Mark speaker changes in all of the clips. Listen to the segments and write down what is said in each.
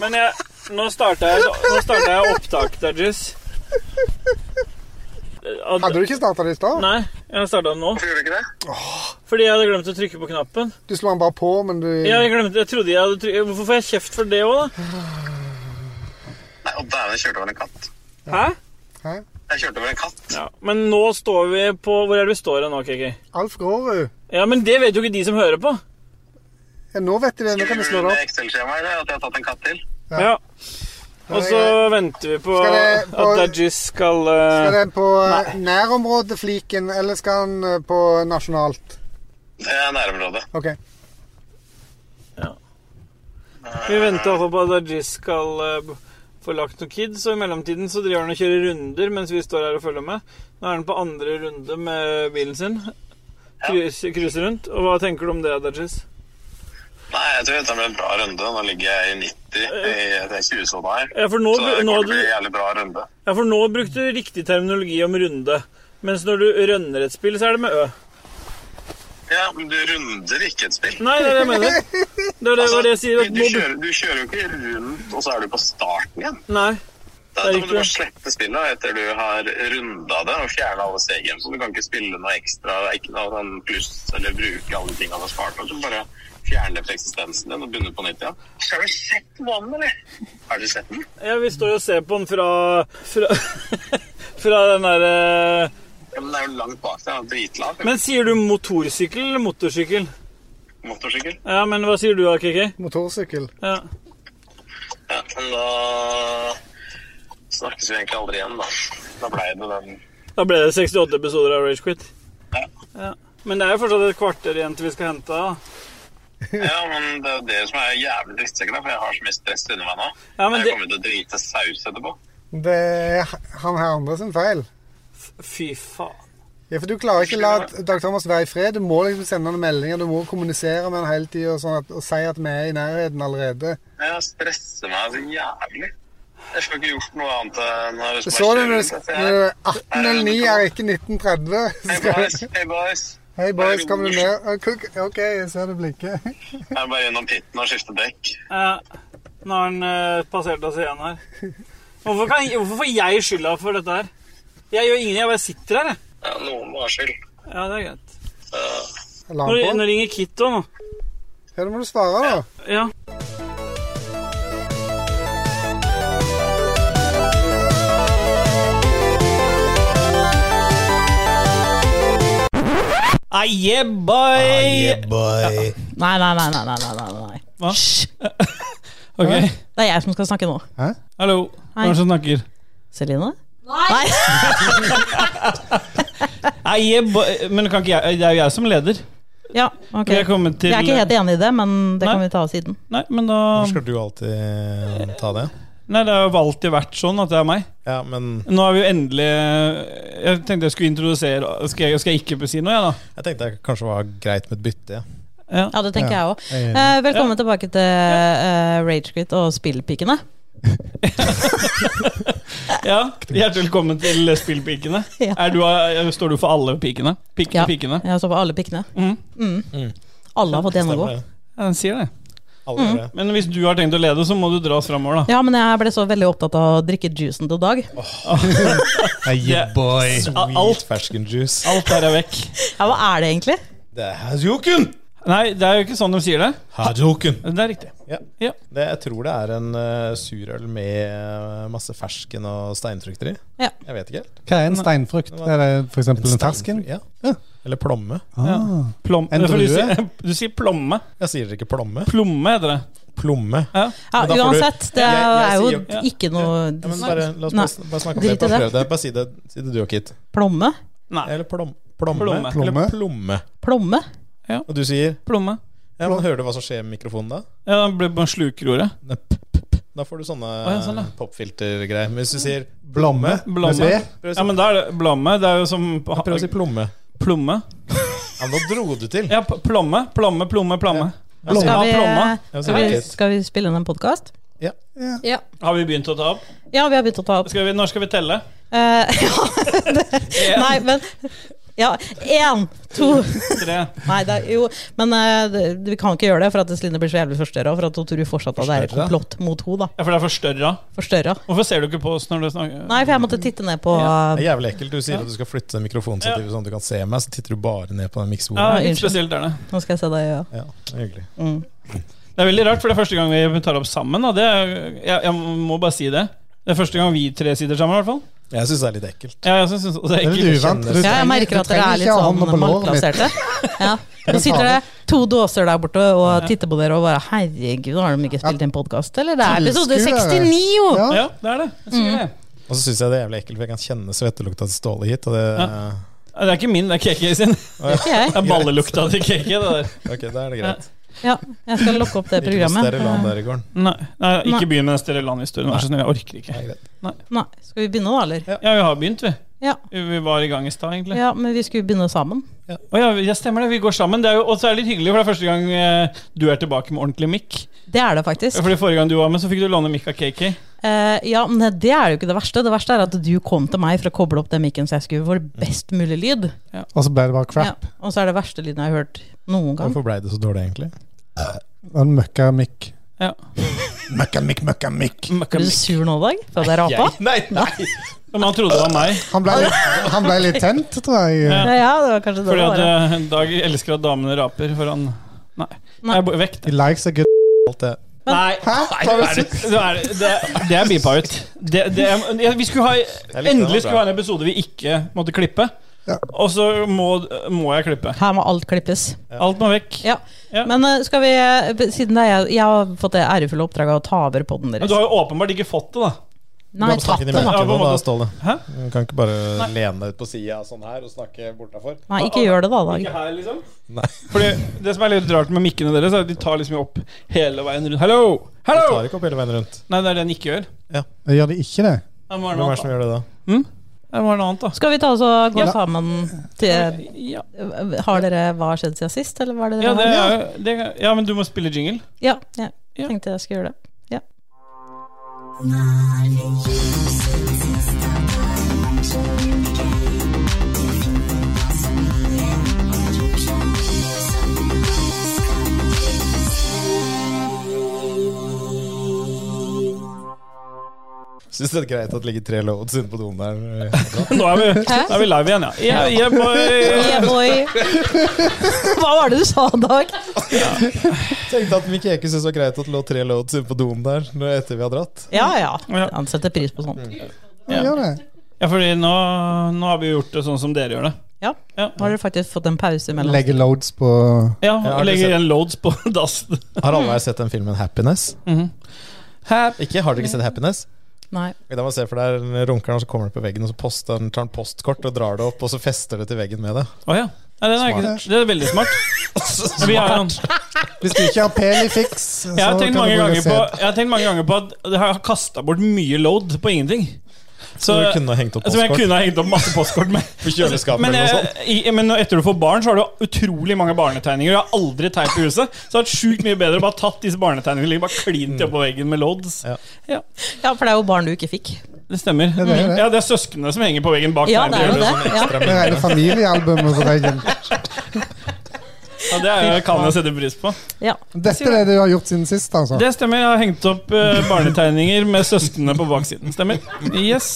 Speaker 1: Men jeg, nå starta jeg, nå startet jeg opptak, Dudges.
Speaker 2: Hadde du ikke starta det i stad?
Speaker 1: Nei, jeg starta den nå.
Speaker 3: Gjorde du ikke det?
Speaker 1: Fordi jeg hadde glemt å trykke på knappen.
Speaker 2: Du slo den bare på, men du
Speaker 1: Jeg, glemte, jeg trodde jeg hadde tryk- Hvorfor får jeg kjeft for det òg, da?
Speaker 3: Nei, og dæven, jeg kjørte over en katt.
Speaker 1: Hæ?
Speaker 2: Hæ?
Speaker 3: Jeg kjørte over en katt.
Speaker 1: Ja, Men nå står vi på Hvor er det vi står hen nå, KK?
Speaker 2: Alf Grorud.
Speaker 1: Ja, men det vet jo ikke de som hører på.
Speaker 2: Ja, nå vet de det. Nå kan de slå det
Speaker 3: Skriver du
Speaker 2: opp.
Speaker 3: ned Excel-skjemaet eller at jeg har tatt en katt til?
Speaker 2: Ja.
Speaker 1: Ja. Og så venter vi på
Speaker 2: Skal
Speaker 1: at
Speaker 2: det- på-
Speaker 1: Dajis skal
Speaker 2: Er
Speaker 1: eh,
Speaker 2: den på eh, nærområdefliken, eller skal den eh, på nasjonalt?
Speaker 3: Det er nærområdet.
Speaker 2: OK.
Speaker 1: Vi venter altså på at Dajis skal eh, få lagt noen kids, og i mellomtiden så driver han og kjører runder mens vi står her og følger med. Nå er han på andre runde med bilen sin. Krus- Cruiser rundt. Og hva tenker du om det, Dajis?
Speaker 3: Nei, jeg tror dette blir en bra runde. Nå ligger jeg i 90 i den 20-sona her.
Speaker 1: Eh, Ja, for nå,
Speaker 3: Så det
Speaker 1: nå
Speaker 3: kommer til å
Speaker 1: hadde
Speaker 3: bli
Speaker 1: du
Speaker 3: en jævlig bra runde.
Speaker 1: Ja, for nå brukte du riktig terminologi om runde. Mens når du rønner et spill, så er det med ø.
Speaker 3: Ja, men du runder ikke et spill.
Speaker 1: Nei, det er det jeg mener. Det er det, var det jeg sier. At nå
Speaker 3: du,
Speaker 1: bru-
Speaker 3: kjører, du kjører jo ikke rundt, og så er du på starten igjen.
Speaker 1: Nei.
Speaker 3: Da,
Speaker 1: Det er
Speaker 3: da må
Speaker 1: ikke det.
Speaker 3: du bare slippe spillet etter du har runda det og fjerna alle stegene. Så du kan ikke spille noe ekstra ikke noe sånn pluss eller bruke alle tingene du har spart. Og så bare fjerne det fra eksistensen din og begynne på nytt igjen. Har du sett vann, eller? Har du sett den?
Speaker 1: Ja, vi står jo og ser på den fra Fra, fra den derre
Speaker 3: Ja, men den er jo langt bak deg. Dritlav.
Speaker 1: Men sier du motorsykkel eller motorsykkel?
Speaker 3: Motorsykkel.
Speaker 1: Ja, men hva sier du da, KK?
Speaker 2: Motorsykkel.
Speaker 1: Ja.
Speaker 3: Ja, men da snakkes vi egentlig aldri igjen, da. Da blei det den
Speaker 1: Da ble det 68 episoder av Rage Quit.
Speaker 3: Ja.
Speaker 1: Ja. Men det er jo fortsatt et kvarter igjen til vi skal hente. da.
Speaker 3: Ja, men det er det som er jævlig drittsekker, da, for jeg har så mye stress under meg nå.
Speaker 1: Ja, men
Speaker 3: jeg
Speaker 1: det-
Speaker 3: kommer til å drite saus etterpå.
Speaker 2: Det er han her andre sin feil.
Speaker 1: Fy faen.
Speaker 2: Ja, for Du klarer ikke å la Dag Thomas være i fred. Du må liksom sende han meldinger, du må kommunisere med han hele tida og, sånn at- og si at vi er i nærheten allerede.
Speaker 3: Jeg stresser meg så jævlig. Jeg får ikke gjort noe annet enn å
Speaker 2: Jeg så det når du- når du er 18 eller 9 er ikke 1930. Så
Speaker 3: Hei,
Speaker 2: skal
Speaker 3: boys.
Speaker 2: du-
Speaker 3: Hei, boys.
Speaker 2: Hei, boys, kommer du ned? Ah, kuk- OK, jeg ser du blinker.
Speaker 3: Jeg er bare innom pitten og skifter dekk.
Speaker 1: Ja, nå har han eh, passert oss igjen her. Hvorfor, kan, hvorfor får jeg skylda for dette her? Jeg gjør ingenting, jeg bare sitter her, jeg.
Speaker 3: Ja, noen må ha skyld.
Speaker 1: Ja, det er greit.
Speaker 3: Eh,
Speaker 2: La
Speaker 1: Nå,
Speaker 2: han
Speaker 1: nå
Speaker 2: på.
Speaker 1: ringer Kitto nå.
Speaker 2: Ja, da må du svare, da.
Speaker 1: Ja. Ah, yeah, boy!
Speaker 4: boy.
Speaker 5: Nei, nei, nei. nei, nei, nei, nei, nei.
Speaker 1: Hva?
Speaker 5: Hysj.
Speaker 1: Ok,
Speaker 5: Det er jeg som skal snakke nå.
Speaker 1: hallo.
Speaker 5: Hei.
Speaker 1: Hvem som snakker?
Speaker 5: Celine? Nei!
Speaker 1: Ah, yeah, boy. Men kan ikke jeg, det er jo jeg som leder.
Speaker 5: Ja, ok.
Speaker 1: Vi er kommet til
Speaker 5: Jeg er ikke helt enig i det, men det
Speaker 1: Nei.
Speaker 5: kan vi ta siden.
Speaker 1: Nei, men da
Speaker 4: Hvorfor skal du alltid eh, ta det?
Speaker 1: Nei, det har jo alltid vært sånn at det er meg.
Speaker 4: Ja, men
Speaker 1: Nå har vi jo endelig Jeg tenkte jeg skulle introdusere Skal jeg, skal jeg ikke si noe, jeg, da?
Speaker 4: jeg tenkte det kanskje var greit med et bytte. ja.
Speaker 1: Ja.
Speaker 5: Ja, det tenker
Speaker 4: Ja.
Speaker 5: jeg òg. Eh, velkommen tilbake til eh, Ragequit og spillpikene.
Speaker 1: ja. Hjertelig velkommen til Spillpikene.
Speaker 5: Ja.
Speaker 1: Er du, er- står du for alle pikene? Pikene,
Speaker 5: Ja.
Speaker 1: pikene?
Speaker 5: Jeg står for alle pikene.
Speaker 1: Mhm.
Speaker 4: Mm.
Speaker 5: Alle har fått gjennomgå.
Speaker 4: Stemmer det.
Speaker 1: Ja, den sier det.
Speaker 4: Alle
Speaker 5: Mm.
Speaker 4: gjør det.
Speaker 1: Men hvis du har tenkt å lede, så må du dras framover, da.
Speaker 5: Ja, men jeg ble så veldig opptatt av å drikke juicen til Dag.
Speaker 4: Hey, yeah, boy.
Speaker 1: Al- alt-
Speaker 4: Sweet ferskenjuice.
Speaker 1: Alt der er vekk.
Speaker 5: Ja, hva er det egentlig?
Speaker 4: Det er Hajoken!
Speaker 1: Nei, det er jo ikke sånn de sier det.
Speaker 4: Hajoken.
Speaker 1: Det er riktig.
Speaker 4: Ja.
Speaker 1: Ja.
Speaker 4: Det, jeg tror det er en eh, surøl med eh, masse fersken og steinfrukter i.
Speaker 5: Ja.
Speaker 4: Jeg vet ikke helt.
Speaker 2: Hva er en steinfrukt? Er det f.eks. en
Speaker 4: Steinfru-
Speaker 2: fersken?
Speaker 4: Ja. Eller plomme.
Speaker 1: Ja. Plom,
Speaker 2: En
Speaker 1: for Ah. du,
Speaker 2: drue?
Speaker 1: sier, du sier plomme.
Speaker 4: Jeg sier ikke plomme.
Speaker 1: Plomme heter det.
Speaker 4: Plomme.
Speaker 1: Ja.
Speaker 5: Ja,
Speaker 4: Men da får du-
Speaker 5: uansett, det
Speaker 4: Jeg- jeg
Speaker 5: er jo
Speaker 4: sier jo-
Speaker 5: ikke noe
Speaker 4: Ja, men bare, la oss
Speaker 5: Nei.
Speaker 4: bare, bare snakke om det.
Speaker 5: Drit i
Speaker 4: Bare
Speaker 5: det.
Speaker 4: prøv det. Bare si det, si det du og Kit.
Speaker 5: Plomme?
Speaker 1: Nei.
Speaker 4: Eller plom, plomme.
Speaker 1: Plomme.
Speaker 4: Eller
Speaker 2: Plomme.
Speaker 4: plomme.
Speaker 5: Plomme?
Speaker 4: Og du sier
Speaker 1: Plomme.
Speaker 4: ja, men Hører du hva som skjer med mikrofonen da?
Speaker 1: Ja, det blir bare slukerordet.
Speaker 4: Nei, p- p- p- Da får du sånne
Speaker 1: ja, sånn, ja.
Speaker 4: popfiltergreier. Men hvis du sier blomme
Speaker 1: Blomme.
Speaker 4: Prøv å si- prøv å si-
Speaker 1: Ja, men da er det blamme. Det er jo som
Speaker 4: Prøv å si plomme.
Speaker 1: Plomme.
Speaker 4: Ja, men Nå dro du til.
Speaker 1: Ja, p- plomme, plomme, plomme, plomme. eh,
Speaker 4: Blomme.
Speaker 5: Skal
Speaker 1: Plomme.
Speaker 5: vi, eh, skal vi, skal vi spille inn en podkast?
Speaker 4: Ja.
Speaker 5: Ja.
Speaker 1: Har vi begynt å ta opp?
Speaker 5: ja, vi har begynt å ta opp.
Speaker 1: Skal vi, når skal vi telle?
Speaker 5: Eh, ja, det, Eh, nei, men Ja, én, to
Speaker 1: Tre.
Speaker 5: Nei, det er, jo, men eh, det- vi kan ikke gjøre det, for at Celine blir så jævlig forstørra. For at hun tror fortsatt at det er et
Speaker 4: Forstørret?
Speaker 5: komplott mot henne.
Speaker 1: Ja, for det er forstørra.
Speaker 5: Forstørra.
Speaker 1: Hvorfor ser du ikke på oss når du snakker?
Speaker 5: Nei, for jeg måtte titte ned på
Speaker 1: Ja.
Speaker 4: Det er jævlig ekkelt. Du sier at du skal flytte mikrofonstativet sånn at du kan se meg, så titter du bare ned på den
Speaker 1: Ja,
Speaker 4: miksebordet.
Speaker 1: litt
Speaker 5: Unnskyld.
Speaker 1: spesielt er det.
Speaker 5: eh, Nå skal jeg se deg i øya.
Speaker 4: Ja, det er hyggelig.
Speaker 5: Mm.
Speaker 1: Det er veldig rart, for det er første gang vi tar opp sammen. Da. Det er, jeg, jeg må bare si det. Det er første gang vi tre sitter sammen, i hvert fall.
Speaker 4: Jeg syns det er litt ekkelt.
Speaker 1: Ja, jeg synes også det er
Speaker 4: Det er
Speaker 1: ekkelt.
Speaker 4: litt uvant.
Speaker 5: Ja, jeg merker at dere er litt sånn malplasserte. Ja. Nå sitter det to dåser der borte og titter på dere og bare Herregud, har de ikke spilt inn podkast, eller? Det er episode 69, jo!
Speaker 2: Ja.
Speaker 1: Ja, det er det. Jeg
Speaker 5: Mm.
Speaker 1: sier det.
Speaker 4: Og så syns jeg det er jævlig ekkelt, for jeg kan kjenne svettelukta til Ståle hit. Og det,
Speaker 1: Ja, Det er ikke min, det er Keke sin. Det
Speaker 5: Det er ikke jeg.
Speaker 1: er ballelukta til Keke. Det der.
Speaker 4: Ok, da er det greit.
Speaker 5: Ja, jeg skal lokke opp det
Speaker 4: Ikke noe
Speaker 5: programmet.
Speaker 4: Sterilan der i gården.
Speaker 1: Nei, nei
Speaker 5: Nei.
Speaker 1: ikke begynn med den stereolanhistorien. Vær så snill, jeg orker ikke.
Speaker 4: Det er greit.
Speaker 5: Eh, Nei, skal vi begynne da, eller?
Speaker 1: Ja, vi har begynt, vi.
Speaker 5: Ja.
Speaker 1: Vi var i gang i stad, egentlig. Å ja.
Speaker 5: Ja, men vi skulle begynne sammen.
Speaker 1: vi- ja, stemmer det. Vi går sammen. Det er jo, og så er det litt hyggelig, for det er første gang eh, du er tilbake med ordentlig mikk.
Speaker 5: Det er det faktisk.
Speaker 1: Fordi forrige gang du var med, så fikk du låne mikk av KK.
Speaker 5: Eh, ja, men det er jo ikke det verste. Det verste er at du kom til meg for å koble opp den mikken så jeg skulle få best mulig lyd.
Speaker 2: Og så ble det bare
Speaker 5: Ja,
Speaker 2: crap.
Speaker 5: og så er det verste lyden jeg har hørt noen gang.
Speaker 4: Hvorfor blei det så dårlig, egentlig?
Speaker 2: Og en møkka mikk.
Speaker 1: Ja.
Speaker 2: Møkka mikk, møkka mikk.
Speaker 5: Ble du sur nå, Dag? For at jeg rapa?
Speaker 4: Nei, nei!
Speaker 1: Men han trodde det var meg.
Speaker 2: Han ble, litt- han ble litt tent, tror jeg.
Speaker 1: Ja.
Speaker 5: Ja, ja, det var kanskje det
Speaker 1: Fordi
Speaker 5: det
Speaker 1: at
Speaker 5: var. ja.
Speaker 1: eh, Dag elsker at damene raper foran Nei.
Speaker 5: Nei.
Speaker 1: Nei. Jeg er bo- vekk.
Speaker 2: He likes a good
Speaker 4: Alt det.
Speaker 1: Nei.
Speaker 2: Hæ? Hva
Speaker 1: Er det, det, er, det, det er beepa ut. Det, det, jeg- vi skulle ha,
Speaker 4: den var
Speaker 1: endelig skulle
Speaker 4: bra.
Speaker 1: ha en episode vi ikke måtte klippe.
Speaker 2: Ja.
Speaker 1: Og så må, må jeg klippe.
Speaker 5: Her må alt klippes.
Speaker 1: Alt må vekk.
Speaker 5: Ja.
Speaker 1: Ja.
Speaker 5: Men eh, skal vi eh, Siden det er jeg, jeg har fått det ærefulle oppdraget å ta over podden
Speaker 1: Men
Speaker 5: deres.
Speaker 1: du har jo åpenbart ikke fått det, da.
Speaker 5: Nei,
Speaker 4: Bare
Speaker 5: tatt
Speaker 4: snakke inn i
Speaker 5: den, da.
Speaker 1: Ja,
Speaker 4: mikken
Speaker 1: på
Speaker 4: nå,
Speaker 1: en
Speaker 4: da,
Speaker 1: måte.
Speaker 4: Ståle.
Speaker 1: Hæ?
Speaker 4: Du kan ikke bare lene deg ut på sida sånn her og snakke bortafor.
Speaker 5: Nei, ikke gjør det da, Dag.
Speaker 1: Ikke her, liksom.
Speaker 4: Nei.
Speaker 1: Fordi Det som er litt rart med mikkene deres, er at de tar liksom opp hele veien rundt. Hallo!
Speaker 4: Du
Speaker 1: Hallo!
Speaker 4: tar ikke opp hele veien rundt.
Speaker 1: Nei, det er det den ikke gjør.
Speaker 2: Gjør de ikke det?
Speaker 1: Det må være
Speaker 4: Hvem
Speaker 1: noe
Speaker 4: er det
Speaker 1: annet,
Speaker 4: som gjør det da?
Speaker 1: da. Det må være noe annet, da.
Speaker 5: Skal vi ta oss og gå sammen til eh,
Speaker 1: Ja,
Speaker 5: Har dere Hva har skjedd siden sist, eller hva er det dere
Speaker 1: ja, det
Speaker 5: har?
Speaker 1: er, jo- det, ja men du må spille jingle.
Speaker 5: Ja, ja.
Speaker 1: Ja.
Speaker 5: tenkte jeg skulle gjøre det. Ja.
Speaker 4: Syns det er greit at det ligger tre loads inne på doen der?
Speaker 1: Nå er vi,
Speaker 5: Hæ?
Speaker 1: nå er vi live igjen, ja. Yeah, yeah, boy.
Speaker 5: Yeah, boy. Hva var det du sa, Dag?
Speaker 4: Tenkte at Mikke Eke syntes det var greit at det lå tre loads inne på doen der nå etter vi har dratt.
Speaker 5: Ja, ja.
Speaker 1: Ja.
Speaker 5: Han setter pris på sånt.
Speaker 2: Ja, gjør det.
Speaker 1: ja fordi nå, nå har vi gjort det sånn som dere gjør det.
Speaker 5: Ja.
Speaker 1: Ja.
Speaker 5: Nå har dere faktisk fått en pause imellom.
Speaker 2: Legge loads på
Speaker 1: Ja,
Speaker 4: Jeg har
Speaker 1: Legger
Speaker 4: ikke
Speaker 1: igjen loads på dassen.
Speaker 4: Har alle her sett den filmen Happiness? Ikke? Har dere ikke sett Happiness?
Speaker 5: Nei.
Speaker 4: Da må man se for deg runkeren, og så kommer den på veggen, og så poster den, tar den postkort og drar det opp, og så fester det til veggen med det.
Speaker 1: Å ja. Nei, den er ikke,
Speaker 2: Smart.
Speaker 1: det er veldig smart. Vi har, jeg,
Speaker 2: Hvis du ikke har Pelifix, så
Speaker 1: har tenkt mange
Speaker 2: bruke
Speaker 1: ganger på,
Speaker 2: sæd.
Speaker 1: jeg har tenkt mange ganger på at jeg har kasta bort mye load på ingenting. Så,
Speaker 4: Så du kunne eh, ha hengt opp
Speaker 1: som jeg
Speaker 4: postkort
Speaker 1: kunne ha hengt opp masse postkort med.
Speaker 4: på kjøleskapet
Speaker 1: Men,
Speaker 4: eller noe
Speaker 1: jeg,
Speaker 2: sånn.
Speaker 4: sånt.
Speaker 1: i, men når- etter du får barn, så har du utrolig mange barnetegninger. Jeg har aldri tegn på huset, så det har vært sjukt mye bedre å bare tatt disse barnetegningene og ligge bare klint oppå veggen med loads.
Speaker 4: Ja.
Speaker 5: Ja, for det er jo barn du ikke fikk.
Speaker 1: Det stemmer.
Speaker 2: Ja, det er det.
Speaker 1: Ja, det er søsknene som henger på veggen bak
Speaker 5: Ja,
Speaker 1: meg.
Speaker 5: det er jo det. Ja.
Speaker 4: Ekstra
Speaker 2: Det rene
Speaker 4: mindre.
Speaker 2: familiealbumet på veggen.
Speaker 1: Ja, det er, kan jeg sette pris på.
Speaker 5: Ja.
Speaker 2: Dette er det du har gjort siden sist, altså.
Speaker 1: Det stemmer. Jeg har hengt opp eh, barnetegninger med søsknene på baksiden. Stemmer. Yes.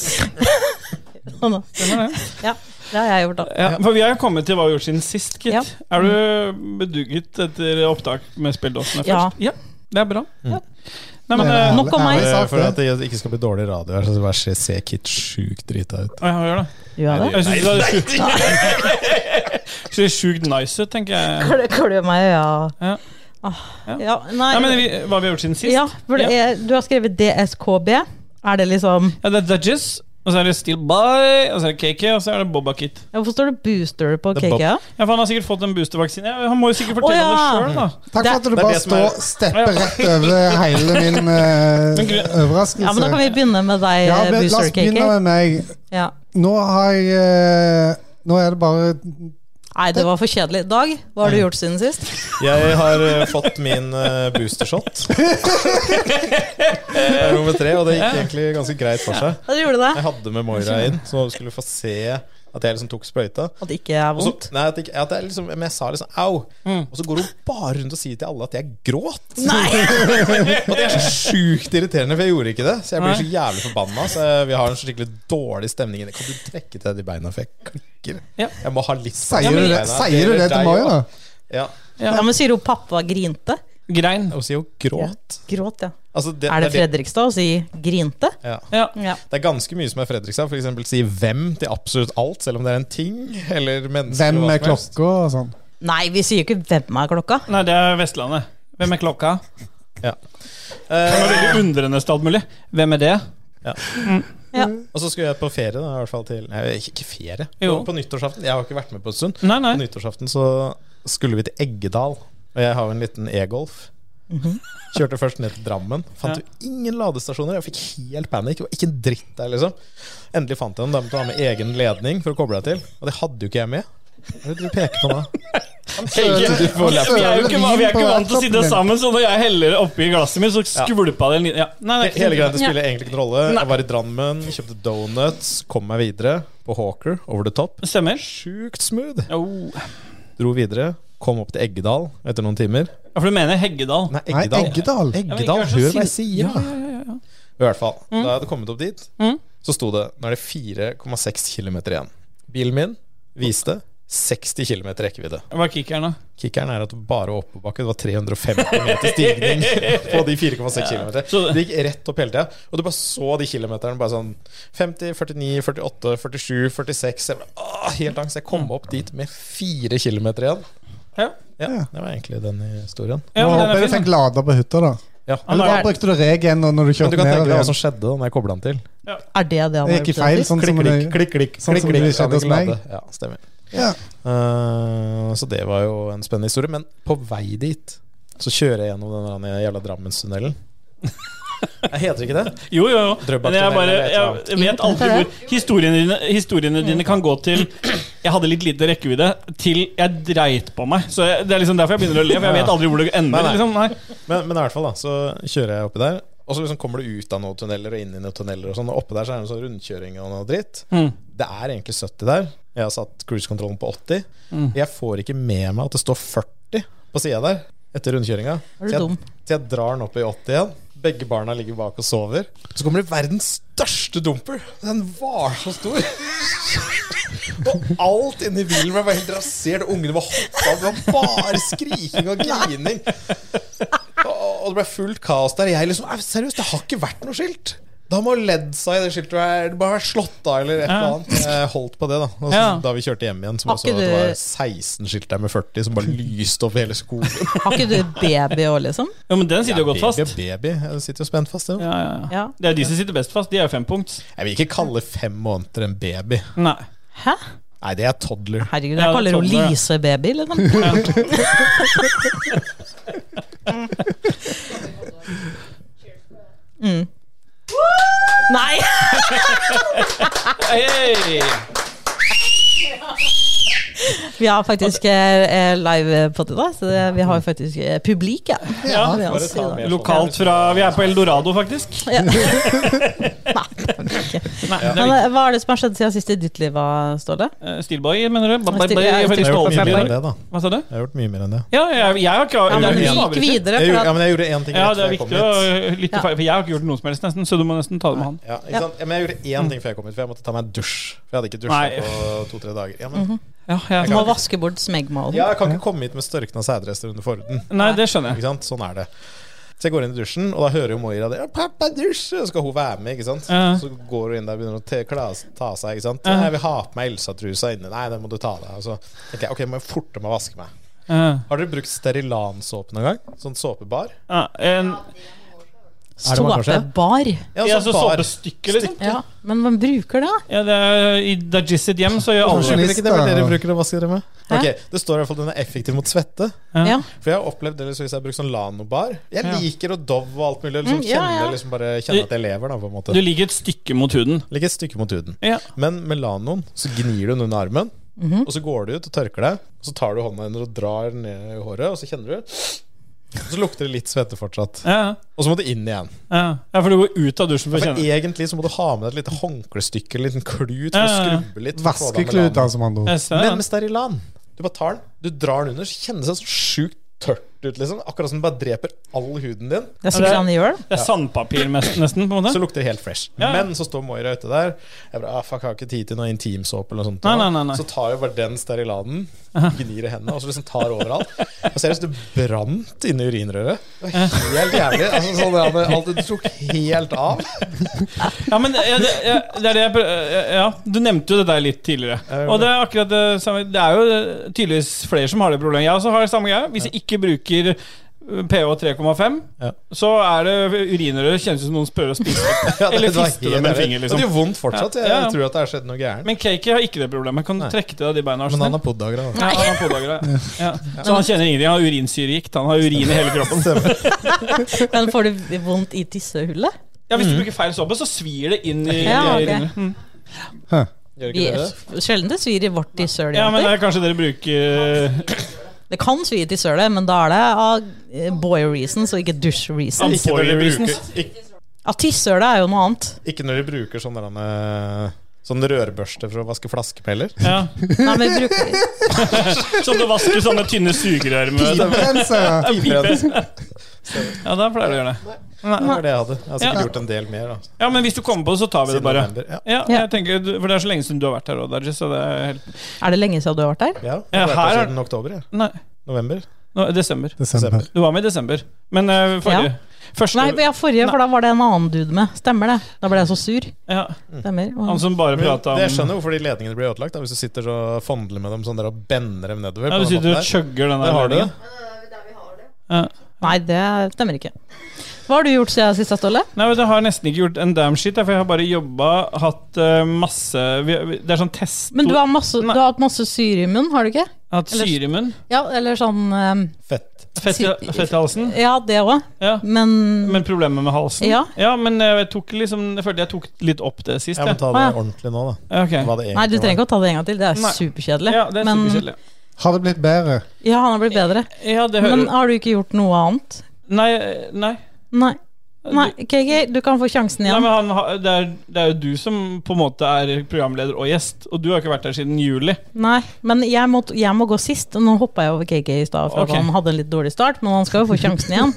Speaker 5: Sånn da.
Speaker 1: Stemmer det.
Speaker 5: ja. Det har jeg gjort, da.
Speaker 1: Ja, for vi har jo kommet til hva vi har gjort siden sist, gitt.
Speaker 5: Ja. Mm.
Speaker 1: Er du bedugget etter opptak med spilledåsene
Speaker 5: Ja.
Speaker 1: først? Ja. Det er bra.
Speaker 4: Mm.
Speaker 1: Nei, men eh,
Speaker 5: nok om meg.
Speaker 4: Bare
Speaker 2: Ærlig
Speaker 4: For at
Speaker 2: sagt, det.
Speaker 4: det ikke skal bli dårlig radio her, så vær så se Kit sjukt drita ut.
Speaker 1: å, ja, gjør det.
Speaker 5: Du er det?
Speaker 1: Jeg synes det er sjukt Ser sjukt nice ut, tenker jeg.
Speaker 5: Klø- Klør meg i øya.
Speaker 1: Ja.
Speaker 5: Åh,
Speaker 1: Ja.
Speaker 5: Ja, nei,
Speaker 1: Nei, men vi, Hva vi har gjort siden sist?
Speaker 5: ja, for det er, Du har skrevet DSKB. Er det liksom
Speaker 1: Ja, det er Dudges, og så er det Steel By, og så er det KK, og så er det Boba Kit.
Speaker 5: ja, Hvorfor står det booster på
Speaker 4: Det er
Speaker 5: KK? ja?
Speaker 1: Ja, for Han har sikkert fått en boostervaksine. Ja, Han må jo sikkert fortelle
Speaker 5: Å, ja.
Speaker 1: om det sjøl, da.
Speaker 2: Takk for at du
Speaker 4: det er
Speaker 2: bare
Speaker 4: det som er-
Speaker 2: står stepper rett over hele min eh,
Speaker 1: Men gre-
Speaker 5: Ja, men Da kan
Speaker 2: overraskelse.
Speaker 5: vi begynne med deg,
Speaker 2: Ja, men La
Speaker 5: booster
Speaker 2: oss begynne
Speaker 5: KK.
Speaker 2: med meg.
Speaker 5: Ja.
Speaker 2: Nå har jeg eh, Nå er det bare
Speaker 5: Nei, det var for kjedelig. Dag, hva har du gjort siden sist?
Speaker 4: Jeg har eh, fått min eh, boostershot. Det er nummer tre, og det gikk egentlig ganske greit for seg.
Speaker 5: Ja, du gjorde det.
Speaker 4: Jeg hadde med Moira inn, så hun skulle få se At jeg liksom tok sprøyta.
Speaker 5: At det ikke er
Speaker 4: Og så-
Speaker 5: vondt?
Speaker 4: Nei, at, ikke, at jeg liksom Men jeg sa liksom au. Og så går hun bare rundt og sier til alle at jeg gråt. og det er så sjukt irriterende, for jeg gjorde ikke det. Så jeg blir så jævlig forbanna. Så jeg- vi har en skikkelig dårlig stemning inne. Kan du trekke til de beina, for jeg klikker.
Speaker 1: Ja.
Speaker 4: Jeg må ha litt
Speaker 1: Ja,
Speaker 4: på
Speaker 1: men-
Speaker 2: Sier du
Speaker 4: beina.
Speaker 2: det, sier du det
Speaker 4: gjelder
Speaker 2: til
Speaker 4: deg
Speaker 2: Mayo, da?
Speaker 4: også. Ja.
Speaker 5: Ja, men sier hun pappa grinte?
Speaker 1: Mm. Grein.
Speaker 4: Og sier jo gråt.
Speaker 5: Gråt, ja.
Speaker 4: Altså,
Speaker 5: Er det
Speaker 4: det er det-
Speaker 5: Fredrikstad å si grinte?
Speaker 4: Ja.
Speaker 1: Ja.
Speaker 5: Ja.
Speaker 4: Det er ganske mye som er Fredrikstad. For eksempel si 'hvem' til absolutt alt, selv om det er en ting eller mennesker.
Speaker 2: Hvem
Speaker 4: eller hva
Speaker 2: er
Speaker 4: som helst.
Speaker 2: klokka og sånn?
Speaker 5: Nei, vi sier jo ikke 'hvem er klokka'.
Speaker 1: Nei, det er Vestlandet. Hvem er klokka? Det
Speaker 4: Eh,
Speaker 1: var veldig undrende til alt mulig. Hvem er det?
Speaker 4: og så skulle jeg på ferie, da, i hvert fall til Nei, ikke- ikke ferie.
Speaker 1: Jo.
Speaker 4: På, på nyttårsaften. Jeg har ikke vært med på en stund.
Speaker 1: Nei, nei.
Speaker 4: På nyttårsaften så skulle vi til Eggedal, og jeg har jo en liten e-golf. Kjørte først ned til Drammen. Fant
Speaker 1: Ja.
Speaker 4: jo ingen ladestasjoner. Jeg fikk helt panikk. Det var ikke en dritt der, liksom. Endelig fant jeg en. Da måtte du ha med egen ledning for å koble deg til. Og det hadde jo ikke jeg med. Hva er det du peker på nå?
Speaker 1: Helge,
Speaker 2: får lappen.
Speaker 1: vi er jo ikke, vi er ikke vant til å sitte
Speaker 2: Lappen.
Speaker 1: sammen, så når jeg heller oppi glasset mitt, så skvulpa det en liten ja. Nei, det er ikke-
Speaker 4: Hele greia det spiller egentlig ikke noen rolle. Jeg var i Drammen, kjøpte donuts, kom meg videre på Hawker, over the top.
Speaker 1: Stemmer.
Speaker 4: Sjukt smooth.
Speaker 1: Jo.
Speaker 4: Dro videre, kom opp til Eggedal etter noen timer.
Speaker 1: Ja, for du mener Heggedal?
Speaker 4: Nei,
Speaker 2: Nei,
Speaker 4: Eggedal.
Speaker 2: Eggedal.
Speaker 4: Eggedal,
Speaker 1: Ja, men ikke vær så
Speaker 4: hør hva jeg
Speaker 1: sint.
Speaker 4: sier! da. I hvert fall. Da jeg hadde kommet opp dit,
Speaker 1: Mm.
Speaker 4: så sto det Nå er det 4,6 km igjen. Bilen min viste 60 km rekkevidde.
Speaker 1: Hva er kickeren, da?
Speaker 4: Kickeren er at det bare var oppoverbakke. Det var 350 meter stigning på de 4,6 km.
Speaker 1: Så-
Speaker 4: Det gikk rett opp hele tida. Og du bare så de kilometerne. Bare sånn 50, 49, 48, 47, 46 jeg ble, ah, Helt angst. Jeg kom opp dit med 4 km igjen.
Speaker 1: Ja.
Speaker 4: Ja, det var egentlig den historien.
Speaker 1: Ja,
Speaker 2: Nå
Speaker 1: men den er
Speaker 2: håper jeg du
Speaker 1: fin,
Speaker 2: fikk lada på hytta, da.
Speaker 4: Ja.
Speaker 1: Han
Speaker 2: Eller
Speaker 1: er-
Speaker 2: da brukte du regen når- når du
Speaker 4: Men du
Speaker 2: kjørte
Speaker 4: kan
Speaker 2: ned.
Speaker 4: tenke deg hva
Speaker 2: igjen.
Speaker 4: som skjedde da jeg kobla den til.
Speaker 5: Er det det han
Speaker 2: Det gikk i feil, sånn som
Speaker 4: Klikk, klikk,
Speaker 2: det
Speaker 4: klikk, klikk,
Speaker 2: sånn som
Speaker 4: klikk,
Speaker 2: det
Speaker 4: klikk,
Speaker 2: skjedde hos
Speaker 4: klikk,
Speaker 2: meg.
Speaker 4: lade. Ja, stemmer.
Speaker 2: Ja.
Speaker 4: Eh, så det var jo en spennende historie. Men på vei dit så kjører jeg gjennom den der jævla Drammenstunnelen. Jeg heter ikke det?
Speaker 1: Jo, jo, jo.
Speaker 4: Drøbak
Speaker 1: Men jeg,
Speaker 4: tunnel,
Speaker 1: bare,
Speaker 4: eller et eller annet.
Speaker 1: jeg vet aldri hvor Historiene dine, historiene dine kan gå til Jeg hadde litt lite rekkevidde, til jeg dreit på meg. Så jeg, Det er liksom derfor jeg begynner å le, for jeg vet aldri hvor det ender.
Speaker 4: Nei, nei.
Speaker 1: Liksom. Nei.
Speaker 4: Men, men i hvert fall da, så kjører jeg oppi der Og så liksom kommer du ut av noen tunneler og inn i noen tunneler Og sånn, og oppe der så er det en sånn rundkjøring og noe dritt
Speaker 1: Mm.
Speaker 4: Det er egentlig 70 der Jeg har satt cruisekontrollen på 80
Speaker 5: Mm.
Speaker 4: Jeg får ikke med meg at det står 40 på siden der Etter rundkjøringa
Speaker 5: Er du
Speaker 4: Så jeg-
Speaker 5: dum?
Speaker 4: Til jeg drar den opp i 80 igjen begge barna ligger bak og sover Så kommer det verdens største dumper Den var så stor Og alt inni bilen var helt rasert og Ungene var hoppa Det var bare skriking og grining og og det ble fullt kaos der. Jeg liksom "Au, Seriøst, det har ikke vært noe skilt! Da må ledsa i det skiltet være det bare vært slått av, eller et eller annet. Jeg holdt på det, da. Og så,
Speaker 1: Ja.
Speaker 4: Da vi kjørte hjem igjen, så
Speaker 5: Har
Speaker 4: bare så jeg
Speaker 5: ikke
Speaker 4: at det
Speaker 5: du-
Speaker 4: var 16 skilt der med 40 som bare lyste opp hele skolen.
Speaker 5: Har ikke du baby òg, liksom?
Speaker 1: Jo, men den sitter jo godt
Speaker 4: baby,
Speaker 1: fast.
Speaker 4: baby. Jeg sitter jo spent fast. Ja.
Speaker 1: Ja, ja, ja.
Speaker 5: Ja.
Speaker 1: Det er de som sitter best fast. De er jo fempunkts.
Speaker 4: Jeg vil ikke kalle fem måneder en baby.
Speaker 1: Nei.
Speaker 5: Hæ?
Speaker 4: Nei, det er toddler.
Speaker 5: Herregud,
Speaker 1: Ja,
Speaker 5: jeg
Speaker 1: det sånn,
Speaker 5: kaller henne
Speaker 1: tåler jeg.
Speaker 5: Lise-baby, liksom. Mm. Nei!
Speaker 1: Hey!
Speaker 5: Vi har faktisk eh, live på det, da, så det, vi har faktisk eh, publik, ja.
Speaker 1: Ja,
Speaker 5: Det er
Speaker 4: Bare
Speaker 5: oss i
Speaker 4: ta
Speaker 5: dag.
Speaker 4: med folk.
Speaker 1: Lokalt fra Vi er på Eldorado, faktisk.
Speaker 5: Ja. Nei, ikke.
Speaker 1: Nei, det
Speaker 5: Men
Speaker 1: er
Speaker 5: eh, hva er det som har skjedd siden sist i ditt liv, da, Ståle?
Speaker 1: Eh, Steelboy, mener du? Ba- ba- ba-
Speaker 5: Steel- ja,
Speaker 1: Jeg er veldig
Speaker 4: Jeg har
Speaker 1: stolt av
Speaker 5: Steel-
Speaker 4: gjort mye mer enn
Speaker 1: Steelboy.
Speaker 4: det, da.
Speaker 1: Hva sa du?
Speaker 4: Jeg har gjort mye mer enn det.
Speaker 1: Ja, jeg, jeg har ikke
Speaker 5: Ja,
Speaker 1: det
Speaker 5: men
Speaker 1: er
Speaker 5: du
Speaker 1: du som
Speaker 5: gikk
Speaker 1: avbryter.
Speaker 5: videre,
Speaker 4: Jeg
Speaker 5: for
Speaker 4: gjorde, ja,
Speaker 5: at
Speaker 4: men jeg gjorde én ting
Speaker 1: Ja,
Speaker 4: rett
Speaker 1: det er
Speaker 4: før jeg kom
Speaker 1: viktig å
Speaker 4: hit.
Speaker 1: lytte feil, for jeg har ikke gjort noe som helst, nesten, så du må nesten ta det med han.
Speaker 4: Ja, ikke
Speaker 5: Ja.
Speaker 4: sant? Ja, men jeg gjorde én ting før jeg kom hit, for jeg måtte ta meg en dusj. For jeg hadde ikke
Speaker 1: Nei.
Speaker 4: dusja på to-tre dager. Ja, men,
Speaker 1: Ja,
Speaker 5: du
Speaker 1: jeg,
Speaker 5: må vaske bort smegmalen.
Speaker 4: ja, jeg kan ikke komme hit med størkna sædrester under forhuden.
Speaker 1: nei, det skjønner jeg.
Speaker 4: Ikke sant? Sånn er det. Så jeg går inn i dusjen, og da hører jo Moira det. «Ja, 'Pappa, dusj!' Og så skal hun være med, ikke sant.
Speaker 1: Ja.
Speaker 4: Så går hun inn der og begynner å te, kla, ta seg, ikke sant. 'Jeg vil ha på meg Elsa-trusa inne.' 'Nei, den må du ta av deg.' Og så tenker jeg 'Ok, jeg må jeg forte meg å vaske meg'.
Speaker 1: Eh,
Speaker 4: Har dere brukt Sterilan-såpe noen gang? Sånn såpebar?
Speaker 1: ja, en,
Speaker 4: det mange år siden?
Speaker 5: Såpebar.
Speaker 1: ja, altså, så
Speaker 4: sånn bar.
Speaker 1: såpestykke, liksom.
Speaker 5: Ja, men man bruker det.
Speaker 1: Ja, det er, I Dajis sitt hjem så gjør alle
Speaker 4: Hvorfor bruker
Speaker 2: Pensjonist,
Speaker 4: ikke det men
Speaker 2: da.
Speaker 4: dere bruker å vaske dere med?
Speaker 5: Hæ?
Speaker 4: Ok, Det står i hvert fall den er effektiv mot svette.
Speaker 5: Ja.
Speaker 4: For jeg har opplevd det, så hvis jeg har brukt sånn Lano-bar Jeg
Speaker 1: Ja.
Speaker 4: liker og Dove og alt mulig. Liksom,
Speaker 5: Mm, ja,
Speaker 4: kjenner,
Speaker 5: ja.
Speaker 4: liksom bare kjenner at jeg lever, da, på en måte.
Speaker 1: Du ligger et stykke mot huden.
Speaker 4: Ligger et stykke mot huden.
Speaker 1: Ja.
Speaker 4: Men med Lanoen så gnir du den under armen,
Speaker 1: Mhm.
Speaker 4: og så går du ut og tørker deg. Og så tar du hånda hennes og drar ned i håret, og så kjenner du. Og så lukter det litt svette fortsatt.
Speaker 1: Ja,
Speaker 4: Og så må du inn igjen.
Speaker 1: ja. ja, for du går ut av dusjen for å
Speaker 4: Men
Speaker 1: kjenne
Speaker 4: egentlig så må du ha med deg et lite håndklestykke, en liten klut, for
Speaker 1: Ja,
Speaker 4: å
Speaker 1: ja, ja.
Speaker 4: skrubbe litt. for å få av melanen.
Speaker 2: Vaskeklut, altså, med andre ord.
Speaker 1: Jeg ser det,
Speaker 4: Men med Sterilan Du bare tar den, du drar den under, så kjennes det så sjukt tørt ut. liksom Akkurat som den bare dreper all huden din.
Speaker 5: Det er sikkert sånn de gjør det.
Speaker 1: Det er sandpapir mest, nesten, på en
Speaker 4: Så
Speaker 1: måte.
Speaker 4: lukter det helt fresh.
Speaker 1: Ja, ja.
Speaker 4: Men så står Moira ute der. Jeg bare, ah, fuck, jeg har ikke tid til noe intimsåpe eller noe sånt.
Speaker 1: Nei, nei, nei, nei.
Speaker 4: Så tar jeg bare den Sterilanen, gnir i hendene og så liksom tar overalt. Og seriøst, det brant inni urinrøret. Det var helt jævlig. Altså, sånn, ja, det, alt, det tok helt av.
Speaker 1: Ja, men ja, det, ja, det er det jeg prø- ja, Ja, du nevnte jo det der litt tidligere.
Speaker 4: Ja,
Speaker 1: Og det er akkurat det samme. Det er jo eh, tydeligvis flere som har det problemet. Jeg også har det samme greia. Hvis jeg ikke bruker eh, pH 3,5,
Speaker 4: Ja.
Speaker 1: så er det urinrøret kjennes ut som noen prøver å spise opp.
Speaker 4: Ja, det
Speaker 1: Eller
Speaker 4: var
Speaker 1: fiste det med
Speaker 4: helt
Speaker 1: en
Speaker 4: jævlig.
Speaker 1: finger, liksom.
Speaker 4: Og det gjør vondt fortsatt. Jeg,
Speaker 1: Ja, ja.
Speaker 4: tror at det har skjedd noe gærent.
Speaker 1: Men Kaki har ikke det problemet. Kan du
Speaker 4: Nei.
Speaker 1: trekke til deg de beina?
Speaker 4: Men
Speaker 1: Arsen?
Speaker 4: han har poddagra.
Speaker 1: Ja, han har pådagra. Ja. Så han kjenner ingenting. Han har urinsyregikt. Han har urin i hele kroppen.
Speaker 5: Men får du vondt i tissehullet?
Speaker 1: Ja, Hvis du
Speaker 4: Mm.
Speaker 1: bruker feil såpe, så svir det inn i
Speaker 5: Ja,
Speaker 1: i
Speaker 5: ok.
Speaker 1: ringen. Mm.
Speaker 4: Gjør
Speaker 5: Vi
Speaker 4: ikke dere det?
Speaker 5: sjelden det svir i vårt tissehøl.
Speaker 1: Ja, men det
Speaker 5: jenter.
Speaker 1: er kanskje dere bruker
Speaker 5: Det kan svi i tissehullet, men da er det av eh, boy reasons og ikke douche reasons.
Speaker 4: Ikke når de
Speaker 1: Boy
Speaker 4: bruker,
Speaker 1: reasons.
Speaker 4: ikke,
Speaker 5: Ja, tissehullet er jo noe annet.
Speaker 4: ikke når de bruker sånn der, eh, Sånn rørbørste for å vaske flaskepeller.
Speaker 1: ja.
Speaker 5: Nei, men vi bruker
Speaker 1: Som du vasker sånne tynne sugerør med.
Speaker 2: Piperenser.
Speaker 4: Piperenser.
Speaker 1: Ja, da pleier du å gjøre det.
Speaker 4: Det var det jeg hadde. Jeg har sikkert
Speaker 1: Ja.
Speaker 4: gjort en del mer. da
Speaker 1: Ja, men hvis du kommer på det, så tar vi det
Speaker 4: Siden
Speaker 1: bare.
Speaker 4: november. Ja.
Speaker 1: Ja,
Speaker 5: Ja.
Speaker 1: jeg tenker, du- For det er så lenge siden du har vært her òg, Darji, så det er helt
Speaker 5: Er det lenge siden du har vært der?
Speaker 4: Ja,
Speaker 1: Ja,
Speaker 4: jeg har vært
Speaker 1: her
Speaker 4: her
Speaker 1: er-
Speaker 4: siden oktober. Ja.
Speaker 1: Nei,
Speaker 4: November.
Speaker 1: nå, desember.
Speaker 2: Desember.
Speaker 1: Du var med i desember, men eh, forrige Første
Speaker 5: Nei, ja, forrige, for da var det en annen dude med. Stemmer det? Da ble jeg så sur.
Speaker 1: ja,
Speaker 5: Stemmer.
Speaker 1: Han som bare
Speaker 4: Men
Speaker 1: prata om
Speaker 4: det- jeg skjønner hvorfor de ledningene blir ødelagt. Da, hvis du sitter og fondler med dem sånn der og bender dem nedover.
Speaker 1: Ja,
Speaker 4: på
Speaker 1: Du
Speaker 4: den måten
Speaker 1: sitter og
Speaker 4: der.
Speaker 1: chugger den
Speaker 4: Der har du det.
Speaker 1: Ja.
Speaker 5: Nei, det stemmer ikke. Hva har du gjort siden sist, Ståle?
Speaker 1: Nei, men Det har jeg nesten ikke gjort en damn shit, for jeg har bare jobba, hatt eh, masse vi, vi, Det er sånn test
Speaker 5: Men du har, masse, du har hatt masse syre i munnen, har du ikke?
Speaker 1: Hatt syre i munnen.
Speaker 5: Ja, eller sånn ehm,
Speaker 4: Fett.
Speaker 1: Fett, i- fett i halsen.
Speaker 5: Ja, det òg.
Speaker 1: Ja.
Speaker 5: Men,
Speaker 1: Men problemet med halsen?
Speaker 5: Ja.
Speaker 1: men jeg, tok liksom, jeg følte jeg tok litt opp det sist.
Speaker 4: Jeg må
Speaker 1: Jeg.
Speaker 4: ta
Speaker 5: Ah,
Speaker 4: det
Speaker 5: ja.
Speaker 4: ordentlig nå, da.
Speaker 1: Ja, ok.
Speaker 4: Hva det
Speaker 5: Nei, du
Speaker 4: egentlig
Speaker 5: trenger
Speaker 4: var.
Speaker 5: ikke å ta det en gang til. Det er
Speaker 1: Nei.
Speaker 5: superkjedelig.
Speaker 1: Ja, det er
Speaker 5: Men-
Speaker 1: superkjedelig.
Speaker 2: Har det blitt bedre?
Speaker 5: Ja, han har blitt bedre.
Speaker 1: Ja, det hører
Speaker 5: Men har du ikke gjort noe annet?
Speaker 1: Nei, nei.
Speaker 5: Nei. Nei, KK, du kan få sjansen
Speaker 1: nei
Speaker 5: igjen.
Speaker 1: men han, har- det, er, det er jo du som på en måte er programleder og gjest, og du har ikke vært der siden juli.
Speaker 5: Nei, men jeg må, jeg må gå sist. Nå hoppa jeg over KK i stad, for
Speaker 1: Ok.
Speaker 5: at han hadde en litt dårlig start, men han skal jo få sjansen igjen.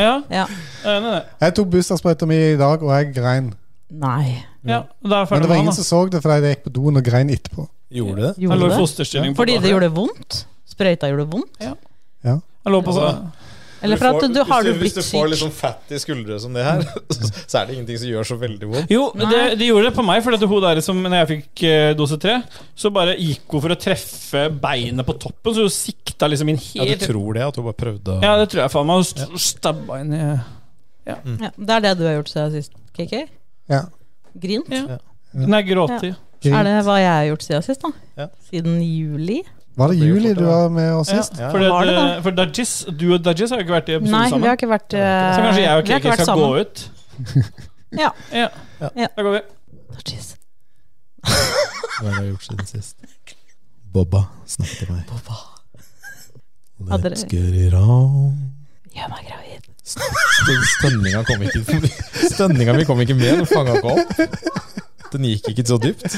Speaker 1: Ja,
Speaker 5: Ja.
Speaker 1: eh, nei, nei.
Speaker 2: Jeg tok boostersprøyta mi i dag, og jeg grein.
Speaker 5: Nei.
Speaker 1: Ja, da er jeg
Speaker 2: Men
Speaker 1: ferdig
Speaker 2: det var
Speaker 1: med han.
Speaker 2: ingen som så det, fordi jeg gikk på doen og grein etterpå.
Speaker 4: Gjorde du det?
Speaker 1: da. Han
Speaker 5: Gjorde
Speaker 1: lå i
Speaker 5: det?
Speaker 1: fosterstilling. på
Speaker 5: Fordi
Speaker 1: badet.
Speaker 5: det gjorde vondt? Sprøyta gjorde vondt?
Speaker 1: Han lå på så,
Speaker 5: Eller for at du har du
Speaker 4: hvis
Speaker 5: blitt
Speaker 4: du får litt
Speaker 5: syk?
Speaker 4: sånn fett i skuldre som det her, så er det ingenting som gjør så veldig vondt.
Speaker 1: Jo, men det,
Speaker 5: Nei.
Speaker 1: det gjorde det på meg, for at hun der som Når jeg fikk eh, dose tre, så bare gikk hun for å treffe beinet på toppen, så hun sikta liksom inn
Speaker 4: Ja, du
Speaker 1: helt
Speaker 4: tror det, at du bare prøvde å
Speaker 1: Ja, det tror jeg faen meg. Hun st- stabba inn i
Speaker 5: Ja, det er det du har gjort siden sist, KK?
Speaker 2: Ja.
Speaker 5: Grint?
Speaker 1: Ja. Nei, gråti.
Speaker 5: Er det hva jeg har gjort siden sist, da?
Speaker 4: Ja.
Speaker 5: Siden juli?
Speaker 2: Var det
Speaker 4: Det blir jo
Speaker 2: juli
Speaker 4: fort,
Speaker 2: du var med oss
Speaker 1: Ja,
Speaker 2: sist?
Speaker 4: Ja.
Speaker 1: for det,
Speaker 5: Var det
Speaker 1: det- eh, for Dajis, du og Dajis har jo ikke vært i episode
Speaker 5: Nei, vi
Speaker 1: sammen.
Speaker 5: har ikke vært eh,
Speaker 1: Så kanskje jeg og
Speaker 5: vi har ikke
Speaker 1: Kiki
Speaker 5: vært
Speaker 1: skal
Speaker 5: sammen.
Speaker 1: gå ut.
Speaker 5: Ja.
Speaker 1: ja.
Speaker 5: Ja.
Speaker 1: Da går vi.
Speaker 5: Å, jeez.
Speaker 4: Hva har jeg gjort siden sist? Bobba snakket til meg. Bobba.
Speaker 5: Ja, dere-
Speaker 4: Let's get it on.
Speaker 5: Gjør meg gravid.
Speaker 4: Stønninga kom ikke Stønninga mi kom ikke med. Den fanga ikke opp. Den gikk ikke så dypt.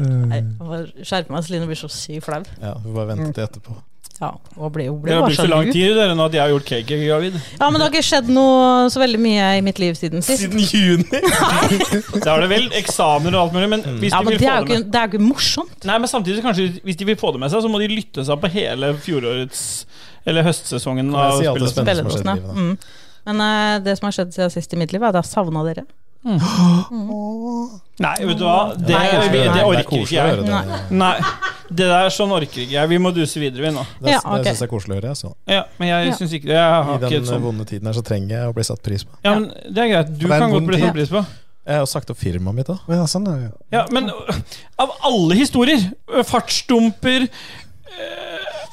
Speaker 5: Nei, jeg må skjerpe meg, Celine blir så sykt flau.
Speaker 4: Ja, Vi bare ventet til etterpå.
Speaker 5: Ja, og ble, hun ble
Speaker 1: Dere har
Speaker 5: bare
Speaker 1: brukt så
Speaker 5: sjalu.
Speaker 1: lang tid dere nå at jeg har gjort cake gravid.
Speaker 5: Ja, men det har ikke skjedd noe så veldig mye i mitt liv siden sist.
Speaker 4: Siden juni!
Speaker 1: Da er det vel eksamener og alt mulig, men
Speaker 4: Mm.
Speaker 1: hvis
Speaker 5: Ja,
Speaker 1: de
Speaker 5: men
Speaker 1: vil
Speaker 5: det
Speaker 1: få
Speaker 5: er
Speaker 1: det med
Speaker 5: jo ikke, det er jo ikke morsomt.
Speaker 1: Nei, men samtidig så kanskje hvis de vil få det med seg, så må de lytte seg opp på hele fjorårets Eller høstsesongen
Speaker 4: Kan jeg
Speaker 1: av
Speaker 4: si alt det
Speaker 1: spillet.
Speaker 4: spennende? som
Speaker 5: Spilledåsene.
Speaker 4: har skjedd i
Speaker 5: Mm. Men eh, det som har skjedd siden sist i mitt liv, er at jeg har savna dere.
Speaker 1: Nei, vet du hva, det,
Speaker 5: Nei,
Speaker 1: vi-
Speaker 5: det er
Speaker 1: det
Speaker 4: er
Speaker 1: orker ikke
Speaker 4: koselig å høre
Speaker 1: jeg.
Speaker 4: det.
Speaker 5: Nei.
Speaker 1: Nei, det der sånn orker ikke jeg. Vi må duse videre, vi nå.
Speaker 4: Det,
Speaker 5: Ja,
Speaker 4: det
Speaker 5: ok.
Speaker 4: syns jeg er koselig å høre. Så.
Speaker 1: Ja, men jeg
Speaker 5: Ja.
Speaker 1: syns ikke det. Jeg
Speaker 4: I
Speaker 1: har ikke
Speaker 4: den eh,
Speaker 1: et sånt
Speaker 4: vonde tiden her så trenger jeg å bli satt pris på.
Speaker 1: Ja, men det er greit. Du
Speaker 2: For det er en
Speaker 1: kan godt
Speaker 2: vond
Speaker 1: bli
Speaker 2: tid.
Speaker 1: satt pris på.
Speaker 4: Jeg har jo sagt opp firmaet mitt, da.
Speaker 2: Å Ja, sånn er det.
Speaker 1: Ja, men øh, av alle historier øh, Fartsdumper øh,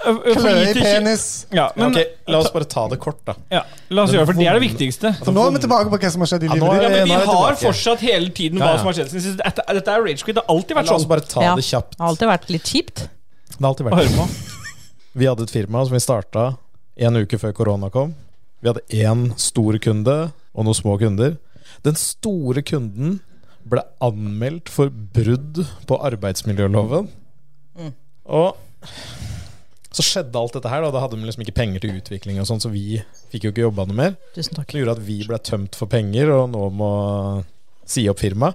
Speaker 1: øh, for
Speaker 2: Kløe i
Speaker 1: lite kje-
Speaker 2: penis.
Speaker 1: Ja, men
Speaker 4: Ok, La oss bare ta det kort, da.
Speaker 1: ja, la oss gjøre det, for det er det viktigste.
Speaker 2: For nå er vi tilbake på hva som har skjedd i
Speaker 4: Ja, nå
Speaker 2: livet
Speaker 4: er
Speaker 1: Ja,
Speaker 2: ditt.
Speaker 1: men
Speaker 4: nå
Speaker 1: Vi
Speaker 4: er vi
Speaker 1: har
Speaker 4: tilbake.
Speaker 1: fortsatt hele tiden
Speaker 4: Ja,
Speaker 1: hva
Speaker 4: ja.
Speaker 1: som har skjedd siden sist. Dette, dette er rage quit. Det har alltid vært
Speaker 4: La oss
Speaker 1: sånn.
Speaker 4: bare ta
Speaker 5: Ja.
Speaker 4: det kjapt.
Speaker 5: Jeg har alltid vært litt kjipt.
Speaker 4: Det har alltid
Speaker 1: Å
Speaker 4: vært
Speaker 1: høre på.
Speaker 4: Vi hadde et firma som vi starta en uke før korona kom. Vi hadde én stor kunde og noen små kunder. Den store kunden ble anmeldt for brudd på arbeidsmiljøloven. Og så skjedde alt dette her. Da, da hadde de liksom ikke penger til utvikling, og sånn, så vi fikk jo ikke jobba noe mer.
Speaker 5: Tusen takk.
Speaker 4: Det gjorde at vi ble tømt for penger, og nå må si opp firmaet.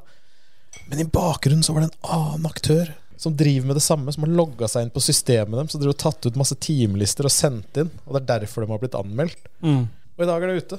Speaker 4: Men i bakgrunnen så var det en annen aktør som driver med det samme, som har logga seg inn på systemet dem, så de har tatt ut masse timelister og sendt inn. Og det er derfor de har blitt anmeldt.
Speaker 1: Mm.
Speaker 4: Og i dag er det ute.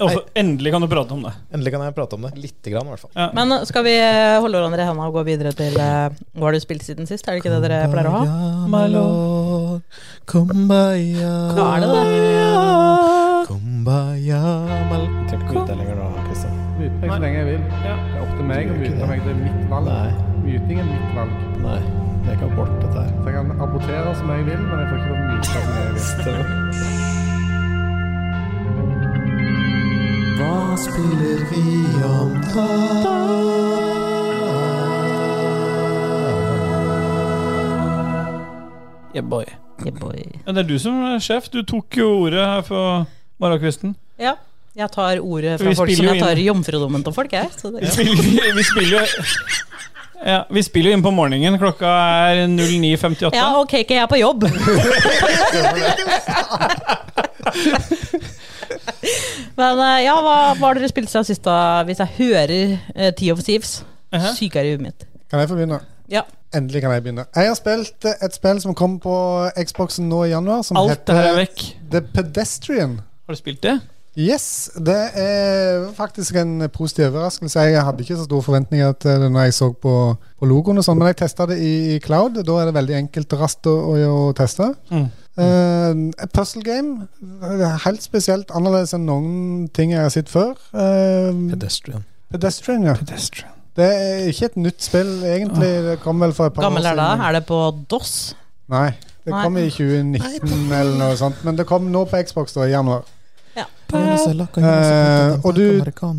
Speaker 1: Og så endelig kan du prate om det.
Speaker 4: Endelig kan jeg prate om det. Lite grann, i hvert fall.
Speaker 1: Ja.
Speaker 5: Men eh, skal vi eh, holde hverandre i handa og gå videre til eh, Hva har du spilt siden sist? Er det ikke det dere Eh, pleier å ha?
Speaker 4: my lord, kumbaya.
Speaker 5: Hva er det, da?
Speaker 4: Kumbaya, my lord. Jeg trenger ikke mute deg lenger nå, Kristian.
Speaker 2: Myte meg så lenge jeg vil.
Speaker 1: Ja.
Speaker 2: Det er opp til meg å
Speaker 4: Du gjør
Speaker 2: myte
Speaker 4: ikke det.
Speaker 2: meg. Det er mitt valg.
Speaker 4: Nei.
Speaker 2: Myting er mitt valg.
Speaker 4: Nei, det er ikke abort, dette her.
Speaker 2: Så jeg kan abortere som jeg vil, men jeg får ikke lov til å myte som jeg vil.
Speaker 4: Hva spiller vi om da?
Speaker 1: Yeah, boy.
Speaker 5: Yeah, boy.
Speaker 1: Ja, det er du som er sjef. Du tok jo ordet her på morgenkvisten.
Speaker 5: Ja. Jeg tar
Speaker 1: Vi
Speaker 5: ordet fra folk som
Speaker 1: spiller jo
Speaker 5: jeg tar
Speaker 1: inn-
Speaker 5: jomfrudommen til folk, jeg. Så det,
Speaker 1: Vi spiller, vi spiller jo ja, Vi spiller jo inn på morgenen. Klokka er 09.58.
Speaker 5: ja, ok, ikke jeg er på jobb. Men eh, ja, hva, hva har dere spilt siden sist, da? Hvis jeg hører uh, Tea of Thieves,
Speaker 1: Aha.
Speaker 5: syker i huet mitt.
Speaker 2: Kan jeg få begynne?
Speaker 5: Ja.
Speaker 2: Endelig kan jeg begynne. Jeg har spilt eh, et spill som kom på Xboxen nå i januar, som
Speaker 1: Alt det her er
Speaker 2: heter
Speaker 1: vekk.
Speaker 2: The Pedestrian.
Speaker 1: Har du spilt det?
Speaker 2: Yes, det er faktisk en positiv overraskelse. Jeg hadde ikke så store forventninger til det når jeg så på, på logoen, og sånn, men jeg testa det i, i cloud. Da er det veldig enkelt og raskt å, å, å teste.
Speaker 1: Mm.
Speaker 2: Eh, et puzzle game. Det er Helt spesielt annerledes enn noen ting jeg har sett før. Eh,
Speaker 4: Pedestrian.
Speaker 2: Pedestrian, ja.
Speaker 1: Pedestrian.
Speaker 2: Det er ikke et nytt spill, egentlig. Det kom vel for et par
Speaker 5: Gammel
Speaker 2: år
Speaker 5: er det?
Speaker 2: siden.
Speaker 5: Er det på DOS?
Speaker 2: Nei, det
Speaker 5: Nei.
Speaker 2: kom i 2019 eller noe sånt. Men det kom nå på Xbox da, i januar. Eh, og du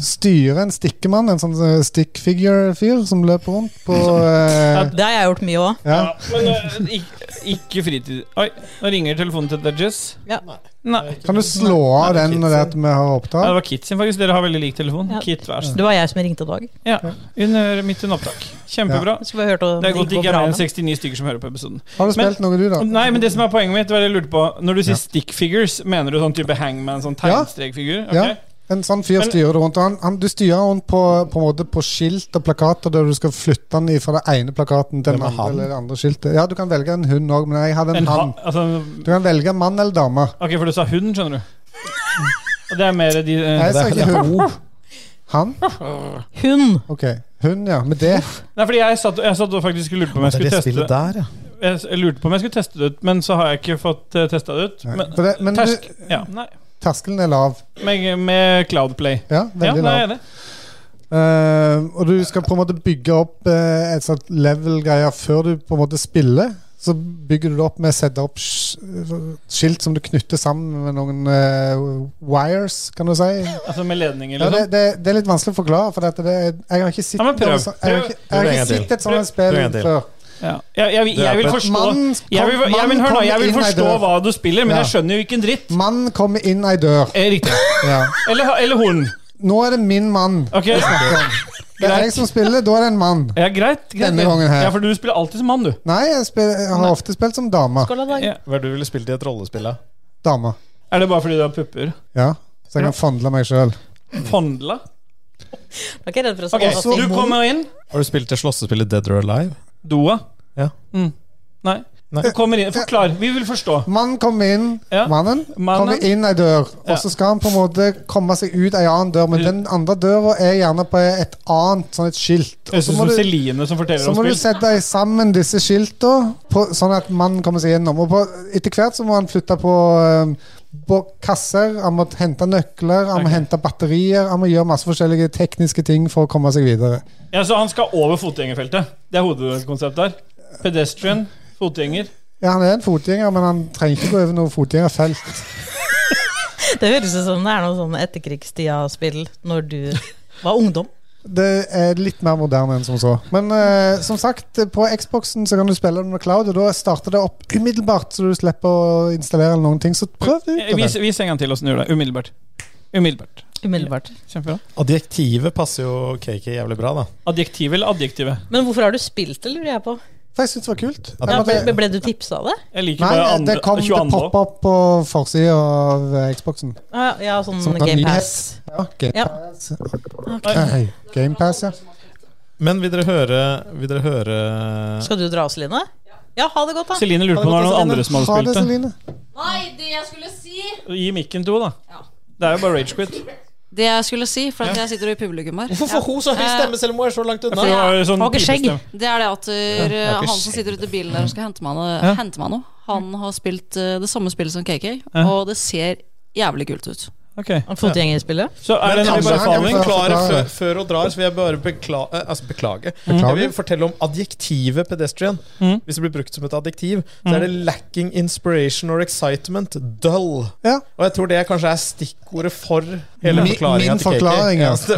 Speaker 2: styrer en stikkemann, en sånn eh, stick figure-fyr som løper rundt på eh,
Speaker 5: Det har jeg gjort mye òg.
Speaker 2: ja.
Speaker 1: Ja, men eh, ikke, ikke fritid... Oi, nå ringer telefonen til Dudges.
Speaker 5: Ja.
Speaker 1: Nei.
Speaker 2: Kan du slå av den når det er at vi har
Speaker 1: Ja, det
Speaker 2: opptak?
Speaker 1: var Kit sin, faktisk. Dere har veldig lik telefon.
Speaker 5: Ja.
Speaker 1: Kit hver sin.
Speaker 5: Det var jeg som ringte i dag.
Speaker 1: Ja, under, midt under opptak. Kjempebra.
Speaker 5: Jeg Skulle bare hørt om
Speaker 1: Det er godt det
Speaker 5: gikk
Speaker 1: ikke er
Speaker 5: bra
Speaker 1: mer
Speaker 5: med
Speaker 1: enn 69 stykker som hører på episoden.
Speaker 2: Har du spilt noe, du, da?
Speaker 1: Nei, men det som er poenget mitt, var det jeg lurte på Når du sier
Speaker 2: Ja.
Speaker 1: stick figures, mener du sånn type hangman, sånn
Speaker 2: Ja.
Speaker 1: tegnstrekfigur?
Speaker 2: Ja.
Speaker 1: Ok.
Speaker 2: En sånn fyr
Speaker 1: Men-
Speaker 2: styrer du rundt. og Han, han, du styrer rundt på, på, en måte på skilt og plakater der du skal flytte han fra den ene plakaten til
Speaker 4: Hvem
Speaker 2: den
Speaker 4: er
Speaker 2: andre,
Speaker 4: han?
Speaker 2: eller det andre skiltet. Ja, du kan velge en hund òg, men jeg hadde en,
Speaker 1: En ha,
Speaker 2: hann.
Speaker 1: altså,
Speaker 2: Du kan velge mann eller dame.
Speaker 1: ok, for du sa hund, skjønner du. Og det er mer de eh,
Speaker 2: Jeg sa
Speaker 4: det er-
Speaker 2: ikke hund. Han?
Speaker 5: Hun!
Speaker 2: Ok. Hun, ja. Med det.
Speaker 1: Nei, fordi jeg satt, jeg satt og faktisk lurte på om jeg
Speaker 4: Det er
Speaker 1: skulle
Speaker 4: det
Speaker 1: teste det.
Speaker 4: spillet der, ja.
Speaker 1: Jeg, jeg lurte på om jeg skulle teste det ut, men så har jeg ikke fått uh, testa det ut.
Speaker 2: Nei.
Speaker 1: Men,
Speaker 2: For det- men du-
Speaker 1: tersk, ja, nei.
Speaker 2: Terskelen er lav.
Speaker 1: Med, med Cloudplay.
Speaker 2: Ja,
Speaker 1: Ja,
Speaker 2: veldig
Speaker 1: nei,
Speaker 2: lav.
Speaker 1: jeg er det.
Speaker 2: Eh, og du skal på en måte bygge opp eh, et sånt level-greier før du på en måte spiller. Så bygger du det opp med å sette opp sk- skilt som du knytter sammen med noen eh, wires, kan du si.
Speaker 1: Altså med ledninger,
Speaker 2: Ja, det,
Speaker 1: liksom.
Speaker 2: det, det er litt vanskelig å forklare, for dette, det, er- jeg har ikke sett
Speaker 1: Ja, men prøv.
Speaker 2: noe sånt- jeg har ikke, jeg
Speaker 4: Prøv
Speaker 2: har
Speaker 4: en gang
Speaker 2: ikke
Speaker 4: til.
Speaker 2: sett et
Speaker 1: Prøv-
Speaker 2: sånt spill
Speaker 4: prøv en gang til.
Speaker 2: før.
Speaker 1: Ja. Jeg, jeg, jeg, vil
Speaker 4: Det er
Speaker 1: forstå
Speaker 2: Mannen kom-
Speaker 1: jeg vil, jeg vil,
Speaker 2: mannen
Speaker 1: hør nå,
Speaker 2: kom
Speaker 1: jeg vil
Speaker 2: inn ei
Speaker 1: forstå
Speaker 2: dør.
Speaker 1: hva du spiller, men
Speaker 2: Ja.
Speaker 1: jeg skjønner jo ikke en dritt.
Speaker 2: Mann kommer inn ei dør.
Speaker 1: Eh, Riktig.
Speaker 2: Ja.
Speaker 1: Eller, eller horn.
Speaker 2: Nå er det min mann.
Speaker 1: Ok,
Speaker 2: Det er jeg som spiller, da er det en mann.
Speaker 1: ja, greit, greit.
Speaker 2: Denne gangen her.
Speaker 1: Ja, for du spiller alltid som han, du.
Speaker 2: Nei, jeg, spiller, jeg har ofte spilt som dame.
Speaker 5: Skål, da.
Speaker 1: Ja.
Speaker 4: Hva er det du ville spilt i et rollespill, da?
Speaker 2: Dame.
Speaker 1: Er det bare fordi du har pupper?
Speaker 2: Ja. Så jeg kan fondle meg sjøl.
Speaker 1: Fondla?
Speaker 5: Jeg er ikke redd for å
Speaker 1: Ok,
Speaker 5: skåle.
Speaker 2: Også
Speaker 1: du
Speaker 2: må-
Speaker 1: kommer inn.
Speaker 4: Har du spilt det slåssespillet Dead or Alive?
Speaker 1: Doa?
Speaker 4: Ja.
Speaker 1: Mm. Nei.
Speaker 4: Nei.
Speaker 1: Du kommer inn. Forklar. Vi vil forstå.
Speaker 2: Mannen kommer inn,
Speaker 1: Ja.
Speaker 2: mannen,
Speaker 1: Mannen.
Speaker 2: kommer inn ei dør,
Speaker 1: Ja.
Speaker 2: og så skal han på en måte komme seg ut ei annen dør, men
Speaker 1: Du-
Speaker 2: den andre døra er gjerne på et annet sånn et skilt. Og
Speaker 1: Høres
Speaker 2: så
Speaker 1: ut
Speaker 2: må
Speaker 1: som
Speaker 2: du,
Speaker 1: Celine som forteller
Speaker 2: så
Speaker 1: om
Speaker 2: må du
Speaker 1: spill.
Speaker 2: sette sammen disse skilta, på- sånn at mannen kommer seg gjennom. Og på, etter hvert så må han flytte på, eh, på kasser, han må hente nøkler, han
Speaker 1: Ok.
Speaker 2: må hente batterier, han må gjøre masse forskjellige tekniske ting for å komme seg videre.
Speaker 1: Ja, så han skal over fotgjengerfeltet. Det er hovedkonseptet her. Pedestrian, fotgjenger.
Speaker 2: Ja, han er en fotgjenger, men han trenger ikke gå over noe fotgjengerfelt.
Speaker 5: Det høres ut som det er noe sånn etterkrigstida-spill når du var ungdom.
Speaker 2: Det er litt mer moderne enn som så. Men eh, som sagt, på Xboxen så kan du spille under cloud, og da starter det opp umiddelbart, så du slipper å installere noen ting. Så prøv ut
Speaker 1: Eh, Vis, vis en gang til åssen du gjør det. Umiddelbart. Umiddelbart.
Speaker 5: Umiddelbart.
Speaker 1: Kjempebra.
Speaker 4: Adjektivet passer jo KK jævlig bra, da.
Speaker 1: Adjektiv eller adjektivet?
Speaker 5: Men hvorfor har du spilt det, lurer jeg på?
Speaker 2: For jeg syns det var kult.
Speaker 4: Ja,
Speaker 5: Ja,
Speaker 2: Jeg måtte-
Speaker 5: ble, ble du tipsa av det?
Speaker 1: Jeg liker
Speaker 2: Nei,
Speaker 1: bare andre,
Speaker 2: det kom det
Speaker 1: 22.
Speaker 2: poppa opp på forsida av eh, Xboxen.
Speaker 5: Ah, ja, ja, sånn
Speaker 2: Som en
Speaker 5: GamePass.
Speaker 2: Ja,
Speaker 5: Ja.
Speaker 2: GamePass, Game Pass, ja.
Speaker 4: Men vil dere høre, vil dere høre
Speaker 5: Skal du dra oss, Line? Ja, ha det godt, da.
Speaker 1: Celine lurte på om det var noen andre som hadde
Speaker 2: Ha det,
Speaker 1: spilt det.
Speaker 2: Celine.
Speaker 6: Nei, det jeg skulle si
Speaker 1: Gi mikken to, da. Det er jo bare ragequit.
Speaker 6: Det jeg skulle si, for at jeg sitter jo i publikum her
Speaker 4: Hvorfor får hun så
Speaker 5: Eh,
Speaker 4: høy stemme selv om hun er så langt
Speaker 1: For
Speaker 4: unna?
Speaker 1: det var jo sånn
Speaker 5: Har ikke skjegg.
Speaker 1: pipestemme.
Speaker 6: Det er det at uh,
Speaker 4: er ikke
Speaker 6: han som sitter ute i bilen der og skal hente meg, noe, hente meg noe, han har spilt uh, det samme spillet som KK, og det ser jævlig kult ut.
Speaker 1: Ok.
Speaker 5: Fotgjengerspillet?
Speaker 1: Så er det
Speaker 4: Men
Speaker 1: en
Speaker 4: kan
Speaker 2: bare-
Speaker 4: jeg
Speaker 1: anbefaling.
Speaker 2: kan
Speaker 4: forklare
Speaker 2: forklare
Speaker 4: før,
Speaker 2: det.
Speaker 4: før hun drar, så vil jeg bare beklage Altså beklage.
Speaker 2: Beklager.
Speaker 4: Jeg vil fortelle om adjektivet pedestrian.
Speaker 1: Mm.
Speaker 4: Hvis det blir brukt som et adjektiv, så er det
Speaker 5: Mm.
Speaker 4: lacking inspiration or excitement. Dull.
Speaker 2: Ja.
Speaker 4: Og jeg tror det kanskje er stikkordet for hele
Speaker 2: Min,
Speaker 4: forklaringa
Speaker 2: min
Speaker 4: til KK.
Speaker 2: forklaring, ja.
Speaker 4: stemmer.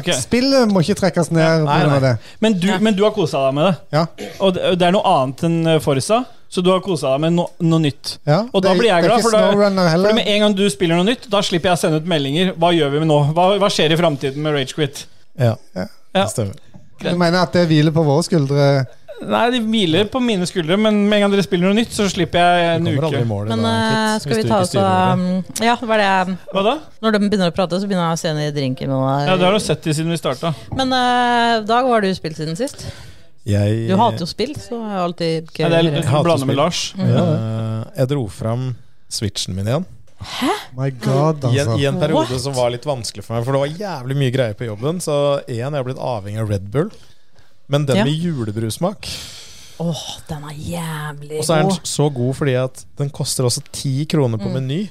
Speaker 1: Ok.
Speaker 2: Spillet må ikke trekkes ned.
Speaker 4: Nei,
Speaker 2: på grunn av
Speaker 4: nei.
Speaker 2: det.
Speaker 1: Men du, men du har kosa deg med det.
Speaker 2: Ja.
Speaker 1: Og det det er noe annet enn eh, Forsa, så du har kosa deg med no, noe nytt.
Speaker 2: Ja.
Speaker 1: Og da
Speaker 2: Det-
Speaker 1: blir jeg
Speaker 2: det er
Speaker 1: glad,
Speaker 2: ikke
Speaker 1: for da-
Speaker 2: SnowRunner
Speaker 1: Fordi
Speaker 2: heller.
Speaker 1: Med en gang du spiller noe nytt, da slipper jeg å sende ut meldinger. Hva gjør vi med nå? Hva, hva skjer i framtiden med Ragequit?
Speaker 4: Ja.
Speaker 2: Ja.
Speaker 1: Ja.
Speaker 4: det Stemmer.
Speaker 2: Du mener at det hviler på våre skuldre?
Speaker 1: Nei, de hviler på mine skuldre, men med en gang dere spiller noe nytt, så slipper jeg
Speaker 4: Du
Speaker 1: en
Speaker 4: kommer aldri i
Speaker 1: uke.
Speaker 4: mål i
Speaker 5: Men
Speaker 4: dag,
Speaker 5: eh,
Speaker 4: Kit,
Speaker 5: skal
Speaker 4: hvis
Speaker 5: vi
Speaker 4: du
Speaker 5: ta
Speaker 4: ikke
Speaker 5: oss av
Speaker 4: styrer ordet.
Speaker 5: um, Ja, hva er det
Speaker 1: Hva da?
Speaker 5: Når de begynner å prate, så begynner jeg å se ned i drinken. og-
Speaker 1: Ja, Det har du sett i siden vi starta.
Speaker 5: Men eh, Dag, hva har du spilt siden sist?
Speaker 4: Jeg,
Speaker 5: Du hater jo sånn. spill, så er det alltid gøy
Speaker 1: Ja,
Speaker 5: å
Speaker 1: det er
Speaker 5: høre.
Speaker 1: litt-
Speaker 4: hater
Speaker 1: blander
Speaker 4: spill.
Speaker 1: med Lars.
Speaker 5: Mm.
Speaker 4: Eh, Jeg dro fram switchen min igjen.
Speaker 2: My god,
Speaker 4: I en,
Speaker 2: altså.
Speaker 4: I en periode
Speaker 5: What?
Speaker 4: som var litt vanskelig for meg, for det var jævlig mye greier på jobben. Så én, jeg har blitt avhengig av Red Bull. Men den
Speaker 5: Ja.
Speaker 4: med julebrussmak.
Speaker 5: Åh, den er jævlig
Speaker 4: Og så er den
Speaker 5: god.
Speaker 4: så god fordi at den koster også ti kroner på
Speaker 5: Mm.
Speaker 4: Meny.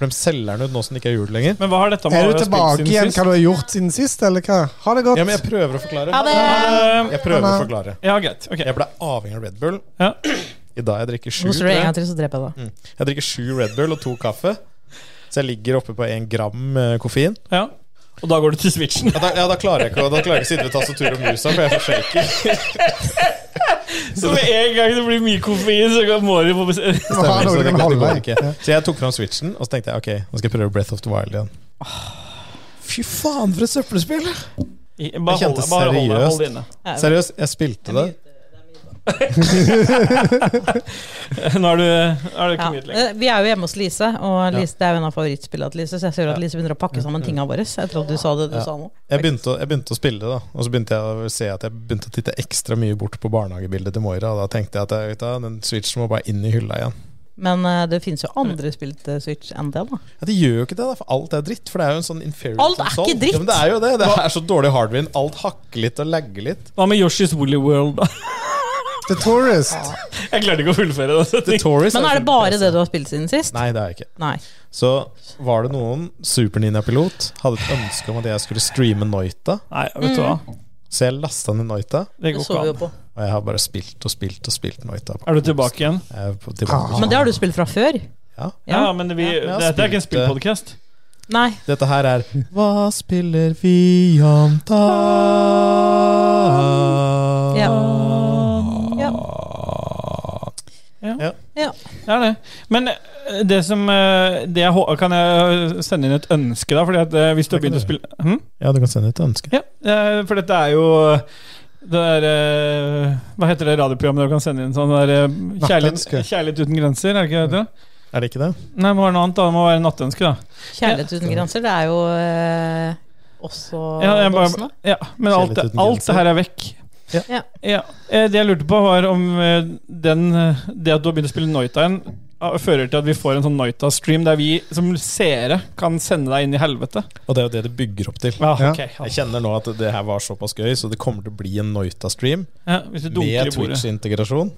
Speaker 4: For de selger den ut nå som det ikke er jul lenger.
Speaker 1: Men hva har dette med
Speaker 2: Er
Speaker 1: å
Speaker 2: du
Speaker 1: ha
Speaker 2: tilbake
Speaker 1: spilt
Speaker 2: igjen
Speaker 1: siden
Speaker 2: hva
Speaker 1: sist?
Speaker 2: du har gjort siden sist, eller hva? Ha det godt.
Speaker 4: Ja, men jeg prøver å forklare.
Speaker 5: Ha det!
Speaker 1: Eh,
Speaker 4: Jeg prøver å
Speaker 2: Ha det.
Speaker 4: forklare.
Speaker 1: Ja, greit. Ok.
Speaker 4: Jeg ble avhengig av Red Bull.
Speaker 1: Ja.
Speaker 4: I dag jeg drikker sju.
Speaker 5: Hoster
Speaker 4: tror
Speaker 5: du
Speaker 4: jeg. Mm.
Speaker 5: en gang til, så dreper jeg deg.
Speaker 4: Jeg drikker sju Red Bull og to kaffe. Så jeg ligger oppe på én gram eh, koffein.
Speaker 1: Ja. Og da går du til switchen.
Speaker 4: Ja, da, ja, da klarer jeg ikke å da klarer jeg ikke å sitte ved tastaturet og musa, for jeg får shaker.
Speaker 1: Så med en gang det blir mye koffein, så kan- må du få bes-
Speaker 2: Du må ha
Speaker 4: Stemmer,
Speaker 2: noe
Speaker 4: så,
Speaker 2: du
Speaker 4: det, liksom
Speaker 2: kan
Speaker 4: det
Speaker 2: holde
Speaker 4: går
Speaker 2: i.
Speaker 4: ikke. så jeg tok fram switchen, og så tenkte jeg ok, nå skal jeg prøve Breath of the Wild igjen. Fy faen, for et søppelspill!
Speaker 1: Bare
Speaker 4: Jeg
Speaker 1: hold
Speaker 4: kjente
Speaker 1: deg bare hold deg- hold
Speaker 4: seriøst.
Speaker 1: deg inne.
Speaker 4: Seriøst, jeg spilte det.
Speaker 1: Nå er du, er du ikke
Speaker 5: Ja.
Speaker 1: mute lenger.
Speaker 5: Eh, Vi er jo hjemme hos Lise, og Lise, det er jo en av favorittspillene til Lise. Så jeg ser jo at Lise begynner å pakke sammen tingene våre. Etter at du sa det du
Speaker 4: Ja.
Speaker 5: sa nå.
Speaker 4: Jeg begynte, å, jeg begynte å spille det, da. Og så begynte jeg å se at jeg begynte å titte ekstra mye bort på barnehagebildet til Moira. Og da tenkte jeg at jeg, vet du, hva, den switchen må bare inn i hylla igjen.
Speaker 5: Men eh, det finnes jo andre spill til Switch enn det, da.
Speaker 4: Ja, det gjør jo ikke det, da, for alt er dritt. For det er jo en sånn inferior
Speaker 5: Alt er ikke
Speaker 4: console.
Speaker 5: dritt.
Speaker 4: Ja, men det er jo det. Det er så dårlig hardware. Alt hakker litt og lagger litt.
Speaker 1: Hva med Yoshi's Woolly World, da?
Speaker 2: The Tourist.
Speaker 1: Jeg klarte ikke å fullføre det. så
Speaker 4: The
Speaker 1: jeg tenkte-
Speaker 4: Tourist
Speaker 5: Men er det bare det du har spilt siden sist?
Speaker 4: Nei, det er jeg ikke.
Speaker 5: Nei.
Speaker 4: Så var det noen Super Ninja-pilot hadde et ønske om at jeg skulle streame Noita.
Speaker 1: Nei, vet du hva.
Speaker 4: Så jeg lasta ned Noita,
Speaker 1: Det
Speaker 5: Det
Speaker 1: går
Speaker 5: så
Speaker 1: ikke
Speaker 5: vi jo
Speaker 1: an.
Speaker 5: på.
Speaker 4: og jeg har bare spilt og spilt og spilt Noita.
Speaker 1: Er du tilbake igjen?
Speaker 4: Jeg er på- tilbake.
Speaker 5: Men det har du spilt fra før?
Speaker 4: Ja.
Speaker 1: Ja, men vi,
Speaker 4: jeg har
Speaker 1: dette er ikke en
Speaker 4: spilt det.
Speaker 1: spillpodkast.
Speaker 5: Nei.
Speaker 4: Dette her er Hva spiller vi om da?
Speaker 5: Ja. Ja. Ja.
Speaker 1: Det er det. Men eh, det som eh, det jeg, hå- Kan jeg eh, sende inn et ønske, da? Fordi at eh, hvis du har
Speaker 4: Det kan
Speaker 1: begynt å
Speaker 4: du
Speaker 1: spille hm?
Speaker 4: Ja, du kan sende et ønske.
Speaker 1: Ja, eh, for dette er jo det er eh, Hva heter det radioprogrammet du kan sende inn sånn? Det er, eh,
Speaker 2: Nattønske.
Speaker 1: kjærlighet, kjærlighet uten grenser, er det ikke det?
Speaker 4: Er det ikke det?
Speaker 1: Nei, det må være noe annet. da Det må være nattønske, da.
Speaker 5: Kjærlighet uten grenser, det er jo eh, også
Speaker 1: Ja, jeg bare-
Speaker 5: voksne.
Speaker 1: ja, men alt,
Speaker 4: Kjærlighet uten
Speaker 1: alt det her er vekk.
Speaker 4: Ja.
Speaker 5: Ja.
Speaker 1: Eh, Det jeg lurte på, var om eh, den, eh, det at du har begynt å spille Noita igjen, ah, fører til at vi får en sånn Noita-stream der vi som seere kan sende deg inn i helvete.
Speaker 4: Og det er jo det det bygger opp til.
Speaker 1: Ja,
Speaker 2: Ja.
Speaker 1: ok, ja.
Speaker 4: Jeg kjenner nå at det her var såpass gøy, så det kommer til å bli en Noita-stream
Speaker 1: ja, hvis du dunker
Speaker 4: med
Speaker 1: i bordet.
Speaker 4: Twitch-integrasjon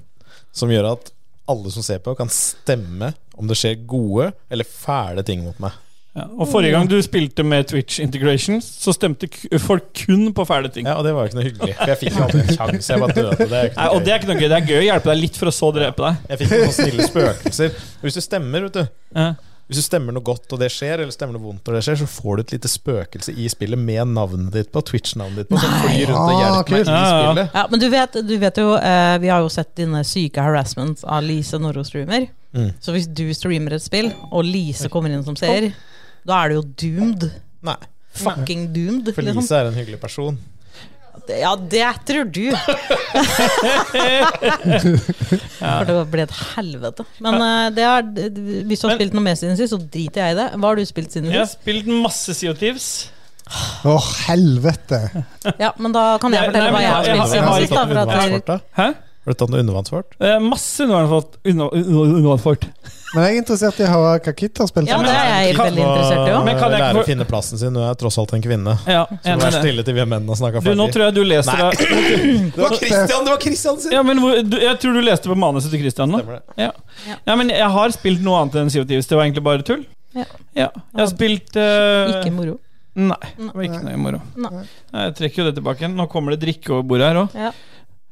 Speaker 4: som gjør at alle som ser på, kan stemme om det skjer gode eller fæle ting mot meg.
Speaker 1: Ja. Og forrige gang du spilte med Twitch Integration, så stemte k eh, folk kun på fæle ting.
Speaker 4: Ja, Og det var jo ikke noe hyggelig. For jeg fikk jo aldri en sjanse. Jeg bare døde. Det er jo ikke
Speaker 1: Nei,
Speaker 4: noe
Speaker 1: og det
Speaker 4: gøy.
Speaker 1: er ikke noe gøy. Det er gøy å hjelpe deg litt for å så drepe deg.
Speaker 4: Jeg fikk jo noen snille spøkelser. Og Hvis du stemmer, vet du
Speaker 1: Ja.
Speaker 4: Hvis du stemmer noe godt og det skjer, eller stemmer noe vondt og det skjer, så får du et lite spøkelse i spillet med navnet ditt på, Twitch-navnet ditt på, som
Speaker 5: Nei.
Speaker 4: flyr rundt og
Speaker 2: Ah,
Speaker 4: hjelper meg
Speaker 2: kult.
Speaker 4: i
Speaker 1: Ja,
Speaker 4: spillet.
Speaker 5: Ja, men du vet, du vet jo eh, Vi har jo sett dine syke harassments av Lise når hun streamer.
Speaker 4: Mm.
Speaker 5: Så hvis du streamer et spill, og Lise kommer inn som seer, da er du jo doomed.
Speaker 4: Nei,
Speaker 5: Fucking doomed.
Speaker 4: for
Speaker 5: liksom.
Speaker 4: Lise er en hyggelig person.
Speaker 5: Ja, det tror du. For det ble et helvete. Men eh, det er, hvis du har
Speaker 1: Men-
Speaker 5: spilt noe mer siden sist, så driter jeg i det. Hva har du spilt siden
Speaker 1: Jeg har
Speaker 5: sist?
Speaker 1: spilt masse Sea of Thieves.
Speaker 2: Å, helvete!
Speaker 5: Ja, men da kan jeg
Speaker 1: Nei,
Speaker 5: fortelle
Speaker 1: nei,
Speaker 5: hva jeg har
Speaker 1: men
Speaker 5: spilt
Speaker 1: jeg
Speaker 5: siden
Speaker 1: har-
Speaker 5: sist. Da, for at
Speaker 4: undervannsfart, da?
Speaker 1: Hæ?
Speaker 4: Har du tatt noe undervannsfart?
Speaker 1: Eh, masse undervannsfort. Under, under, undervannsfort.
Speaker 2: Men jeg er interessert i å høre hva Kit har spilt.
Speaker 5: ja, det er jeg
Speaker 4: Kan-
Speaker 5: veldig interessert i òg.
Speaker 1: Men kan jeg ikke
Speaker 4: Lære å
Speaker 1: få-
Speaker 4: finne plassen sin. Hun er tross alt en kvinne.
Speaker 1: Ja,
Speaker 4: Så
Speaker 1: enig
Speaker 4: vær
Speaker 1: i det.
Speaker 4: stille til vi menn har snakka
Speaker 1: Du, nå
Speaker 4: ferdig.
Speaker 1: tror jeg du leser
Speaker 4: Nei.
Speaker 1: deg
Speaker 4: Det var Christian! Det var Christian sin!
Speaker 1: ja, men hvor, du, Jeg tror du leste på manuset til Christian nå.
Speaker 4: Stemmer det.
Speaker 1: Ja.
Speaker 5: Ja.
Speaker 1: ja, men jeg har spilt noe annet enn Sea of Thieves. Det var egentlig bare tull.
Speaker 5: Ja.
Speaker 1: Jeg har spilt eh,
Speaker 5: Ikke moro.
Speaker 1: Nei, det var ikke noe moro.
Speaker 5: Nei.
Speaker 1: Nei, Jeg trekker jo det tilbake igjen. Nå kommer det drikke over bordet her òg.
Speaker 5: Ja.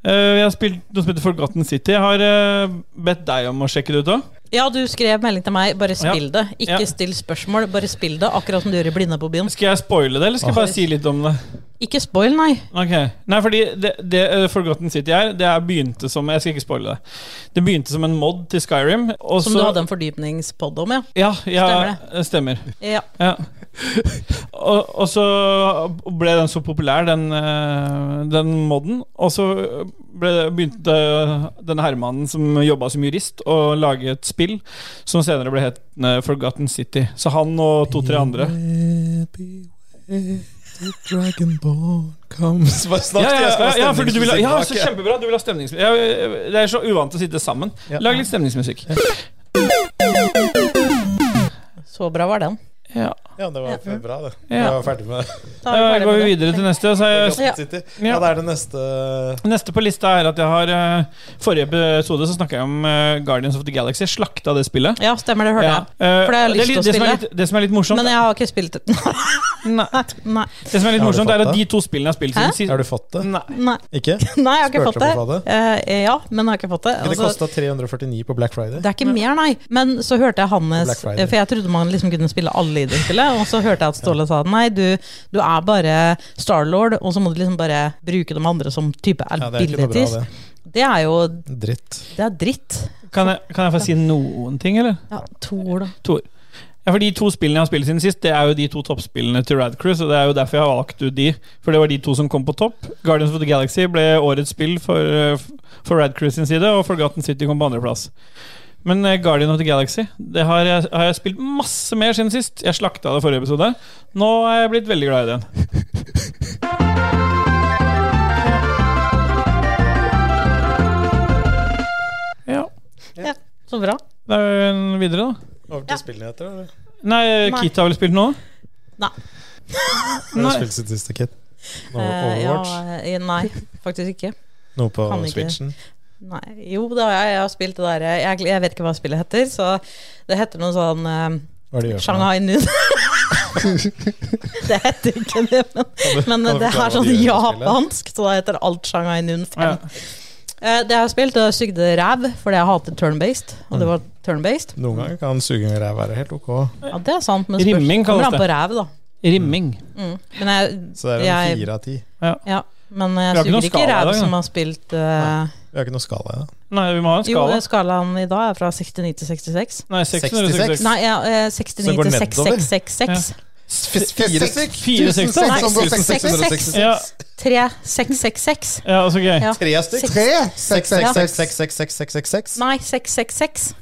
Speaker 1: jeg har spilt noe som heter Forgotten City. Jeg har eh, bedt deg om å sjekke det ut òg.
Speaker 5: Ja, du skrev melding til meg. Bare spill det. Ikke
Speaker 1: Ja.
Speaker 5: still spørsmål, bare spill det. Akkurat som du gjør i Blinde på byen.
Speaker 1: Skal jeg spoile det, eller skal jeg bare si litt om det?
Speaker 5: Ikke spoil, nei.
Speaker 1: Ok, Nei, fordi det, det eh, Forgotten City er, det er begynte som Jeg skal ikke spoile det. Det begynte som en mod til Skyrim. Og
Speaker 5: Som
Speaker 1: så,
Speaker 5: du hadde en fordypningspod om, ja.
Speaker 1: Ja, ja stemmer.
Speaker 5: Stemmer
Speaker 1: stemmer.
Speaker 5: ja.
Speaker 1: Ja. Og, og så ble den så populær, den, eh, den moden. Og så ble, begynte den herremannen som jobba som jurist, å lage et spill som senere ble het eh, Forgotten City. Så han og to-tre andre.
Speaker 4: Bare snakk
Speaker 1: Ja, ja,
Speaker 4: til jeg skal
Speaker 1: ja,
Speaker 4: ha
Speaker 1: ja, fordi du vil ha, ja så
Speaker 4: stemningsmusikk bak.
Speaker 1: kjempebra. Du vil ha stemningsmusikk. Ja, ja, det er så uvant å sitte sammen.
Speaker 4: Ja.
Speaker 1: Lag litt stemningsmusikk.
Speaker 5: Så bra var den.
Speaker 1: Ja.
Speaker 4: Ja, det var bra, det.
Speaker 1: Ja.
Speaker 4: Jeg var ferdig med det.
Speaker 1: Da
Speaker 5: Da er vi ferdig
Speaker 1: går vi
Speaker 5: med det.
Speaker 1: videre til neste. Så er jeg
Speaker 4: Forgotten City.
Speaker 1: Ja.
Speaker 4: Ja, det er det neste
Speaker 1: Neste på lista er at jeg har eh, Forrige episode så snakka jeg om eh, Guardians of the Galaxy. Slakta det spillet.
Speaker 5: Ja, stemmer, det hørte
Speaker 1: Ja,
Speaker 5: jeg.
Speaker 1: eh,
Speaker 5: For det har jeg lyst
Speaker 1: litt-
Speaker 5: til å
Speaker 1: som er
Speaker 5: spille.
Speaker 1: litt, det som er litt morsomt,
Speaker 5: Men jeg har ikke spilt det.
Speaker 1: nei,
Speaker 5: Nei.
Speaker 1: det som er litt
Speaker 4: Har du
Speaker 1: morsomt
Speaker 4: fått
Speaker 1: er at
Speaker 4: det?
Speaker 1: de to spillene jeg har spilt
Speaker 5: Hæ?
Speaker 1: siden sist
Speaker 4: Har du fått det?
Speaker 1: Nei.
Speaker 5: Nei.
Speaker 4: Ikke?
Speaker 5: Nei, jeg har ikke
Speaker 4: Spurte
Speaker 5: fått det.
Speaker 4: om du hadde
Speaker 5: Eh, ja, men jeg har ikke fått det.
Speaker 4: Det
Speaker 5: Altså,
Speaker 4: kosta 349 på Black Friday.
Speaker 5: det er ikke mer, nei. Men så hørte jeg Hannes
Speaker 4: Black Friday.
Speaker 5: For jeg trodde man liksom kunne spille alle i det spillet. Og så hørte jeg at Ståle sa nei, du, du er bare Starlord, og så må du liksom bare bruke de andre som type
Speaker 4: Ja, det er egentlig bare
Speaker 5: abilities.
Speaker 4: bra,
Speaker 5: Det er jo
Speaker 4: det. Dritt.
Speaker 5: Det er dritt.
Speaker 1: Kan jeg, kan jeg få si noen ting, eller?
Speaker 5: Ja, to ord, da.
Speaker 1: Tor. Ja, for De to spillene jeg har spilt siden sist, Det er jo de to toppspillene til Radcruise. Og det er jo derfor jeg har valgt ut de. For det var de to som kom på topp. Guardians of the Galaxy ble årets spill for, eh, f- for Radcruise sin side, og Forgotten City kom på andreplass. Men eh, Guardian of the Galaxy Det har jeg, har jeg spilt masse mer siden sist. Jeg slakta det forrige episode. Nå er jeg blitt veldig glad i det igjen. Ja.
Speaker 5: Ja, så bra.
Speaker 1: Da er vi videre, da.
Speaker 4: Over til spillnyheter, eller?
Speaker 1: Nei,
Speaker 5: Nei.
Speaker 1: Kit har vel spilt nå?
Speaker 5: Nei.
Speaker 4: Har du
Speaker 1: Nei.
Speaker 4: spilt sitt siste kit? Noe
Speaker 5: Eh, ja,
Speaker 4: Overwatch?
Speaker 5: eh, nei, faktisk ikke.
Speaker 4: Noe på
Speaker 5: kan ikke.
Speaker 4: Switchen?
Speaker 5: Nei. Jo, det har jeg. Jeg har spilt det der eh, jeg, jeg vet ikke hva spillet heter, så det heter noe sånn eh,
Speaker 4: Hva er det du gjør for noe?
Speaker 5: Shanghai Noon. det heter ikke det, men,
Speaker 4: Kan du-
Speaker 5: men
Speaker 4: kan du
Speaker 5: det
Speaker 4: forklare
Speaker 5: er
Speaker 4: hva
Speaker 5: sånn
Speaker 4: de gjør i spillet?
Speaker 5: japansk, så da heter alt Shanghai Noon 5.
Speaker 1: Ja.
Speaker 5: Eh, det jeg har spilt, det er sugde ræv, fordi jeg hater turn-based, og det
Speaker 4: Mm.
Speaker 5: var turn-based.
Speaker 4: Noen ganger kan suging av ræv være helt ok.
Speaker 5: Ja, det er sant, men spørs-
Speaker 1: Rimming kalles
Speaker 5: kommer an
Speaker 1: det.
Speaker 5: på ræv, da.
Speaker 1: Rimming.
Speaker 5: Mm. Men jeg,
Speaker 4: Så det er
Speaker 5: Jeg-
Speaker 4: en fire av ti.
Speaker 5: ja, men
Speaker 1: Vi har
Speaker 5: jeg
Speaker 1: ikke noen
Speaker 5: suger ikke
Speaker 1: skala i
Speaker 5: ræv
Speaker 1: dag, da.
Speaker 5: som har spilt eh,
Speaker 4: Vi har ikke noe skala i det.
Speaker 1: Nei, vi må ha en
Speaker 5: Jo,
Speaker 1: skala.
Speaker 5: skalaen i dag er fra 69 til 66.
Speaker 1: Nei, 666.
Speaker 4: 66.
Speaker 5: Nei, ja, eh, 69
Speaker 4: Så går
Speaker 5: til
Speaker 4: det nedover?
Speaker 5: 6666.
Speaker 4: Fire stykk?
Speaker 1: Fire stykk, da.
Speaker 5: Nei,
Speaker 4: 6666.
Speaker 1: Ja,
Speaker 5: 3666.
Speaker 1: ja altså, ok.
Speaker 5: Ja.
Speaker 4: Tre stykk?
Speaker 5: Seks-
Speaker 2: Tre?
Speaker 4: Seks,
Speaker 2: Seks, seks,
Speaker 5: Ja.
Speaker 4: seks, seks,
Speaker 2: seks.
Speaker 4: seks, seks, seks, seks, seks, seks.
Speaker 5: Nei, 666.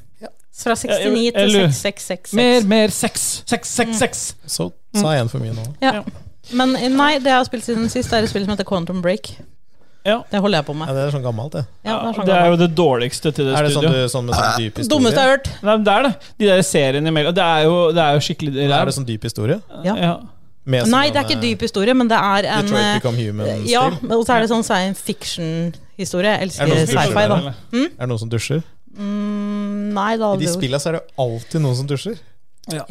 Speaker 1: Ja,
Speaker 5: Fra
Speaker 1: jeg-
Speaker 5: 69 til
Speaker 1: jeg lurer.
Speaker 5: 6666.
Speaker 1: Mer, mer, seks. Seks,
Speaker 5: Mm.
Speaker 1: seks, seks.
Speaker 4: Så sa jeg en for mye nå.
Speaker 5: Ja. Men eh, nei, det jeg har spilt siden sist, er et spill som heter Quantum Break.
Speaker 1: Ja.
Speaker 5: Det holder jeg på
Speaker 4: Ja,
Speaker 5: med.
Speaker 4: det er sånn gammelt, det.
Speaker 5: Ja, det er sånn
Speaker 1: Det er jo
Speaker 5: gammel.
Speaker 1: det dårligste til det
Speaker 4: Er det sånn,
Speaker 1: studioet.
Speaker 4: du, sånn med sånn dyp
Speaker 5: Dummeste jeg
Speaker 4: historie?
Speaker 5: har hørt.
Speaker 1: Nei, men det er det. De der seriene imellom. Det er jo, det er jo skikkelig
Speaker 4: Er det sånn dyp historie?
Speaker 5: Ja.
Speaker 1: Ja.
Speaker 4: Med sånn
Speaker 5: Nei, det er
Speaker 4: denne
Speaker 5: ikke dyp historie, men det er en
Speaker 4: Detroit
Speaker 5: eh,
Speaker 4: Become Human-stil?
Speaker 5: Ja, men- og så er det sånn science fiction-historie. Jeg
Speaker 4: Er det
Speaker 5: elsker
Speaker 4: noen som dusjer
Speaker 5: sci-fi,
Speaker 4: der,
Speaker 5: da.
Speaker 4: eller? Er det noen som dusjer?
Speaker 5: Mm, nei, da
Speaker 4: I de spilla så er det alltid noen som dusjer.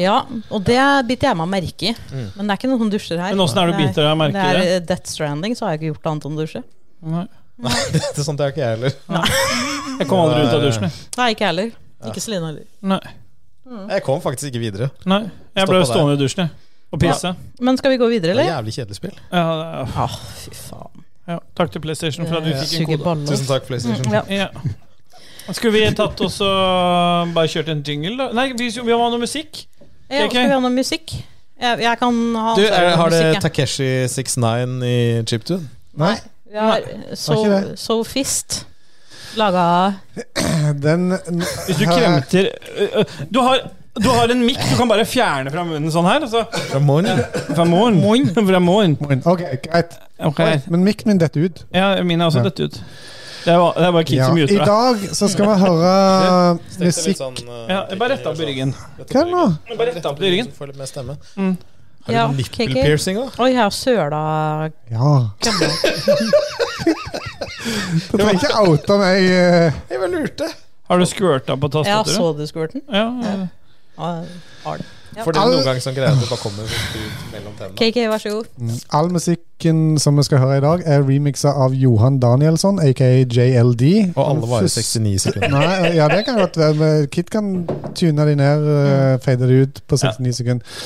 Speaker 5: Ja, og det biter jeg meg merke i.
Speaker 4: Mm.
Speaker 5: Men det er ikke noen som dusjer her.
Speaker 1: Men åssen er du biter deg merke i
Speaker 5: det?
Speaker 1: det?
Speaker 5: Er eh, Death Stranding, så har jeg ikke gjort annet enn å dusje.
Speaker 1: Nei.
Speaker 4: Nei, det er sånt har ikke jeg heller.
Speaker 1: Jeg kom aldri ut av dusjen, jeg.
Speaker 5: Nei, ikke jeg heller. Ikke Celine heller.
Speaker 1: Nei.
Speaker 4: Jeg kom faktisk ikke videre.
Speaker 1: Nei, jeg ble
Speaker 4: Stoppa
Speaker 1: stående i dusjen jeg, og pisse.
Speaker 5: Men skal vi gå videre,
Speaker 4: Det var
Speaker 5: eller?
Speaker 4: jævlig kjedelig spill.
Speaker 1: Ja. Ja,
Speaker 5: Ah, fy faen.
Speaker 1: Takk til PlayStation for at vi fikk en
Speaker 5: Suger
Speaker 1: kode.
Speaker 5: baller.
Speaker 4: Tusen takk, PlayStation.
Speaker 5: Mm, ja.
Speaker 1: Ja. Skulle vi tatt oss og eh, bare kjørt en jingle, da? Nei, vi, vi må ha noe musikk.
Speaker 5: Ja,
Speaker 1: Ok.
Speaker 5: Skal vi ha noe musikk? Jeg, jeg kan ha
Speaker 4: Du, er, har
Speaker 5: musikk,
Speaker 4: det
Speaker 5: jeg.
Speaker 4: Takeshi69 i chiptune?
Speaker 2: Nei,
Speaker 5: Vi har so,
Speaker 2: var ikke det.
Speaker 5: Sofist laga
Speaker 2: den
Speaker 1: Hvis du kremter ø, ø, Du har, du har en mikk du kan bare fjerne fra munnen sånn her. og Så.
Speaker 4: Fra morgen?
Speaker 1: Fra morgen. Fra morgen.
Speaker 2: Ok, greit.
Speaker 1: Ok.
Speaker 2: Men mikken min detter ut.
Speaker 1: Ja, min er også
Speaker 2: Ja.
Speaker 1: dødt ut. Det er, ba- det er bare kids
Speaker 2: Ja.
Speaker 1: som
Speaker 2: I
Speaker 1: muter deg.
Speaker 2: dag så skal vi høre musikk
Speaker 4: sånn, eh,
Speaker 1: Ja, bare rett opp i ryggen.
Speaker 2: Hva er det nå?
Speaker 1: Bare rett opp i ryggen.
Speaker 4: Får litt mer stemme.
Speaker 1: Mm.
Speaker 4: Har du
Speaker 5: Ja,
Speaker 4: nipple
Speaker 5: KK.
Speaker 4: piercing, da?
Speaker 5: Oi, jeg har søla
Speaker 2: Ja. Du trenger ikke oute meg. eh,
Speaker 4: Jeg bare lurte.
Speaker 1: Har du squirta på
Speaker 5: Ja, så
Speaker 1: tastaturet?
Speaker 5: du squirten?
Speaker 1: Ja,
Speaker 5: Ja, har det. Ja.
Speaker 4: For det
Speaker 2: Al-
Speaker 4: er noen ganger sånn greie at det bare kommer ut mellom tennene.
Speaker 5: KK, vær så god.
Speaker 2: mm. All musikken som vi skal høre i dag, er remixa av Johan Danielsson, aka JLD.
Speaker 4: Og alle varer
Speaker 2: Først-
Speaker 4: 69 sekunder.
Speaker 2: Nei, ja, det kan godt være. men Kit kan tune de ned,
Speaker 4: Mm.
Speaker 2: eh, fade de ut på 69 sekunder.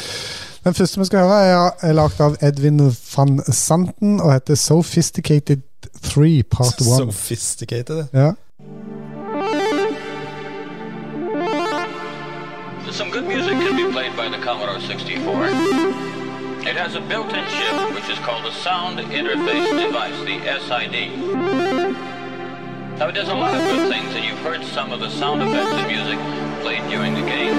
Speaker 2: Den første vi skal høre, er, er lagd av Edvin van Santen og heter Sophisticated 3 Part 1.
Speaker 4: Sophisticated. det.
Speaker 2: Ja.
Speaker 7: Some good music can be played by the Commodore 64. It has a built-in chip which is called a sound interface device, the SID. Now it does a lot of good things, and you've heard some of the sound effects and music played during the games.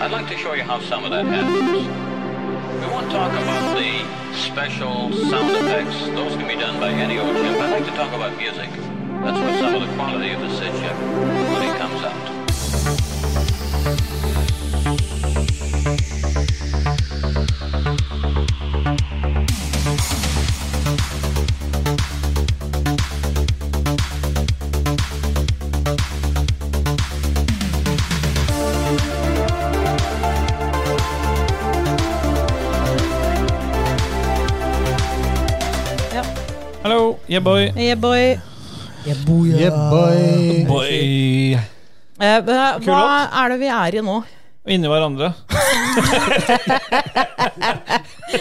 Speaker 7: I'd like to show you how some of that happens. We won't talk about the special sound effects. Those can be done by any old chip. I'd like to talk about music. That's where some of the quality of the SID chip really comes out.
Speaker 1: Hallo, yeah boy.
Speaker 5: Yeah, boy.
Speaker 2: Yeah, boy.
Speaker 1: Boy.
Speaker 5: Eh, hva
Speaker 1: Kul
Speaker 5: hva
Speaker 1: låt.
Speaker 5: er det vi er i nå?
Speaker 1: Inni hverandre.
Speaker 5: Det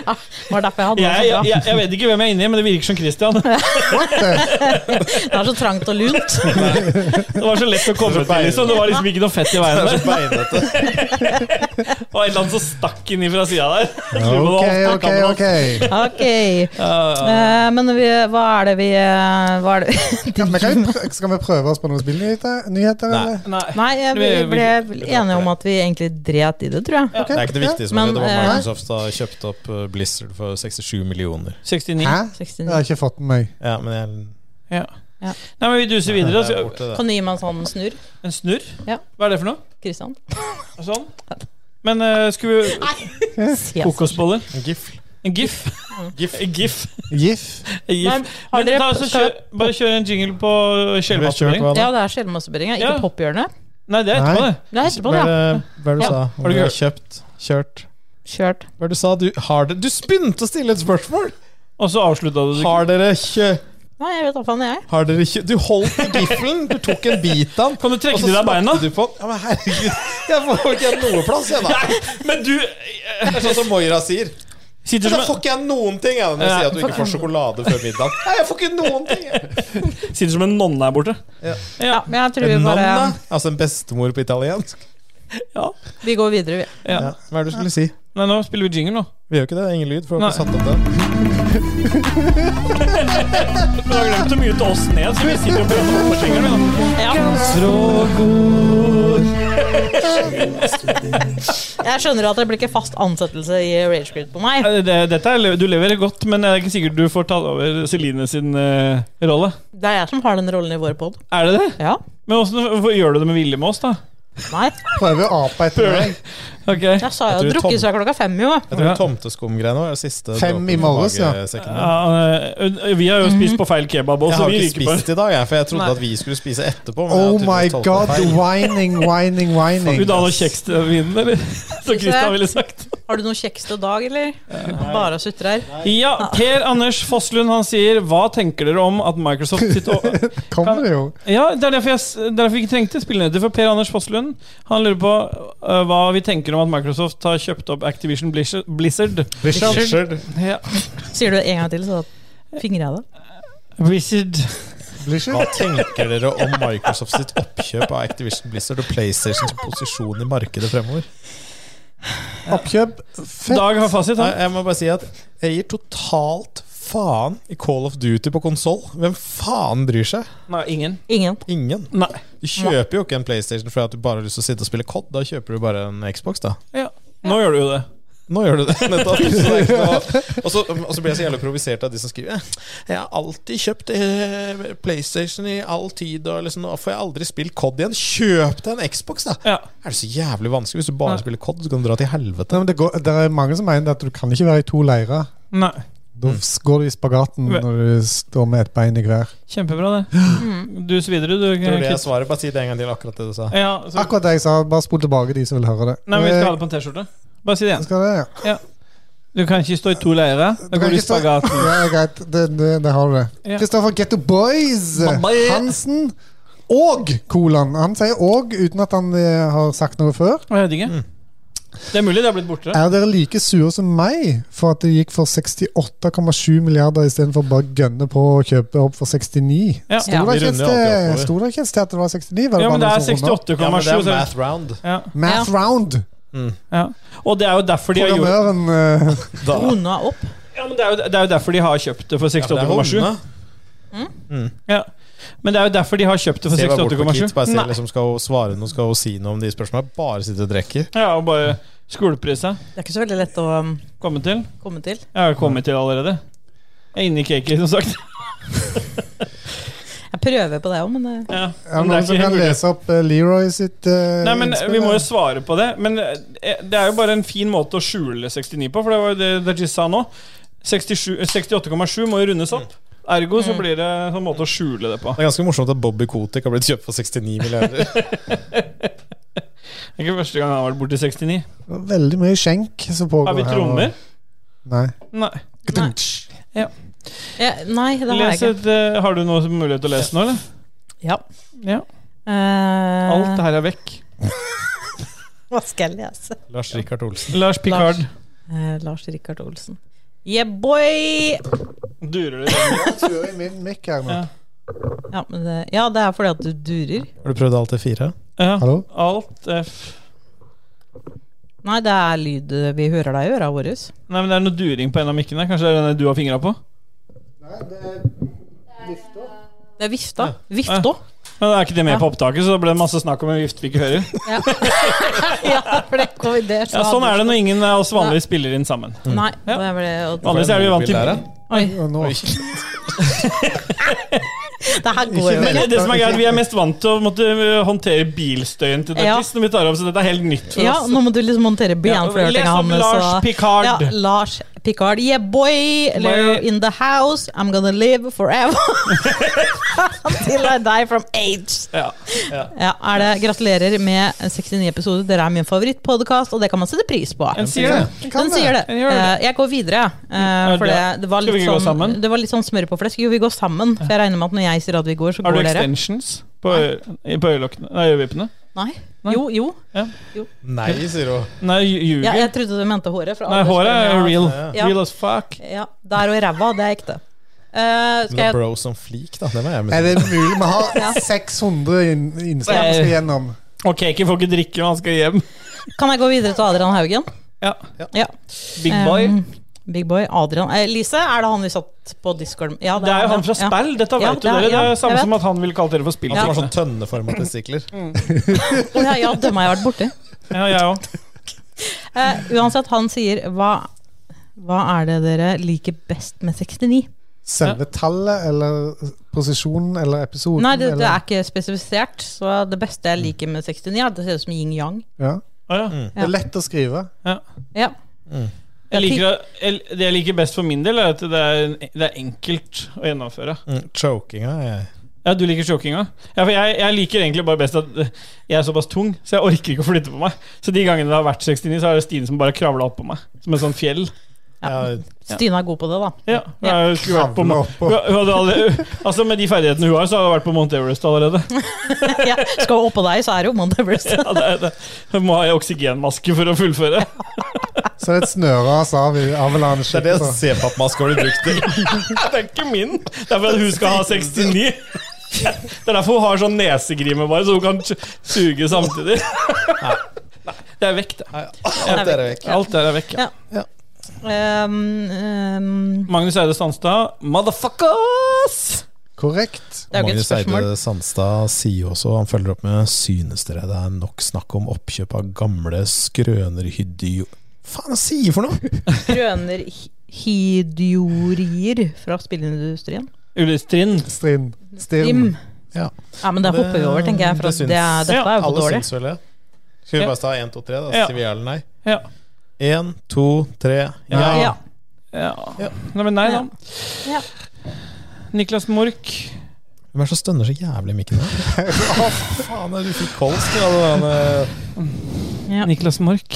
Speaker 5: var derfor jeg hadde
Speaker 1: Jeg, jeg,
Speaker 5: den så bra.
Speaker 1: jeg, jeg vet ikke hvem jeg er inni, men det virker som Christian.
Speaker 5: Det er så trangt og lunt.
Speaker 1: Det var så lett å komme til, liksom. Det var liksom ikke noe fett i veien der.
Speaker 4: Beinete.
Speaker 1: Det var en eller annen som stakk inn fra sida der.
Speaker 2: Ok, ok, ok.
Speaker 5: Ok. Eh, men vi, hva er det vi eh, Hva er det vi
Speaker 2: Kan, men kan vi, prø- skal vi prøve oss på noen spillnyheter? Nyheter,
Speaker 4: Nei.
Speaker 2: eller?
Speaker 1: Nei.
Speaker 5: Nei, jeg, vi
Speaker 1: Vi- vi-
Speaker 5: ble vel enige om at vi egentlig dret i det, tror jeg.
Speaker 4: Det er ikke det viktige som
Speaker 5: Men,
Speaker 4: er det var
Speaker 5: eh,
Speaker 4: Microsoft har kjøpt opp eh, Blizzard for 67 millioner.
Speaker 1: 69.
Speaker 2: Hæ? Jeg
Speaker 5: 69.
Speaker 2: har ikke fått med meg.
Speaker 4: Ja, men jeg
Speaker 1: Ja.
Speaker 5: Ja.
Speaker 1: Nei, men vi duser videre.
Speaker 4: jeg er
Speaker 1: Så,
Speaker 4: borte, det.
Speaker 5: Kan du gi meg en sånn snurr,
Speaker 1: en snurr?
Speaker 5: Ja.
Speaker 1: Hva er det for noe?
Speaker 5: Kristian?
Speaker 1: Sånn? Men eh, skulle vi
Speaker 5: Se.
Speaker 1: Kokosboller?
Speaker 4: Gif.
Speaker 1: En gif? Gif. En gif.
Speaker 2: GIF.
Speaker 1: En gif.
Speaker 5: Nei, har
Speaker 1: Men
Speaker 5: dere-
Speaker 1: ta, altså,
Speaker 5: skal-
Speaker 1: kjør, bare kjør en jingle på
Speaker 4: Vi har kjørt
Speaker 1: skjellmattering.
Speaker 4: hva da?
Speaker 5: Ja, det er sjelmassebering. Ikke
Speaker 1: Ja.
Speaker 5: pophjørnet.
Speaker 1: Nei, det er etterpå,
Speaker 2: Nei.
Speaker 1: det.
Speaker 5: Det er etterpå,
Speaker 4: Hva er
Speaker 5: ja.
Speaker 4: det- hva er det du
Speaker 5: Ja.
Speaker 4: sa?
Speaker 1: Har du
Speaker 4: Om
Speaker 1: hørt?
Speaker 4: kjøpt, kjørt
Speaker 5: Kjørt.
Speaker 4: Hva er det du sa? Du, har det, du begynte å stille et spørsmål!
Speaker 1: Og så avslutta du.
Speaker 4: Har dere kjø...
Speaker 5: Nei, jeg vet hva faen jeg er.
Speaker 4: Har dere kjø... Du holdt i giffelen, du tok en bit av den.
Speaker 1: Kan du trekke
Speaker 4: og så
Speaker 1: til deg beina?
Speaker 4: smakte Du på. den. Ja, men herregud, jeg får ikke noe plass, jeg, da.
Speaker 1: Men du Altså,
Speaker 4: Det er Sånn som Moira sier.
Speaker 1: sitter
Speaker 4: Men da
Speaker 1: som,
Speaker 4: får ikke jeg noen ting jeg, når
Speaker 1: Ja,
Speaker 4: jeg sier at du ikke får sjokolade før middag. Nei, jeg får ikke noen ting jeg.
Speaker 1: en, sitter som en nonne her borte.
Speaker 5: Ja, men jeg tror vi
Speaker 4: En
Speaker 5: bare
Speaker 4: nonna? Altså en bestemor på italiensk?
Speaker 5: Vi går videre, vi.
Speaker 1: Ja.
Speaker 4: Ja. Hva er det du skulle si?
Speaker 1: Nei, nå spiller vi jingle, nå.
Speaker 4: Vi gjør ikke det. Ingen lyd. For å
Speaker 1: Nei.
Speaker 4: få satt opp den.
Speaker 1: Men du har glemt å mute oss ned, så vi sitter og prater på jinglen. vi, da.
Speaker 5: Ja. Jeg skjønner at det blir ikke fast ansettelse i Ragequid på meg.
Speaker 1: Nei, det- Dette er, du lever godt, men det er ikke sikkert du får ta over Celine sin eh, rolle.
Speaker 5: Det er jeg som har den rollen i vår pod.
Speaker 1: Er det det?
Speaker 5: Ja.
Speaker 1: Men hvordan, hvorfor gjør du det med vilje med oss, da?
Speaker 5: Nei.
Speaker 2: Prøver å ape etter meg.
Speaker 1: Ok
Speaker 5: Jeg sa jo
Speaker 4: Jeg
Speaker 5: jeg
Speaker 4: tror Tom-
Speaker 5: drukket seg klokka fem, jo.
Speaker 4: Jeg tror
Speaker 1: Ja.
Speaker 4: tomteskumgreiene var det siste.
Speaker 2: Fem
Speaker 4: dråpen
Speaker 2: i
Speaker 4: på
Speaker 2: morges, ja.
Speaker 4: magesekken min.
Speaker 1: ja, eh, Vi har jo spist på feil kebab òg,
Speaker 4: Jeg
Speaker 1: så
Speaker 4: har
Speaker 1: vi
Speaker 4: ikke
Speaker 1: ryker på
Speaker 4: spist i dag, jeg, for jeg trodde
Speaker 1: Nei.
Speaker 4: at vi skulle spise etterpå. men jeg har
Speaker 2: Oh my
Speaker 4: tydeligvis tolket
Speaker 2: god,
Speaker 4: feil.
Speaker 2: whining, whining, whining.
Speaker 1: Vil du ha noe kjeks til vinen, eller? Som Christian ville sagt.
Speaker 5: Har du noe kjeks til dag, eller? Bare å sutre her.
Speaker 1: Ja, Per Anders Fosslund han sier Hva tenker dere om at Microsoft sitt å-
Speaker 2: Kommer det jo.
Speaker 1: Ja, det er derfor jeg, s- derfor jeg ikke trengte spillnyheter. For Per Anders Fosslund han lurer på øh, hva vi tenker om at Microsoft har kjøpt opp Activision Blizzard. Blizzard.
Speaker 4: Richard.
Speaker 1: Ja.
Speaker 5: Sier du det en gang til, så fingrer jeg det.
Speaker 1: Blizzard.
Speaker 4: Hva tenker dere om Microsoft sitt oppkjøp av Activision Blizzard og PlayStations posisjon i markedet fremover?
Speaker 2: Oppkjøp. Fett.
Speaker 1: Dag har fasit.
Speaker 4: Nei,
Speaker 1: Han.
Speaker 4: Jeg må bare si at jeg gir totalt faen i Call of Duty på konsoll. Hvem faen bryr seg?
Speaker 1: Nei, ingen.
Speaker 5: Ingen.
Speaker 4: Ingen.
Speaker 1: Nei.
Speaker 4: Du kjøper jo ikke en PlayStation fordi at du bare har lyst til å sitte og spille COD. Da kjøper du bare en Xbox, da.
Speaker 1: Ja. Nå gjør du jo det.
Speaker 4: Nå gjør du det. Nettopp. Så det er ikke noe. Og så og så blir jeg så jævlig provisert av de som skriver Jeg har alltid kjøpt eh, PlayStation i all tid, og liksom, nå får jeg aldri spilt COD igjen. Kjøp deg en Xbox, da!
Speaker 1: Ja.
Speaker 4: Er det så jævlig vanskelig? Hvis du bare
Speaker 1: Nei.
Speaker 4: spiller COD, så kan du dra til helvete.
Speaker 2: Nei, men det, går, det er mange som mener at du kan ikke være i to leirer.
Speaker 1: Nei.
Speaker 2: Da
Speaker 1: Mm.
Speaker 2: s- går du i spagaten
Speaker 1: Ve-
Speaker 2: når du står med et bein i hver.
Speaker 1: Kjempebra, det. Du svidere, du.
Speaker 4: Tror du Mm. det er
Speaker 1: Kit.
Speaker 4: svaret? Bare si det en gang til, akkurat det du sa.
Speaker 1: Ja, så,
Speaker 2: Akkurat det jeg sa. Bare spol tilbake de som vil høre det.
Speaker 1: nei, men vi skal ha
Speaker 2: Eh,
Speaker 1: det på en T-skjorte. Bare si det igjen.
Speaker 2: skal det, ja.
Speaker 1: Du kan ikke stå i to leirer.
Speaker 2: Du
Speaker 1: Da
Speaker 2: kan
Speaker 1: går du i
Speaker 2: ikke stå-
Speaker 1: spagaten.
Speaker 2: Ja, det er greit. Det, det, det har du
Speaker 1: Ja.
Speaker 2: det. Kristoffer Getto Boys
Speaker 4: Mamma,
Speaker 1: eh.
Speaker 4: jeg-
Speaker 2: Hansen og Kolan. Han sier òg uten at han eh, har sagt noe før.
Speaker 1: Jeg vet
Speaker 4: Mm.
Speaker 1: ikke. Det er mulig det har blitt borte.
Speaker 2: Er dere like sure som meg for at det gikk for 68,7 milliarder istedenfor bare å gønne på å kjøpe opp for 69?
Speaker 1: Ja.
Speaker 2: Sto det
Speaker 4: Vi
Speaker 2: ikke et
Speaker 4: runder alltid
Speaker 2: sted-
Speaker 4: oppover.
Speaker 2: sto det ikke et sted at det var 69? Var det
Speaker 1: Ja, men det
Speaker 2: bare
Speaker 1: er
Speaker 2: noen som rundet opp?
Speaker 1: 68,7.
Speaker 4: Ja, men det er
Speaker 1: så-
Speaker 4: math round.
Speaker 1: ja,
Speaker 2: Math round!
Speaker 1: ja. Og det er jo derfor de har gjort
Speaker 2: Programmøren eh,
Speaker 4: Da.
Speaker 5: Runda opp.
Speaker 1: Ja, men det er, jo, det er jo derfor de har kjøpt det for
Speaker 4: Ja, for det er
Speaker 1: 68,7.
Speaker 4: hundene.
Speaker 1: Ja. Men det er jo derfor de har kjøpt det for
Speaker 4: Se bare bort på Kit,
Speaker 1: 68,7.
Speaker 4: bare se,
Speaker 1: Nei.
Speaker 4: liksom, skal hun svare noe, skal hun si noe om de spørsmålene? Bare sitte og drikke.
Speaker 1: Ja, og bare skolepris seg.
Speaker 5: Det er ikke så veldig lett å um,
Speaker 1: Komme til.
Speaker 5: komme til.
Speaker 1: Jeg har kommet til allerede. Jeg er inne i cakey, som sagt.
Speaker 5: Jeg prøver på det òg, men eh, det
Speaker 1: Ja,
Speaker 2: Er det
Speaker 1: men det
Speaker 2: noen
Speaker 1: er
Speaker 2: som
Speaker 1: ikke
Speaker 2: kan
Speaker 1: helt mulig.
Speaker 2: lese opp eh, Leroy sitt eh,
Speaker 1: Nei, men
Speaker 2: innspill
Speaker 1: Vi må
Speaker 2: her?
Speaker 1: jo svare på det. Men eh, det er jo bare en fin måte å skjule 69 på, for det var jo det Dajis sa nå. eh, 67 68,7 må jo rundes opp. Ergo så blir det en sånn måte å skjule det på.
Speaker 4: Det er ganske morsomt at Bobby Kotick har blitt kjøpt for 69 milliarder.
Speaker 1: Det er ikke første gang han har vært borti 69.
Speaker 2: Det var Veldig mye skjenk som pågår
Speaker 1: Har vi
Speaker 2: her nå.
Speaker 1: trommer?
Speaker 2: Nei.
Speaker 1: Nei.
Speaker 5: ja, Nei, det har
Speaker 1: Les
Speaker 5: jeg ikke.
Speaker 1: et, eh, har du noe som- mulighet til å lese nå, eller?
Speaker 5: Ja.
Speaker 1: Ja.
Speaker 5: Eh,
Speaker 1: Alt det her er vekk.
Speaker 5: Hva skal jeg lese?
Speaker 4: Lars Rikard Olsen.
Speaker 1: Lars Picard.
Speaker 5: Eh, Lars Rikard Olsen. Yeah, boy!
Speaker 1: Durer det?
Speaker 2: Turer i min mic her nå.
Speaker 1: Ja.
Speaker 5: Ja, men det, ja, det er fordi at du durer.
Speaker 4: Har du prøvd alt til fire?
Speaker 1: Ja.
Speaker 2: Hallo?
Speaker 1: Alt F.
Speaker 5: Nei, det er lyd vi hører deg i øra våre.
Speaker 1: Nei, men det er noe during på en av mikkene. Kanskje det er den du har fingra på?
Speaker 5: Det er vifta. Vifta.
Speaker 1: Men da er ikke det med på opptaket, så da ble det masse snakk om en vift vi ikke hører.
Speaker 5: Ja, ja for det kom i det.
Speaker 1: Ja, sånn er det når ingen av oss vanligvis spiller inn sammen.
Speaker 5: Nei,
Speaker 1: Ja.
Speaker 5: det ble, og,
Speaker 1: Vanligvis er vi vant til
Speaker 4: Mobil der,
Speaker 1: Men
Speaker 4: ja.
Speaker 5: oi,
Speaker 2: Og nå.
Speaker 5: det her går jo
Speaker 2: Ikke
Speaker 5: ikke.
Speaker 1: det, det som er greit, Vi er mest vant til å måtte øh, håndtere bilstøyen til
Speaker 5: Ja.
Speaker 1: Duttis når vi tar opp, så dette er helt nytt for
Speaker 5: Ja,
Speaker 1: oss.
Speaker 5: nå må du liksom montere benflørtinga
Speaker 1: Les om
Speaker 5: hans.
Speaker 1: Lars
Speaker 5: og- Ja,
Speaker 1: Picard.
Speaker 5: Lars Picard. Yeah, boy! Leo in the house. I'm gonna live forever. Until I die from age.
Speaker 1: Ja.
Speaker 5: Ja, er det Gratulerer med 69 episoder. Dere er min favorittpodkast, og det kan man sette pris på.
Speaker 1: En sier det.
Speaker 5: Den sier det.
Speaker 1: Den gjør det.
Speaker 5: Eh, Jeg går videre. eh,
Speaker 1: Ja,
Speaker 5: For
Speaker 1: det-
Speaker 5: det, det, var
Speaker 1: Skal vi
Speaker 5: litt
Speaker 1: ikke gå
Speaker 5: sånn,
Speaker 1: sammen?
Speaker 5: det var litt sånn smør på flesk. Jo, vi går sammen. For jeg regner med at når jeg sier at vi går, så
Speaker 1: Har du
Speaker 5: går dere.
Speaker 1: extensions på, øy- på øyelokkene? Nei, øyevippene?
Speaker 5: Nei.
Speaker 1: Nei.
Speaker 5: Jo, jo.
Speaker 4: Nei, sier hun.
Speaker 1: Nei, lju- ljuger.
Speaker 5: Ja, jeg trodde du mente håret. fra
Speaker 1: Nei, håret er
Speaker 5: aldersgrunnen, ja.
Speaker 1: real.
Speaker 5: Ja.
Speaker 1: Real as fuck.
Speaker 5: Ja, Der og i ræva, det er ekte. Eh, skal
Speaker 4: Det er
Speaker 5: jeg
Speaker 4: bro som flik, da. Det var jeg
Speaker 2: Er
Speaker 4: med
Speaker 2: det mulig? Vi
Speaker 5: Ja.
Speaker 2: har 600 inn- innslag vi skal gjennom.
Speaker 1: Og Cakey får ikke drikke når han skal hjem.
Speaker 5: Kan jeg gå videre til Adrian Haugen?
Speaker 1: Ja.
Speaker 5: Ja.
Speaker 1: Big boy.
Speaker 5: Um, Big boy, Adrian eh, Lise, er det han vi satt på Discord med? Ja,
Speaker 1: det er jo han fra Spell. Dette
Speaker 5: Ja,
Speaker 1: vet
Speaker 5: det
Speaker 1: jo dere.
Speaker 5: er-
Speaker 1: Det
Speaker 5: ja,
Speaker 1: er samme
Speaker 5: jeg
Speaker 1: som at han ville kalt dere for spill.
Speaker 4: Han som har
Speaker 1: Ja.
Speaker 4: sånn tønneforma testikler.
Speaker 5: Mm. Ja, Å, ja, ja dømmer jeg har vært borti.
Speaker 1: Ja, jeg òg.
Speaker 5: Eh, uansett, han sier hva, hva er det dere liker best med 69?
Speaker 2: Selve tallet eller posisjonen eller episoden?
Speaker 5: Nei, det, det
Speaker 2: eller-
Speaker 5: er ikke spesifisert, så det beste jeg liker med 69, er at det ser ut som yin-yang.
Speaker 2: ja.
Speaker 1: Å, ja.
Speaker 2: Det er lett å skrive.
Speaker 5: Ja.
Speaker 1: Jeg liker, jeg, det jeg liker best for min del, er at det er, det er enkelt å gjennomføre.
Speaker 4: Mm, chokinga er
Speaker 1: Ja, Ja, du liker chokinga? Ja, for jeg, jeg liker egentlig bare best at eh, jeg er såpass tung, så jeg orker ikke å flytte på meg. Så de gangene det har vært 69, så er det Stine som bare kravla oppå meg. Som et sånt fjell.
Speaker 5: Stine er god på det, da.
Speaker 1: Ja, hun er- skulle vært på,
Speaker 2: Kravla
Speaker 1: Mon-
Speaker 2: oppå.
Speaker 1: hun hadde alle, altså Med de ferdighetene hun har, så hadde hun vært på Mount Everest allerede.
Speaker 5: ja, skal hun oppå deg, så er det jo Mount Everest.
Speaker 1: Ja, det, er det. Hun må ha ei oksygenmaske for å fullføre.
Speaker 2: Så det er et snøras av i
Speaker 4: Det
Speaker 2: avalanche.
Speaker 4: er det C-pappmaska har du brukt til.
Speaker 1: Det er ikke min! Det er for at hun skal ha 69. Det er derfor hun har sånn nesegrime, bare, så hun kan t- suge samtidig. Nei, Det er vekk, det.
Speaker 4: Alt er vekk.
Speaker 1: Alt der er vekk. Ja.
Speaker 5: Ja. Ehm, ehm,
Speaker 1: Magnus Eide Sandstad, motherfuckers!
Speaker 2: Korrekt.
Speaker 5: det er jo ikke et
Speaker 4: Magnus
Speaker 5: spørsmål.
Speaker 4: Eide Sandstad sier jo også, han følger opp med Synes dere det er nok snakk om oppkjøp av gamle skrønerhyddi... Faen, han sier for noe?!
Speaker 5: Grøner hidiorier fra spillindustrien.
Speaker 1: Ulrik Trind.
Speaker 2: Strim. Stirm.
Speaker 5: Dim. Ja, men det hopper vi over, tenker jeg. For
Speaker 4: Det
Speaker 5: at
Speaker 4: syns-
Speaker 5: det er, dette er jo for
Speaker 4: Alle
Speaker 5: dårlig.
Speaker 4: syns vel det. Skal
Speaker 1: Ja.
Speaker 4: vi bare ta 1, 2, 3, da?
Speaker 1: Ja.
Speaker 4: Sier vi ja eller nei?
Speaker 1: Ja.
Speaker 4: 1, 2, 3,
Speaker 1: Ja.
Speaker 4: ja.
Speaker 5: Ja.
Speaker 1: Ja.
Speaker 4: Ja.
Speaker 1: Nei, men nei, da.
Speaker 5: Ja.
Speaker 1: Niklas Mork.
Speaker 4: Hvem er det som stønner så jævlig i mikken her? Å, faen, du fikk kols til alle denne
Speaker 5: Ja.
Speaker 1: Niklas Mork.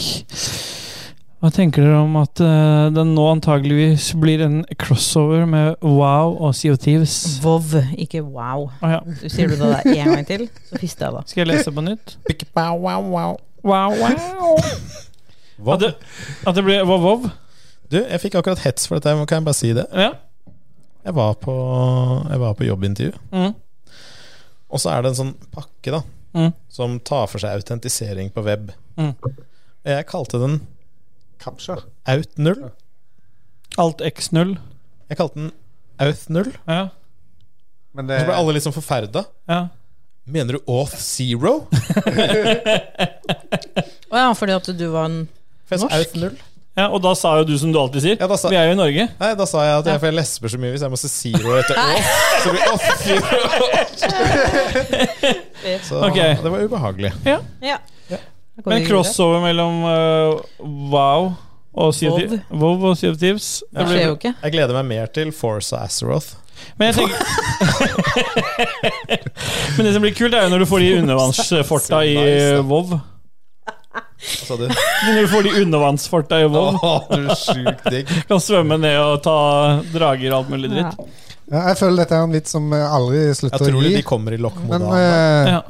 Speaker 1: Hva tenker dere om at eh, den nå antageligvis blir en crossover med Wow og CO Thieves?
Speaker 5: Vov, ikke wow.
Speaker 1: Å ja.
Speaker 5: Du sier du det der en gang til, så fister jeg da.
Speaker 1: Skal jeg lese på nytt?
Speaker 4: Wow, wow, wow.
Speaker 1: Wow, wow.
Speaker 4: Hva?
Speaker 1: At det, at det blir Vov, Vov?
Speaker 4: Du, jeg fikk akkurat hets for dette, kan jeg bare si det?
Speaker 1: Ja.
Speaker 4: Jeg var på, jeg var på jobbintervju,
Speaker 1: Mm.
Speaker 4: og så er det en sånn pakke da
Speaker 1: Mm.
Speaker 4: som tar for seg autentisering på web.
Speaker 1: Mm.
Speaker 4: Og Jeg kalte den
Speaker 2: Kapsja.
Speaker 4: Out0.
Speaker 1: Alt X0.
Speaker 4: Jeg kalte den Auth0. Og
Speaker 1: Ja.
Speaker 2: Men det
Speaker 4: så ble alle litt sånn forferda.
Speaker 1: ja.
Speaker 4: Mener du Auth0?
Speaker 5: Å ja, fordi at du var en
Speaker 4: For jeg sa
Speaker 5: Norsk?
Speaker 4: Auth0.
Speaker 1: ja. Og da sa jo du som du alltid sier.
Speaker 4: Ja, da sa-
Speaker 1: Vi er jo i Norge.
Speaker 4: Nei, da sa jeg at jeg, for jeg lesber så mye hvis jeg må si zero etter Auth. Så blir Auth0. Så
Speaker 1: Ok.
Speaker 4: det var ubehagelig.
Speaker 5: Ja. Da går
Speaker 1: Men
Speaker 5: vi
Speaker 1: crossover mellom eh, Wow og CO
Speaker 5: Vov.
Speaker 1: Thieves. Vov og CO Thieves.
Speaker 5: videre. Det skjer jo ikke.
Speaker 4: Jeg gleder meg mer til Force og Azeroth.
Speaker 1: Men jeg tenker Men det som blir kult, er jo når du får de undervannsforta i
Speaker 4: Nice, da.
Speaker 1: Vov.
Speaker 4: Hva sa du?
Speaker 1: Når du får de undervannsforta i Vov,
Speaker 4: Å, du er sjukt digg.
Speaker 1: kan svømme ned og ta drager og alt mulig dritt.
Speaker 5: Ja.
Speaker 2: Ja, jeg føler dette er en vits som eh, aldri
Speaker 4: Jeg
Speaker 2: slutter å
Speaker 4: tror de
Speaker 2: gi.
Speaker 4: kommer i
Speaker 2: Men
Speaker 4: lokkmodal.
Speaker 2: eh,
Speaker 1: Ja.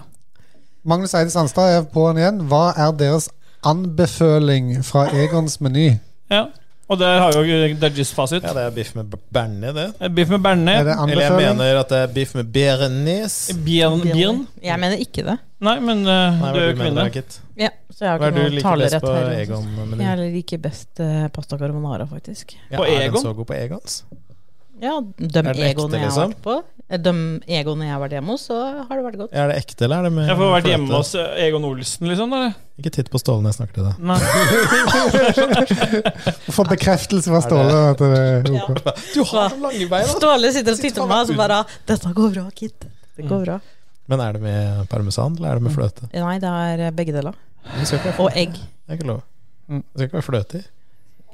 Speaker 2: Magnus Eide Sandstad er på han igjen. Hva er deres anbefaling fra Egons meny?
Speaker 1: ja. Og der har jo Dajis fasit.
Speaker 4: Ja, det er biff med b- bearnés, det.
Speaker 1: Biff med
Speaker 2: Er det
Speaker 1: bearnés.
Speaker 4: Eller jeg
Speaker 2: anbefaling?
Speaker 4: mener at det er biff med bearnés.
Speaker 1: Bjørn, bjørn.
Speaker 5: Jeg mener ikke det.
Speaker 1: Nei, men eh,
Speaker 4: Nei,
Speaker 1: du
Speaker 4: hva
Speaker 1: er jo
Speaker 4: er du mener,
Speaker 1: kvinne.
Speaker 4: Rakit?
Speaker 5: Ja, så jeg har
Speaker 4: Hva er
Speaker 5: ikke
Speaker 4: du
Speaker 5: noe
Speaker 4: liker best
Speaker 5: talerett
Speaker 4: på
Speaker 5: her. altså.
Speaker 4: Egon-menyen?
Speaker 5: Jeg liker best eh, pasta carbonara, faktisk.
Speaker 1: På
Speaker 4: er den
Speaker 1: Egon?
Speaker 4: så god på Egons?
Speaker 5: Ja, de
Speaker 4: Er det ekte,
Speaker 5: egoene jeg har
Speaker 4: liksom?
Speaker 5: vært på eh, De egoene jeg har vært hjemme hos, så har det vært godt.
Speaker 4: Er det ekte, eller er det med
Speaker 1: Jeg får vært hjemme
Speaker 4: fløte?
Speaker 1: hos eh, Egon Olsen, liksom. da, eller?
Speaker 4: Ikke titt på Ståle når jeg snakker til deg.
Speaker 1: Nei.
Speaker 2: Få bekreftelse fra Ståle. at det er ok.
Speaker 4: Du har så lange bein, da!
Speaker 5: Ståle sitter og
Speaker 4: Sitter
Speaker 5: titter på
Speaker 4: faen
Speaker 5: meg
Speaker 4: meg
Speaker 5: og så bare 'Dette går bra, Kit'. Det går bra.
Speaker 4: Men er det med parmesan, eller
Speaker 2: Mm.
Speaker 4: er det med fløte?
Speaker 5: Nei, det er eh, begge deler.
Speaker 4: Det skal ikke være fløte.
Speaker 5: Og egg.
Speaker 4: Det er ikke lov.
Speaker 2: Mm.
Speaker 4: Det skal ikke være fløte i.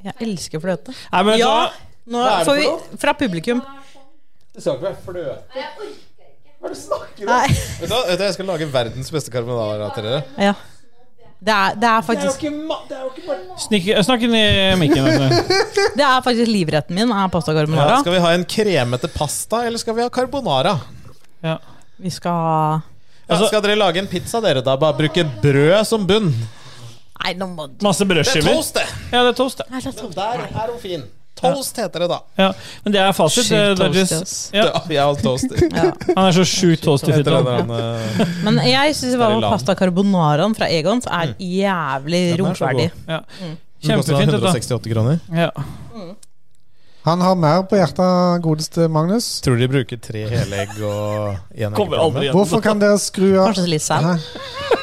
Speaker 5: Jeg elsker fløte.
Speaker 1: Nei, men vet du
Speaker 5: Ja,
Speaker 1: hva?
Speaker 5: nå
Speaker 4: Hva er det
Speaker 5: får
Speaker 4: for
Speaker 5: vi fra publikum.
Speaker 4: Det skal ikke være fløte.
Speaker 5: Nei.
Speaker 4: Vet du, hva? vet du, jeg skal lage verdens beste carbonara til dere.
Speaker 5: Ja. Det er, det er faktisk
Speaker 1: Snikke- eh, Snakk inn i mikken. altså.
Speaker 5: Det er faktisk livretten min, er pasta
Speaker 4: Ja,
Speaker 5: carbonara.
Speaker 4: skal vi ha en kremete pasta, eller skal vi ha carbonara?
Speaker 1: Ja.
Speaker 5: Vi skal ha
Speaker 4: Ja,
Speaker 1: Altså-
Speaker 4: skal dere lage en pizza, dere, da? Bare bruke brød som bunn?
Speaker 5: Nei, nå må du
Speaker 1: Masse brødskiver.
Speaker 4: det!
Speaker 1: Ja, det er toast, det.
Speaker 5: Nei, la oss ta-
Speaker 4: Der er hun fin. Toast heter det, da.
Speaker 1: Ja, men det er fasit.
Speaker 5: Sjukt
Speaker 1: det er
Speaker 5: toasty,
Speaker 1: just-
Speaker 5: ass.
Speaker 1: ja,
Speaker 4: Ja, jeg har toast.
Speaker 5: ja.
Speaker 1: han er så sjukt toasty fyr.
Speaker 4: Etter den
Speaker 1: han.
Speaker 4: der, eh,
Speaker 5: Men jeg syns
Speaker 4: Eller lam.
Speaker 5: pasta carbonaraen fra Egons er jævlig
Speaker 4: Mm. den er så god.
Speaker 5: romferdig.
Speaker 1: Ja.
Speaker 4: den koster
Speaker 1: Kjempefint, dette.
Speaker 4: 168 kroner.
Speaker 1: Ja.
Speaker 2: Han har mer på hjertet, godeste Magnus.
Speaker 4: Tror du de bruker tre helegg og én
Speaker 1: Kommer aldri igjen.
Speaker 2: Hvorfor kan dere skru av
Speaker 5: Kanskje litt saus.
Speaker 2: Hæ?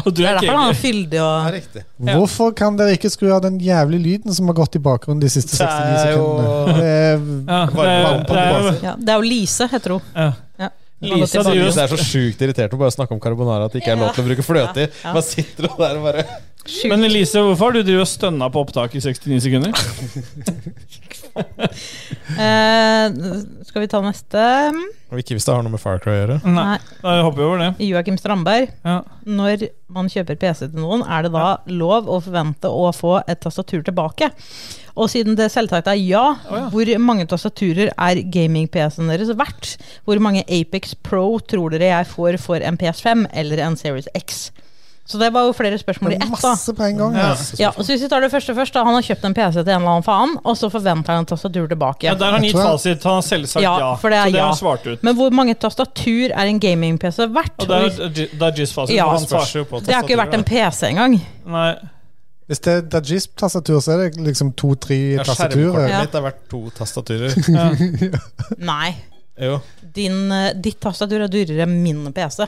Speaker 1: Og du
Speaker 5: Det
Speaker 1: er
Speaker 5: er derfor
Speaker 1: ikke
Speaker 5: han
Speaker 1: enig.
Speaker 5: er fyldig og
Speaker 4: Riktig.
Speaker 1: Ja.
Speaker 2: Hvorfor kan dere ikke skru av den jævlige lyden som har gått i bakgrunnen de siste 69
Speaker 4: Det er jo-
Speaker 2: sekundene? Det er,
Speaker 1: Ja, det
Speaker 4: Varm på
Speaker 1: er- det
Speaker 4: basen.
Speaker 1: er-
Speaker 5: ja, Det er jo Lise, heter hun.
Speaker 1: ja.
Speaker 5: Ja.
Speaker 1: Lisa driver
Speaker 4: Magnus er så sjukt irritert å bare snakke om carbonara at det ikke er lov til å bruke fløte i. Man sitter og der og bare
Speaker 5: Sjukt.
Speaker 1: Men Elise, hvorfor har du drevet og stønna på opptak i 69 sekunder?
Speaker 5: Eh, skal vi ta neste?
Speaker 4: Ikke hvis det har noe med Far Cry å gjøre.
Speaker 1: Nei, da hopper vi over det.
Speaker 5: Joakim Strandberg.
Speaker 1: Ja.
Speaker 5: Når man kjøper PC til noen, er det da lov å forvente å få et tastatur tilbake? Og siden det selvsagt er ja, hvor mange tastaturer er gaming-PC-en deres verdt? Hvor mange Apex Pro tror dere jeg får for en PS5 eller en Series X? Så det var jo flere spørsmål i ett, da.
Speaker 2: Masse på en gang. altså. Ja.
Speaker 5: Ja, så hvis vi tar det første først, da. Han har kjøpt en PC til en eller annen faen, og så forventer han en tastatur tilbake.
Speaker 1: Ja, der har han gitt
Speaker 2: tror jeg-
Speaker 1: fasit. Han har selvsagt ja.
Speaker 5: Ja, for det
Speaker 1: så
Speaker 5: er
Speaker 1: det har
Speaker 5: ja.
Speaker 1: han svart ut.
Speaker 5: Men hvor mange tastatur er en gaming-PC verdt?
Speaker 1: Og der er det er Jizz fasit.
Speaker 5: Ja.
Speaker 1: for han svarer jo på
Speaker 5: det har ikke vært en PC engang.
Speaker 1: Nei.
Speaker 2: Hvis det er Dajis-tastatur, så er det liksom to-tre
Speaker 4: Ja,
Speaker 2: tastaturer.
Speaker 4: Skjermkortet
Speaker 5: Ja.
Speaker 4: mitt har vært to tastaturer.
Speaker 5: Nei.
Speaker 4: Jo.
Speaker 5: Din, eh, ditt tastatur er dyrere enn min PC.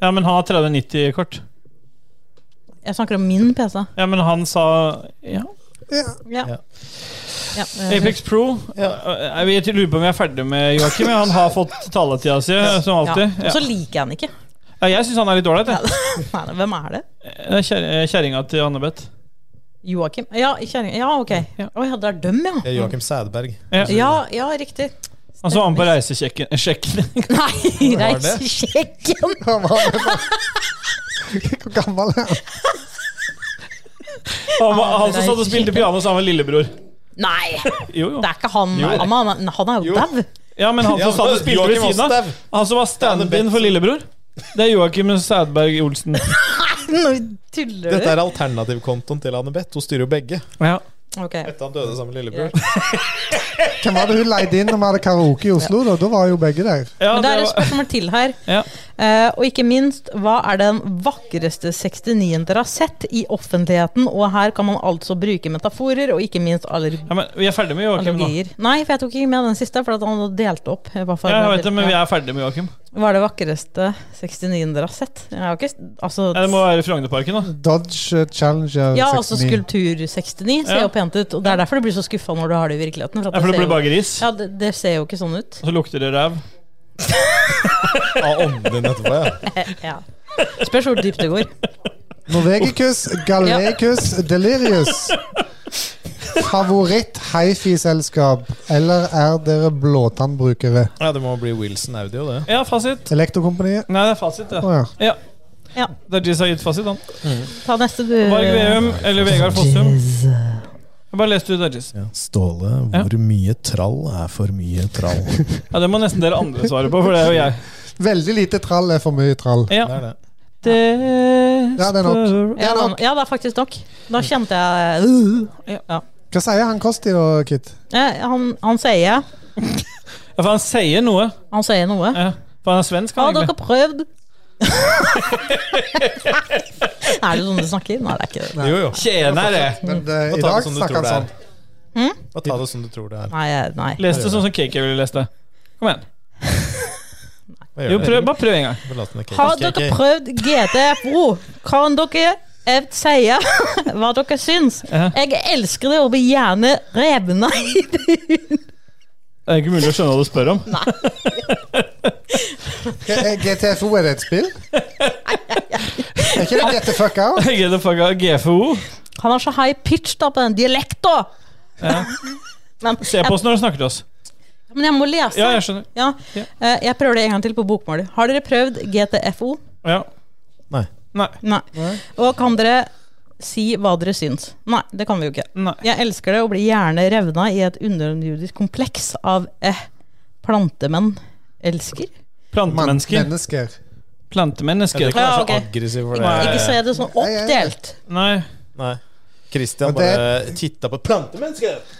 Speaker 1: Ja, men han har 3090-kort.
Speaker 5: Jeg snakker om min PC.
Speaker 1: Ja, men han sa ja.
Speaker 5: Ja.
Speaker 4: Ja.
Speaker 5: Ja, eh,
Speaker 1: Apex Pro. Eh, Jeg vet- jeg lurer på om jeg er ferdig med Joakim. men Han har fått taletida si, eh, som
Speaker 5: ja.
Speaker 1: alltid.
Speaker 5: Og
Speaker 1: Ja.
Speaker 5: så liker jeg den ikke.
Speaker 1: Ja, jeg syns han er litt ålreit. jeg.
Speaker 5: Nei, hvem er det?
Speaker 1: Det er kjer- Kjerringa til Anne-Beth.
Speaker 5: Joakim? Ja, kjerring. Ja, ok. Å
Speaker 1: Ja.
Speaker 5: ja, det er dem, ja.
Speaker 4: Det er Joakim Sædberg.
Speaker 5: Ja, ja, riktig.
Speaker 1: Han så var med på reisesjekken. eh,
Speaker 5: Nei,
Speaker 4: Var det?
Speaker 5: reisesjekken!
Speaker 2: Hvor gammel er han?
Speaker 1: Han, var- han som satt og spilte piano sammen med lillebror.
Speaker 5: Nei,
Speaker 1: Jo, jo.
Speaker 5: det er ikke han.
Speaker 1: Jo.
Speaker 5: Han, han, han er jo
Speaker 4: Jo.
Speaker 5: dau.
Speaker 1: Ja, men han som
Speaker 4: Ja,
Speaker 1: satt og spilte ved
Speaker 4: Joakim
Speaker 1: siden av.
Speaker 4: Ostad.
Speaker 1: Han som var stand-in for lillebror. Det er Joakim Sædberg Olsen.
Speaker 5: Nå tuller
Speaker 4: Dette
Speaker 5: du.
Speaker 4: er alternativkontoen til Anne-Beth. Hun styrer jo begge.
Speaker 1: Ja.
Speaker 5: Ok.
Speaker 4: Etter han døde sammen med lillebror.
Speaker 2: Hvem var det hun leide inn når vi hadde karaoke i Oslo? Da Da var jo begge der.
Speaker 1: Ja,
Speaker 5: Men det er
Speaker 1: det
Speaker 5: et
Speaker 1: var,
Speaker 5: spørsmål til her.
Speaker 1: ja.
Speaker 5: Eh, og ikke minst, hva er den vakreste 69-en dere har sett i offentligheten? Og her kan man altså bruke metaforer, og ikke minst aller
Speaker 1: Ja, men vi er ferdig med Joakim nå.
Speaker 5: allergier. Nei, for jeg tok ikke med den siste, for at han hadde delt opp. eh, hva for-
Speaker 1: Ja, jeg vet det, men vi er ferdig med Joakim.
Speaker 5: Hva er det vakreste 69-en dere har sett? Jeg har ikke Altså
Speaker 1: Ja, det må være Frognerparken, da.
Speaker 2: Dodge eh, Challenger
Speaker 5: ja, altså
Speaker 2: 69.
Speaker 5: Skulptur69 ser
Speaker 1: Ja.
Speaker 5: jo pent ut, og det er derfor du blir så skuffa når du har det i virkeligheten. at
Speaker 1: Ja, for det
Speaker 5: ser
Speaker 1: blir
Speaker 5: jo-
Speaker 1: bare gris.
Speaker 5: Ja, det, det ser jo ikke sånn ut.
Speaker 1: Og så lukter det ræv.
Speaker 4: Av ånden din etterpå, ja.
Speaker 5: Eh, ja. Spørs hvor dypt det går.
Speaker 2: Norvegicus, Galecus, Delirius. Favoritt hifi-selskap, eller er dere blåtannbrukere?
Speaker 4: ja. Det må bli Wilson Audio, det.
Speaker 1: Ja, fasit.
Speaker 2: Elektrokompaniet?
Speaker 1: Nei, det er fasit, det.
Speaker 2: Å ja.
Speaker 1: Ja.
Speaker 5: Ja.
Speaker 1: Det er Jizz har gitt fasit, han.
Speaker 5: Ta neste, du.
Speaker 1: Varg Veum eller Vegard Fossum. Jeg bare leste ut Dodges.
Speaker 4: Ja. Ståle,
Speaker 1: hvor
Speaker 4: mye trall er for mye trall?
Speaker 1: Ja, det må nesten dere andre svare på, for det er jo jeg.
Speaker 2: Veldig lite trall er for mye trall.
Speaker 1: Ja.
Speaker 4: Det er det.
Speaker 2: Ja, det er nok.
Speaker 5: Ja, da- ja, det er faktisk nok. Da kjente jeg uh, ja.
Speaker 2: Hva sier han Kosti da, Kit?
Speaker 5: Eh, han, han sier
Speaker 1: Ja, for han sier noe.
Speaker 5: Han sier noe.
Speaker 1: Ja. For han er svensk,
Speaker 5: Har
Speaker 1: han
Speaker 5: dere
Speaker 1: egentlig.
Speaker 5: prøvd? er det sånn du snakker? Nei, det er ikke det.
Speaker 4: Jo, jo.
Speaker 1: Tjenere!
Speaker 2: Men eh, i
Speaker 4: Ta det
Speaker 2: dag
Speaker 4: som du
Speaker 2: snakker
Speaker 4: tror
Speaker 2: han
Speaker 4: det
Speaker 2: sånn.
Speaker 4: er.
Speaker 5: Hm?
Speaker 4: Bare ta det som du tror det er.
Speaker 5: Nei, jeg- nei.
Speaker 1: Les det sånn som KK ville lest det. Kom igjen.
Speaker 4: Hva gjør
Speaker 1: Jo,
Speaker 4: det?
Speaker 1: prøv, bare prøv en gang.
Speaker 4: Bare la den ikke-
Speaker 5: Har
Speaker 4: Ok,
Speaker 5: dere
Speaker 4: ok.
Speaker 5: prøvd GTFO? Kan dere eh, si hva dere syns?
Speaker 1: Ja.
Speaker 5: Jeg elsker det og vil gjerne revne i det.
Speaker 1: Det er ikke mulig å skjønne hva du spør om.
Speaker 2: G- eh, GTFO, er det et spill? Er ikke det Get the fuck out?
Speaker 1: Get the fuck out. GFO.
Speaker 5: Han har så high pitch da på den dialekta!
Speaker 1: Ja.
Speaker 5: Men,
Speaker 1: Se på oss når du snakker til oss.
Speaker 5: jeg, men jeg må lese.
Speaker 1: Ja, jeg skjønner.
Speaker 5: Ja.
Speaker 1: Ja.
Speaker 5: Eh, jeg prøver det en gang til på bokmål. Har dere prøvd GTFO?
Speaker 1: Ja.
Speaker 4: Nei.
Speaker 1: Nei.
Speaker 5: Nei. Og kan dere si hva dere syns? Nei, det kan vi jo ikke.
Speaker 1: Nei.
Speaker 5: Jeg elsker det og blir gjerne revna i et underjordisk kompleks av eh, plantemenn elsker.
Speaker 2: Man,
Speaker 1: Plantemennesker.
Speaker 2: mennesker.
Speaker 4: Jeg er
Speaker 1: Plantemennesker.
Speaker 4: ikke
Speaker 5: Ja,
Speaker 4: så
Speaker 5: ok.
Speaker 4: aggressiv for
Speaker 5: Ikke, ikke se
Speaker 4: det.
Speaker 5: det sånn oppdelt.
Speaker 1: Nei.
Speaker 4: Nei. Christian
Speaker 2: Men det-
Speaker 4: bare titta på plantemennesket.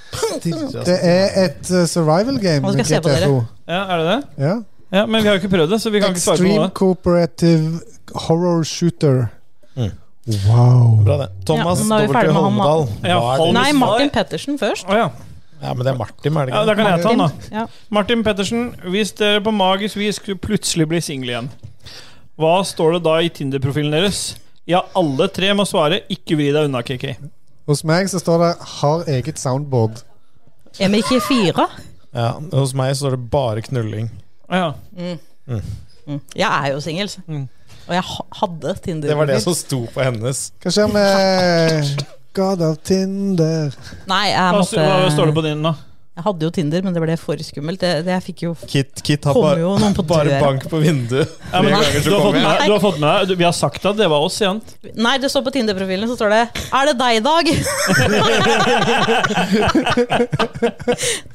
Speaker 2: Det er et eh, survival game,
Speaker 5: Nå skal jeg se på dere.
Speaker 2: GTFO.
Speaker 1: Ja, er det det?
Speaker 2: Ja.
Speaker 1: Ja, Men vi har jo ikke prøvd det, så vi kan ikke svare på
Speaker 2: Extreme
Speaker 1: noe.
Speaker 2: Cooperative Horror Shooter.
Speaker 4: Mm.
Speaker 2: Wow.
Speaker 4: Bra, det. Thomas
Speaker 5: Ja, nå er vi
Speaker 4: W.
Speaker 5: ferdig med han, da.
Speaker 4: Holmedal.
Speaker 1: Ja,
Speaker 4: Hva er det?
Speaker 5: Nei, Martin Pettersen først.
Speaker 1: Å ja.
Speaker 4: Ja, men det er Martin, er det
Speaker 1: ja.
Speaker 4: ikke
Speaker 1: Da kan jeg ta den, Sånn da.
Speaker 5: Ja.
Speaker 1: Martin Pettersen, hvis dere på magisk vis skulle plutselig bli single igjen, hva står det da i Tinder-profilen deres? Ja, alle tre må svare 'ikke vri deg unna', KK.
Speaker 2: Hos meg så står det 'har eget soundboard'.
Speaker 5: Er vi ikke fire?
Speaker 4: Ja, hos meg så står det bare knulling.
Speaker 1: Å ja.
Speaker 5: Jeg Mm. er jo singel. så.
Speaker 1: ja.
Speaker 5: Og jeg ha- hadde Tinder.
Speaker 4: Det var det som sto på hennes.
Speaker 2: Hva skjer med God of Tinder?
Speaker 5: Nei, jeg
Speaker 1: Hva,
Speaker 5: måtte
Speaker 1: hva står det på din, da?
Speaker 5: Jeg hadde jo Tinder, men det ble for skummelt. Det, det jeg fikk jo
Speaker 4: Kit, Kit har
Speaker 5: Kommer
Speaker 4: bare,
Speaker 5: jo noen på
Speaker 4: bare
Speaker 5: døra.
Speaker 4: bank på vinduet.
Speaker 1: Ja, men,
Speaker 4: Tre
Speaker 1: du, har
Speaker 4: ganger så
Speaker 1: fått
Speaker 4: kommer
Speaker 1: med,
Speaker 4: jeg.
Speaker 1: deg- du har fått med deg Vi har sagt at det var oss igjen.
Speaker 5: Nei, det står på Tinder-profilen, så står det 'Er det deg i dag?'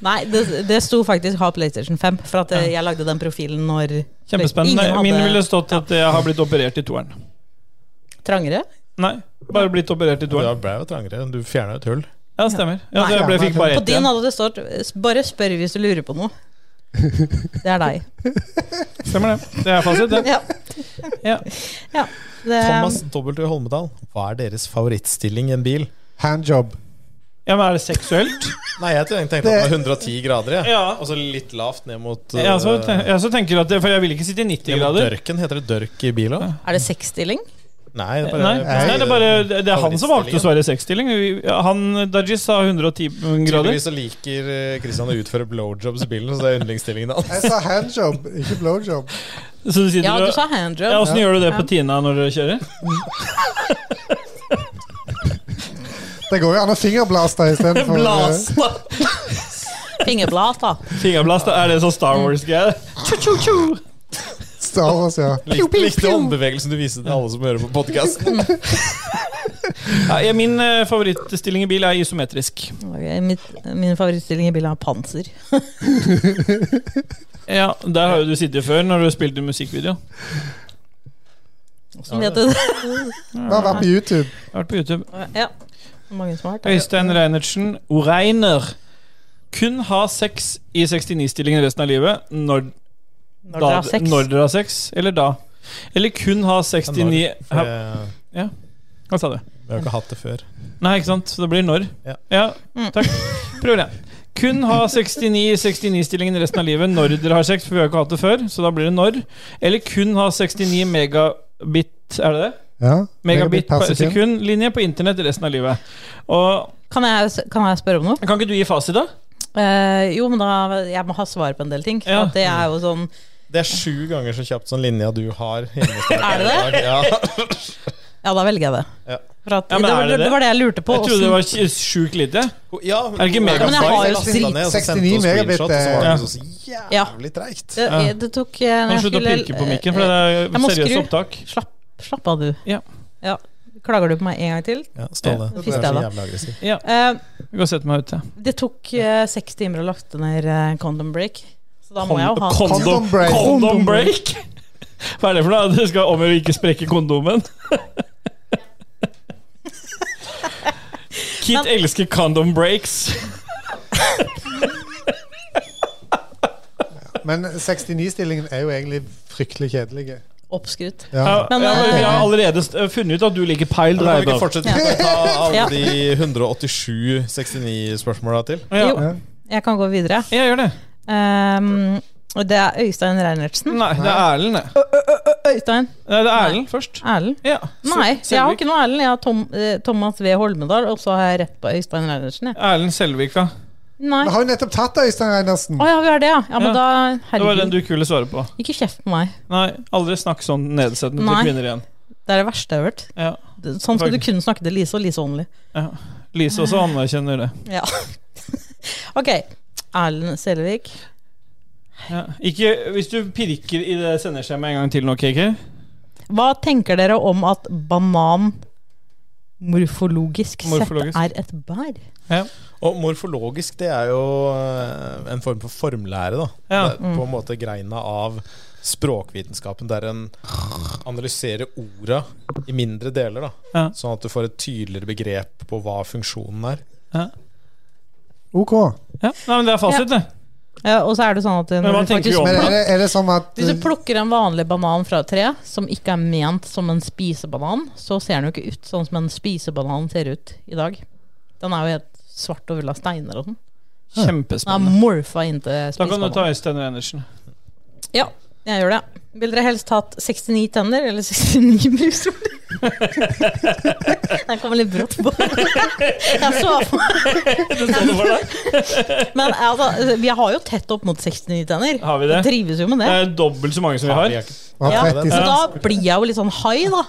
Speaker 5: Nei, det, det sto faktisk 'Ha PlayStation 5', for at eh, jeg lagde den profilen når
Speaker 1: Kjempespennende.
Speaker 5: Ingen hadde
Speaker 1: Min ville stått at jeg har blitt operert i toeren.
Speaker 5: Trangere?
Speaker 1: Nei, bare blitt operert i
Speaker 4: Du
Speaker 1: toeren.
Speaker 4: ble jo trangere. Du fjerna et hull.
Speaker 1: Ja, stemmer. Ja, så jeg ble, fikk bare
Speaker 5: På
Speaker 1: ett
Speaker 5: din
Speaker 1: igjen.
Speaker 5: hadde det stått s- 'Bare spør hvis du lurer på noe'. Det er deg.
Speaker 1: Stemmer det. Det er fasit, det.
Speaker 5: Ja.
Speaker 1: Ja.
Speaker 5: Ja, det,
Speaker 4: Thomas W. Holmedal, hva er deres favorittstilling i en bil?
Speaker 2: Handjob.
Speaker 1: Ja, men er det seksuelt?
Speaker 4: Nei, jeg tenkte at det var 110 grader, jeg.
Speaker 1: Ja.
Speaker 4: Og så litt lavt ned mot
Speaker 1: Jeg også,
Speaker 4: eh,
Speaker 1: ten- jeg også tenker at det, For jeg vil ikke sitte i 90
Speaker 4: ned mot
Speaker 1: grader.
Speaker 4: Dørken. Heter det dørk i bil òg?
Speaker 5: er det sexstilling?
Speaker 4: Nei, det er bare
Speaker 1: Nei, nei, det er bare Det det er han som valgte å svare seksstilling. Vi- Han, Dajis sa 110 grader.
Speaker 4: Tydeligvis så liker eh, Christian å utføre blowjobs i bilen, så det er yndlingsstillingen hans.
Speaker 2: Jeg sa handjob, ikke blowjob.
Speaker 1: Så du sitter
Speaker 5: Ja, du
Speaker 1: og
Speaker 5: sa
Speaker 1: ja,
Speaker 5: handjob.
Speaker 1: Åssen gjør du det på Tina når dere kjører?
Speaker 2: Det går jo an å fingerblaste istedenfor
Speaker 5: Fingerblad, da.
Speaker 1: Fingerblast, er det sånn Star Wars-greie?
Speaker 2: eh, Star Wars, ja.
Speaker 4: Likte, likte håndbevegelsen du viste til alle som hører på podkasten.
Speaker 1: Ja, jeg- min eh, favorittstilling i bil er isometrisk.
Speaker 5: Ok, mitt, min favorittstilling i bilen er panser.
Speaker 1: Ja, Der har jo du sittet før, når du spilte musikkvideo.
Speaker 5: Som vet du det?
Speaker 2: Vi har vært på YouTube.
Speaker 1: Jeg har vært på YouTube.
Speaker 5: Ja. Mange som har hørt det.
Speaker 1: Øystein Reinertsen, Oreiner. Kun ha sex i 69-stillingen resten av livet. Når,
Speaker 5: Når dere har
Speaker 1: da-
Speaker 5: sex.
Speaker 1: Når dere har sex, eller da. Eller kun ha 69
Speaker 4: For
Speaker 1: Ha-
Speaker 4: jeg-
Speaker 1: Hva sa du?
Speaker 4: Vi har jo ikke hatt det før.
Speaker 1: Nei, ikke sant? Så det blir når.
Speaker 4: Ja.
Speaker 5: Mm.
Speaker 1: takk. Prøver igjen. Kun ha 69-69-stillingen resten av livet når dere har sex, for vi har ikke hatt det før. Så da blir det når. Eller kun ha 69 megabit Er det det?
Speaker 2: Ja.
Speaker 1: Megabit per sekund-linje på internett resten av livet. Og
Speaker 5: Kan jeg, kan jeg spørre om noe?
Speaker 1: Kan ikke du gi fasit, da?
Speaker 5: Eh, jo, men da Jeg må ha svar på en del ting.
Speaker 1: Ja.
Speaker 5: At det er jo sånn
Speaker 4: Det er sju ganger så kjapt som linja du har. hjemme.
Speaker 5: Er det det?
Speaker 4: Ja.
Speaker 5: Ja, da velger jeg det.
Speaker 4: Ja.
Speaker 5: For at,
Speaker 1: Ja, men
Speaker 5: det,
Speaker 1: er
Speaker 5: var,
Speaker 1: det
Speaker 5: det,
Speaker 1: det?
Speaker 5: var det jeg lurte på.
Speaker 1: Jeg trodde det var sj- sjukt lite.
Speaker 4: Ja,
Speaker 1: Er det ikke
Speaker 4: men
Speaker 1: megabyte?
Speaker 5: Ja, men jeg har jo
Speaker 4: lastet den ned, og så sendte hun
Speaker 2: 69 megabit,
Speaker 4: screenshot, og så var
Speaker 1: eh,
Speaker 4: det liksom så jævlig treigt.
Speaker 5: Det,
Speaker 1: Ja.
Speaker 5: det tok eh,
Speaker 1: Kan du
Speaker 5: når jeg
Speaker 1: slutte å
Speaker 5: skulle-
Speaker 1: pirke på mikken, for det er
Speaker 5: Jeg må
Speaker 1: seriøst
Speaker 5: skru.
Speaker 1: opptak.
Speaker 5: Slapp, slapp av, du.
Speaker 1: Ja.
Speaker 5: Ja. Klager du på meg en gang til?
Speaker 4: Ja,
Speaker 5: Ja,
Speaker 4: Ståle. Du er
Speaker 5: fister
Speaker 4: så
Speaker 5: jeg da.
Speaker 4: jævlig aggressiv.
Speaker 5: Eh,
Speaker 1: Vi kan sette meg ut, ja.
Speaker 5: det tok eh, seks timer å laste ned eh, Condom Break. Så da må jeg jo ha
Speaker 2: Condom break.
Speaker 1: Condom break. Hva er det for noe? Du skal om å ikke sprekke kondomen? Kit
Speaker 5: Men-
Speaker 1: elsker condom breaks.
Speaker 2: Men 69-stillingen er jo egentlig fryktelig kjedelig.
Speaker 5: oppskrutt.
Speaker 2: Ja.
Speaker 1: Ja,
Speaker 5: Men,
Speaker 1: ja, men vi
Speaker 5: eh,
Speaker 1: har allerede st- funnet ut at du liker pile
Speaker 4: Kan vi ikke
Speaker 1: driver.
Speaker 4: fortsette med å ta alle
Speaker 5: Ja.
Speaker 4: de 187 69-spørsmåla til?
Speaker 1: Ja.
Speaker 5: Jo, jeg kan gå videre.
Speaker 1: Jeg gjør det.
Speaker 5: Um, og det er Øystein Reinertsen.
Speaker 1: Nei, det er Erlend, det.
Speaker 5: Øystein
Speaker 1: Nei, det er Erlend først.
Speaker 5: Erlend?
Speaker 1: Ja.
Speaker 5: Nei,
Speaker 1: Se-
Speaker 5: jeg har
Speaker 1: Selvik.
Speaker 5: ikke noe Erlend. Jeg har Tom, eh, Thomas V. Holmedal, og så har jeg rett på Øystein Reinertsen. jeg.
Speaker 1: Erlend Selvika.
Speaker 5: Nei.
Speaker 2: Vi har jo nettopp tatt Øystein Reinersen.
Speaker 5: Å ja, vi har det, ja. ja men
Speaker 1: Ja.
Speaker 5: da,
Speaker 1: Det var den
Speaker 5: herregud.
Speaker 1: du ikke ville svare på.
Speaker 5: Ikke kjeft på meg.
Speaker 1: Nei, aldri snakk sånn nedsettende
Speaker 5: Nei.
Speaker 1: til kvinner igjen.
Speaker 5: Det er det verste jeg har hørt.
Speaker 1: Ja.
Speaker 5: Det- Sånn skal du
Speaker 1: Faktisk.
Speaker 5: kun snakke til Lise, og Lise only.
Speaker 1: Lise også anerkjenner det.
Speaker 5: Ja. ok. Erlend Selvik.
Speaker 1: Ja. Ikke, hvis du pirker i det sendeskjemaet en gang til nå, KK
Speaker 5: Hva tenker dere om at banan morfologisk,
Speaker 1: Morfologisk.
Speaker 5: sett er et bær?
Speaker 4: Og morfologisk, det er jo eh, en form for formlære, da.
Speaker 1: Ja.
Speaker 4: Det er på en måte greina av språkvitenskapen, der en analyserer orda i mindre deler, da.
Speaker 1: Ja.
Speaker 4: Sånn at du får et tydeligere begrep på hva funksjonen er.
Speaker 2: Ok.
Speaker 1: Ja. Nei, men det er fasit, det.
Speaker 5: Ja, og så er det sånn at
Speaker 1: Men
Speaker 5: når
Speaker 1: hva
Speaker 5: du
Speaker 1: tenker
Speaker 5: faktisk
Speaker 1: du om
Speaker 2: Men er
Speaker 1: det?
Speaker 2: det, er det som at eh,
Speaker 5: Hvis du plukker en vanlig banan fra et tre, som ikke er ment som en spisebanan, så ser den jo ikke ut sånn som en spisebanan ser ut i dag. Den er jo helt svart og full av steiner og sånn. Den
Speaker 1: Kjempespennende.
Speaker 5: er morfa inn til
Speaker 1: Da kan du ta
Speaker 5: spisebanan.
Speaker 1: Øystein Reinertsen.
Speaker 5: Ja, jeg gjør det. Vil dere helst hatt 69 tenner eller 69 brusord? Den kommer litt brått på. Jeg så for meg Men altså, vi har jo tett opp mot 69 tenner.
Speaker 1: Har vi det?
Speaker 5: Trives jo med
Speaker 1: Det
Speaker 5: det.
Speaker 1: er dobbelt så mange som vi
Speaker 4: Vi
Speaker 1: har.
Speaker 4: er ikke-
Speaker 2: Og
Speaker 5: Ja,
Speaker 2: har
Speaker 5: så
Speaker 2: 30
Speaker 5: da blir jeg jo litt sånn high, da.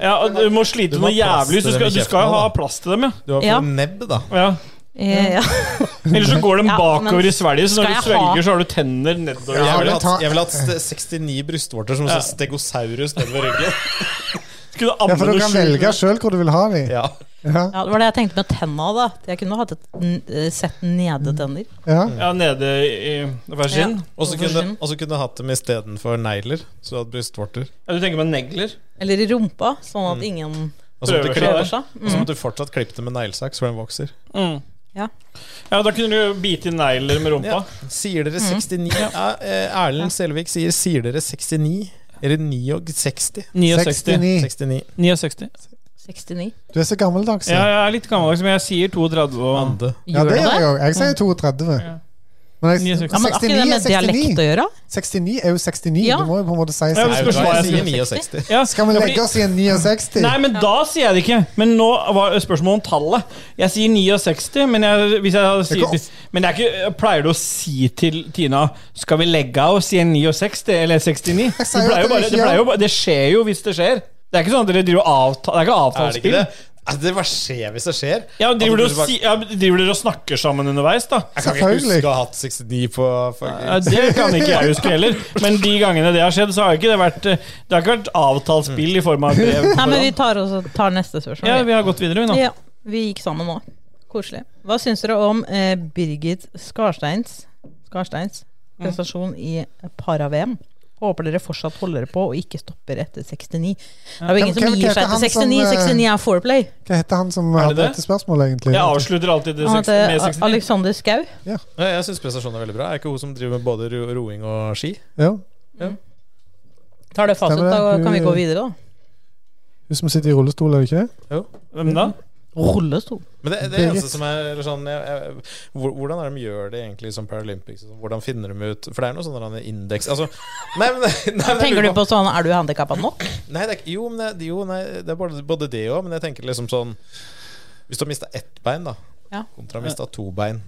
Speaker 1: Ja, og Du må slite
Speaker 4: Du må
Speaker 1: noe
Speaker 4: ha plass
Speaker 1: jævlig.
Speaker 4: til
Speaker 1: Du
Speaker 4: dem
Speaker 1: skal, du
Speaker 4: i kjeften
Speaker 1: skal jo
Speaker 4: også,
Speaker 1: ha
Speaker 4: da.
Speaker 1: plass til dem, ja.
Speaker 4: Du har
Speaker 5: Ja.
Speaker 4: fått nebb, da.
Speaker 1: ja.
Speaker 5: Eh, ja.
Speaker 1: Ellers så går de
Speaker 5: Ja,
Speaker 1: bakover
Speaker 5: men
Speaker 1: i svelget, så
Speaker 5: skal
Speaker 1: når du
Speaker 5: jeg ha-
Speaker 1: svelger, så har du tenner nedover.
Speaker 4: Jeg ville
Speaker 2: men ta-
Speaker 4: hatt, jeg vil hatt ste- 69 brystvorter som sånn stegosaurus nedover ryggen.
Speaker 1: Skulle du
Speaker 2: Ja, for
Speaker 1: amme
Speaker 2: du
Speaker 1: noe
Speaker 2: kan
Speaker 1: sjukt?
Speaker 2: velge sjøl hvor du vil ha dem.
Speaker 4: Ja.
Speaker 2: Ja,
Speaker 5: ja, Det var det jeg tenkte med tenna, da. At Jeg kunne hatt et n- eh, sett nede tenner.
Speaker 2: ja.
Speaker 1: Ja, nede i hver sin.
Speaker 5: Ja.
Speaker 4: Og så
Speaker 5: Hvorfor
Speaker 4: kunne
Speaker 5: skinn?
Speaker 4: og så kunne jeg hatt dem istedenfor negler. Så du hadde brystvorter.
Speaker 1: Ja, du tenker på negler?
Speaker 5: Eller i rumpa, sånn at ingen
Speaker 4: Og så måtte, du
Speaker 1: Prøver seg
Speaker 4: klippe-
Speaker 5: prøver
Speaker 1: der. Mm.
Speaker 5: seg.
Speaker 4: og så
Speaker 5: Mm.
Speaker 4: måtte du fortsatt klippe dem med neglesaks, for den vokser.
Speaker 5: Ja.
Speaker 1: Ja, da kunne du bite i negler med rumpa.
Speaker 4: Ja. Sier dere 69? Ja, eh, Erlend Selvik sier 'sier dere 69'? Eller 69?
Speaker 1: 69.
Speaker 2: 69.
Speaker 4: 69.
Speaker 1: 69.
Speaker 5: 69.
Speaker 2: Du er så gammeldags.
Speaker 1: Ja,
Speaker 2: Ja,
Speaker 1: jeg er litt gammeldags, men jeg sier 32. Og...
Speaker 4: Ande.
Speaker 5: Gjør
Speaker 2: det gjør
Speaker 5: du
Speaker 2: jeg
Speaker 5: det?
Speaker 2: òg. Jeg sier 32.
Speaker 1: Ja.
Speaker 2: Men jeg,
Speaker 1: 69.
Speaker 5: Ja, men har ikke det
Speaker 2: 69
Speaker 5: med
Speaker 2: er
Speaker 5: dialekt
Speaker 2: 69.
Speaker 5: å gjøre?
Speaker 2: 69 er jo 69.
Speaker 5: Ja.
Speaker 2: Du må jo på en måte si
Speaker 1: Ja, men
Speaker 4: Nei,
Speaker 2: 69.
Speaker 4: vet du hva, jeg sier
Speaker 5: 69.
Speaker 4: 69.
Speaker 1: Ja,
Speaker 2: Skal vi
Speaker 1: ja,
Speaker 2: legge
Speaker 1: fordi-
Speaker 2: oss i en 69?
Speaker 1: Nei, men da sier jeg det ikke. Men nå var spørsmålet om tallet. Jeg sier 69, men jeg, hvis jeg hadde
Speaker 2: Det er ikke
Speaker 1: sier, Men det er ikke, jeg pleier du å si til Tina Skal vi legge av og si 69 eller 69? Det,
Speaker 2: sa jo
Speaker 1: pleier
Speaker 2: at
Speaker 1: jo bare,
Speaker 2: dere
Speaker 1: det,
Speaker 2: ikke
Speaker 1: pleier
Speaker 2: gjør.
Speaker 1: jo bare, det skjer jo hvis det skjer. Det er ikke sånn at dere driver og avta- Det er ikke
Speaker 4: Er det ikke
Speaker 1: avtalespill.
Speaker 4: det? Altså, det bare skjer hvis det skjer.
Speaker 1: Ja,
Speaker 4: At
Speaker 1: driver
Speaker 4: du
Speaker 1: dere og,
Speaker 4: bare-
Speaker 1: si, ja, driver dere og snakker sammen underveis, da?
Speaker 4: Jeg kan ikke
Speaker 2: Selvfølgelig.
Speaker 4: huske å ha hatt 69 på
Speaker 1: Ja,
Speaker 4: fucking
Speaker 1: det kan ikke jeg huske heller. Men de gangene det har skjedd, så har ikke det vært eh, Det har ikke vært avtalt spill i form av brev. på
Speaker 5: Mm. Nei, men vi
Speaker 1: forhånd.
Speaker 5: tar, også, tar neste spørsmål.
Speaker 1: Ja, vi har gått videre, vi nå.
Speaker 5: Ja, vi gikk sammen nå. Koselig. Hva syns dere om eh, Birgit Skarsteins, Skarsteins prestasjon i para-VM? Håper dere fortsatt holder på og ikke stopper etter 69. Det er jo
Speaker 2: Hvem-
Speaker 5: ingen som
Speaker 2: hvem
Speaker 5: gir
Speaker 2: heter
Speaker 5: seg
Speaker 2: han
Speaker 5: til 69.
Speaker 2: som, eh,
Speaker 5: 69 er foreplay.
Speaker 2: Hva heter han som
Speaker 1: det
Speaker 2: hadde
Speaker 1: det?
Speaker 2: dette spørsmålet, egentlig?
Speaker 1: Jeg avslutter alltid det
Speaker 5: Han
Speaker 1: 60, med
Speaker 5: heter
Speaker 1: 69.
Speaker 5: Alexander Skau.
Speaker 4: Ja, Jeg syns prestasjonen er veldig bra. Er ikke hun som driver med både ro- roing og ski?
Speaker 2: Ja.
Speaker 5: Tar det fasit,
Speaker 2: Stemmer det.
Speaker 5: da kan vi
Speaker 2: Hun-
Speaker 5: gå videre, da.
Speaker 2: Hun som sitter i rullestol, er det ikke det?
Speaker 1: Hvem da?
Speaker 5: Rullestol.
Speaker 4: Men det, det eneste
Speaker 2: Birgit.
Speaker 4: som er eller sånn jeg, jeg, hvor- Hvordan er det de gjør det egentlig som Paralympics? og sånn? Hvordan finner de ut For det er noe sånn der indeks Altså Nei, men, nei, nei, men jeg
Speaker 5: Tenker du
Speaker 4: lurer
Speaker 5: på sånn Er du handikappa nok?
Speaker 4: Nei, det er, ikke- jo, men det, jo, nei, det er både, både det òg, men jeg tenker liksom sånn Hvis du har mista ett bein, da,
Speaker 5: Ja.
Speaker 4: kontra mista to bein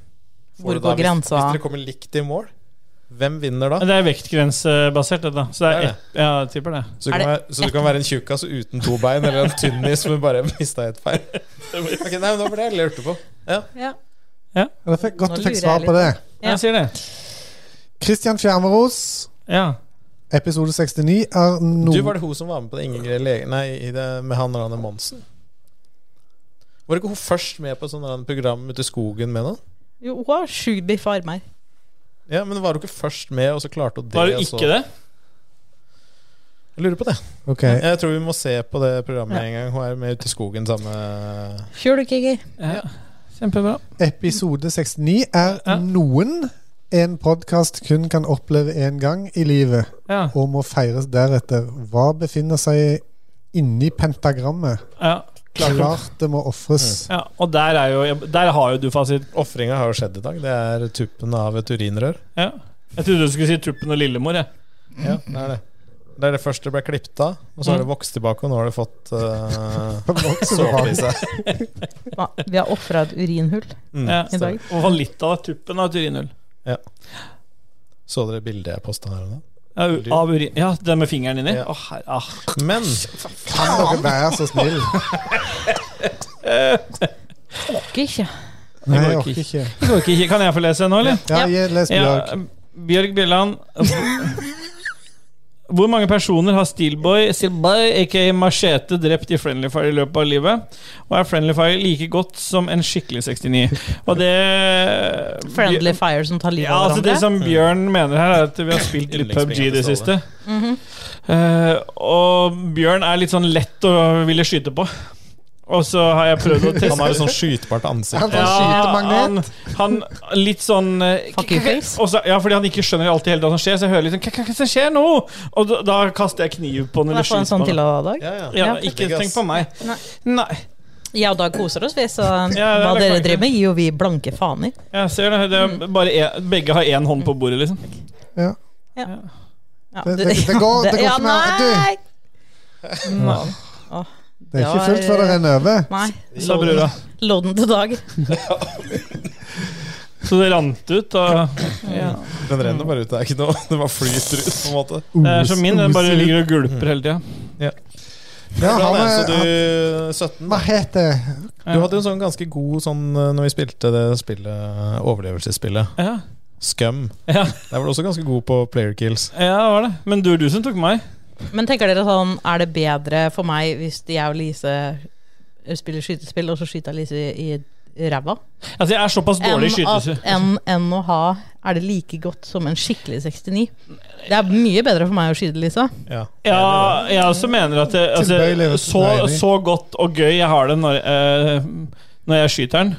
Speaker 4: får
Speaker 5: Hvor
Speaker 4: du da-
Speaker 5: går grensa?
Speaker 4: Hvis, hvis dere kommer likt i mål, hvem vinner da?
Speaker 1: Det er vektgrensebasert, dette. da. Så det
Speaker 4: Det er
Speaker 1: er
Speaker 4: det.
Speaker 1: ett, ja, jeg tipper det.
Speaker 4: Så du,
Speaker 5: Er
Speaker 4: kan
Speaker 5: det
Speaker 4: være, så du kan være en tjukkas uten to bein, eller en tynnis som bare mista ett bein. Ok, nei, men Det var det jeg lurte på.
Speaker 5: Ja.
Speaker 2: Ja, det fikk, godt
Speaker 5: Nå
Speaker 2: du fikk
Speaker 5: lurer jeg
Speaker 2: svar på det.
Speaker 5: litt. Ja.
Speaker 1: Jeg sier det.
Speaker 2: Kristian Fjermeros,
Speaker 1: Ja.
Speaker 2: episode 69, er noe
Speaker 4: Du, Var det hun som var med på det Ingrid Lege... Nei, i det, med han Rane Monsen? Var ikke hun først med på et sånt eller annet program ute i skogen med noen?
Speaker 5: Jo, hun har sju biffe armer.
Speaker 4: Ja, men var hun ikke først med, og så klarte hun det?
Speaker 1: Var det
Speaker 4: og så-
Speaker 1: ikke det?
Speaker 4: Jeg lurer på det.
Speaker 2: Ok.
Speaker 4: Jeg tror vi må se på det programmet en gang. Hun er med ute i skogen sammen med
Speaker 5: Kjør du, Kiki.
Speaker 1: Ja. Kjempebra.
Speaker 2: Episode 69 er
Speaker 1: Ja.
Speaker 2: noen en podkast kun kan oppleve én gang i livet,
Speaker 1: Ja.
Speaker 2: og må feires deretter. Hva befinner seg inni pentagrammet?
Speaker 1: ja. Klart.
Speaker 2: Klart det må ofres.
Speaker 1: Ja, og der, er jo, der har jo du fasit.
Speaker 4: Ofringa har jo skjedd i dag. Det er tuppen av et urinrør.
Speaker 1: Ja. Jeg trodde du skulle si Tuppen og Lillemor. Jeg.
Speaker 4: Ja, det er det. Det er det første det ble klippet av, og så har det vokst tilbake, og nå har det fått eh, såpe i seg.
Speaker 5: Ja, Vi har ofra et urinhull
Speaker 4: Mm,
Speaker 1: Ja.
Speaker 5: i dag.
Speaker 4: stemmer.
Speaker 1: Og var litt av Tuppen av Turinhull.
Speaker 4: Så dere bildet jeg posta her? og da?
Speaker 1: Ja, u- av urin. ja, den med fingeren inni.
Speaker 4: Ja.
Speaker 1: Å, her, ah.
Speaker 4: Men
Speaker 2: Kan dere være så snill?
Speaker 5: Orker ikke.
Speaker 2: Nei,
Speaker 1: går ikke.
Speaker 2: jeg orker ikke.
Speaker 1: Det går ikke. Kan jeg få lese nå, eller?
Speaker 2: Ja, gi- les Bjørg.
Speaker 1: Ja, Bjørg Bjelland. Hvor mange personer har Steelboy, Steelboy aka Machete, drept i Friendly Fire i løpet av livet? Og er Friendly Fire like godt som en skikkelig 69? Og det
Speaker 5: Friendly fire som tar livet
Speaker 1: ja,
Speaker 5: av
Speaker 1: altså Det
Speaker 5: hverandre.
Speaker 1: som Bjørn mener her, er at vi har spilt litt PubG det
Speaker 4: altså.
Speaker 1: siste.
Speaker 5: Mhm.
Speaker 1: Eh, og Bjørn er litt sånn lett å ville skyte på. Og så har jeg prøvd å teste
Speaker 4: han har jo sånn skytbart ansikt.
Speaker 2: Han får skytemagnet.
Speaker 1: han, han litt sånn eh,
Speaker 5: Fuck you face.
Speaker 1: og så- Ja, fordi han ikke skjønner alltid helt hva som skjer, så jeg hører litt sånn "Hva- Hva hva som skjer nå? Og da, da kaster jeg kniv på han
Speaker 5: Kan
Speaker 1: eller
Speaker 5: jeg få en
Speaker 1: skyter
Speaker 5: sånn
Speaker 1: på
Speaker 5: til
Speaker 1: han.
Speaker 5: og dag?
Speaker 4: Ja, ja.
Speaker 1: Ja,
Speaker 5: Ja.
Speaker 1: ikke tenk på meg.
Speaker 5: Nei.
Speaker 1: Nei.
Speaker 5: Jeg og Dag koser oss, vi, så
Speaker 1: Ja, det
Speaker 5: hva
Speaker 1: er
Speaker 5: dere
Speaker 1: klart.
Speaker 5: driver med, gir jo vi blanke faen i.
Speaker 1: Jeg ser det. det er bare en, begge har én hånd på bordet, liksom.
Speaker 2: Ja.
Speaker 5: Ja. Ja,
Speaker 2: Det- det- det går- det går ikke mer.
Speaker 5: Nei! Åh,
Speaker 2: Det er ikke fullt før det renner over.
Speaker 5: Nei.
Speaker 1: sa brura.
Speaker 5: Lodden til dag.
Speaker 1: Så det rant ut. Og
Speaker 5: Mm.
Speaker 4: Den renner bare ut. Det er ikke noe Den bare flyter ut, på en måte.
Speaker 1: det er som Eh, min, den bare ligger og gulper hele tida.
Speaker 2: Ja,
Speaker 4: Hvordan er det,
Speaker 2: han
Speaker 4: så
Speaker 2: er,
Speaker 4: du 17.
Speaker 2: hva heter det?
Speaker 1: Ja.
Speaker 4: Du hadde en sånn ganske god sånn eh, Når vi spilte det spillet, eh, overlevelsesspillet
Speaker 1: Ja.
Speaker 4: Scum.
Speaker 1: Ja.
Speaker 4: Der var du også ganske god på player kills.
Speaker 1: ja, det var det. Men du er du som tok meg.
Speaker 5: Men tenker dere sånn, er det bedre for meg hvis jeg og Lise eh, spiller skytespill, og så skyter jeg Lise i i ræva?
Speaker 1: Altså, jeg er såpass
Speaker 5: Enn
Speaker 1: dårlig i skytelse.
Speaker 5: at- enn- enn å ha Er det like godt som en skikkelig 69? Det er mye bedre for meg å skyte Lise.
Speaker 4: Ja.
Speaker 1: Ja, jeg også mener at det,
Speaker 2: Tilbøyelig,
Speaker 1: altså,
Speaker 2: vet du.
Speaker 1: så,
Speaker 2: Tilbøyelig.
Speaker 1: så godt og gøy jeg har det når, eh, når jeg skyter den.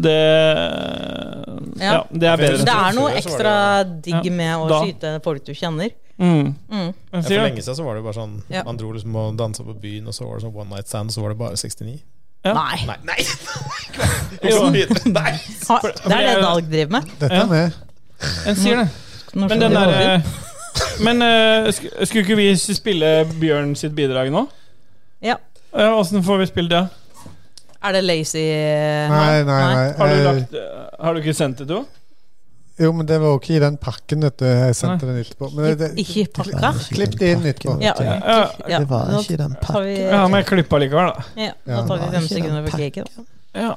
Speaker 1: Det
Speaker 5: Ja.
Speaker 1: ja. det er
Speaker 5: Det
Speaker 1: bedre.
Speaker 5: er noe
Speaker 4: Før så var
Speaker 5: ekstra digg
Speaker 1: Ja,
Speaker 5: med å
Speaker 1: da.
Speaker 5: skyte folk du kjenner.
Speaker 1: Mm.
Speaker 5: Mm.
Speaker 1: Hva
Speaker 4: Ja,
Speaker 1: sier
Speaker 4: for
Speaker 1: du?
Speaker 4: lenge siden så var det jo bare sånn
Speaker 5: Ja.
Speaker 4: Man dro liksom og dansa på byen, og så var det sånn one night stand, og så var det bare 69.
Speaker 1: Ja.
Speaker 5: Nei.
Speaker 4: Nei! Nei.
Speaker 1: Jo,
Speaker 4: Nei.
Speaker 5: Ha, det er det Dag driver med.
Speaker 2: Dette
Speaker 1: Ja.
Speaker 2: er med.
Speaker 1: en sier det.
Speaker 5: Når
Speaker 1: Men
Speaker 5: skal
Speaker 1: den
Speaker 5: vi
Speaker 1: der
Speaker 5: over?
Speaker 1: eh, Men eh, sk- skulle ikke vi spille Bjørn sitt bidrag nå?
Speaker 5: Ja.
Speaker 1: Ja, Åssen får vi spilt det?
Speaker 5: Er det lazy eh,
Speaker 2: Nei, nei, nei.
Speaker 1: Har du,
Speaker 2: Eh,
Speaker 1: lagt, eh, har du ikke sendt det til henne?
Speaker 2: Jo, men det var ikke i den pakken vet du, jeg sendte den etterpå. Men det, det,
Speaker 5: Ikke pakka?
Speaker 2: klipp det inn etterpå.
Speaker 5: Ja.
Speaker 1: Ja,
Speaker 5: ja.
Speaker 8: Det var
Speaker 5: Nå
Speaker 8: ikke den
Speaker 5: tar vi,
Speaker 8: pakken.
Speaker 1: ja, men jeg klippa likevel, da.
Speaker 5: ja,
Speaker 2: Ja.
Speaker 5: da tar vi
Speaker 8: Var
Speaker 5: fem
Speaker 8: ikke
Speaker 5: sekunder
Speaker 8: den
Speaker 5: for cake. da.
Speaker 1: Ja.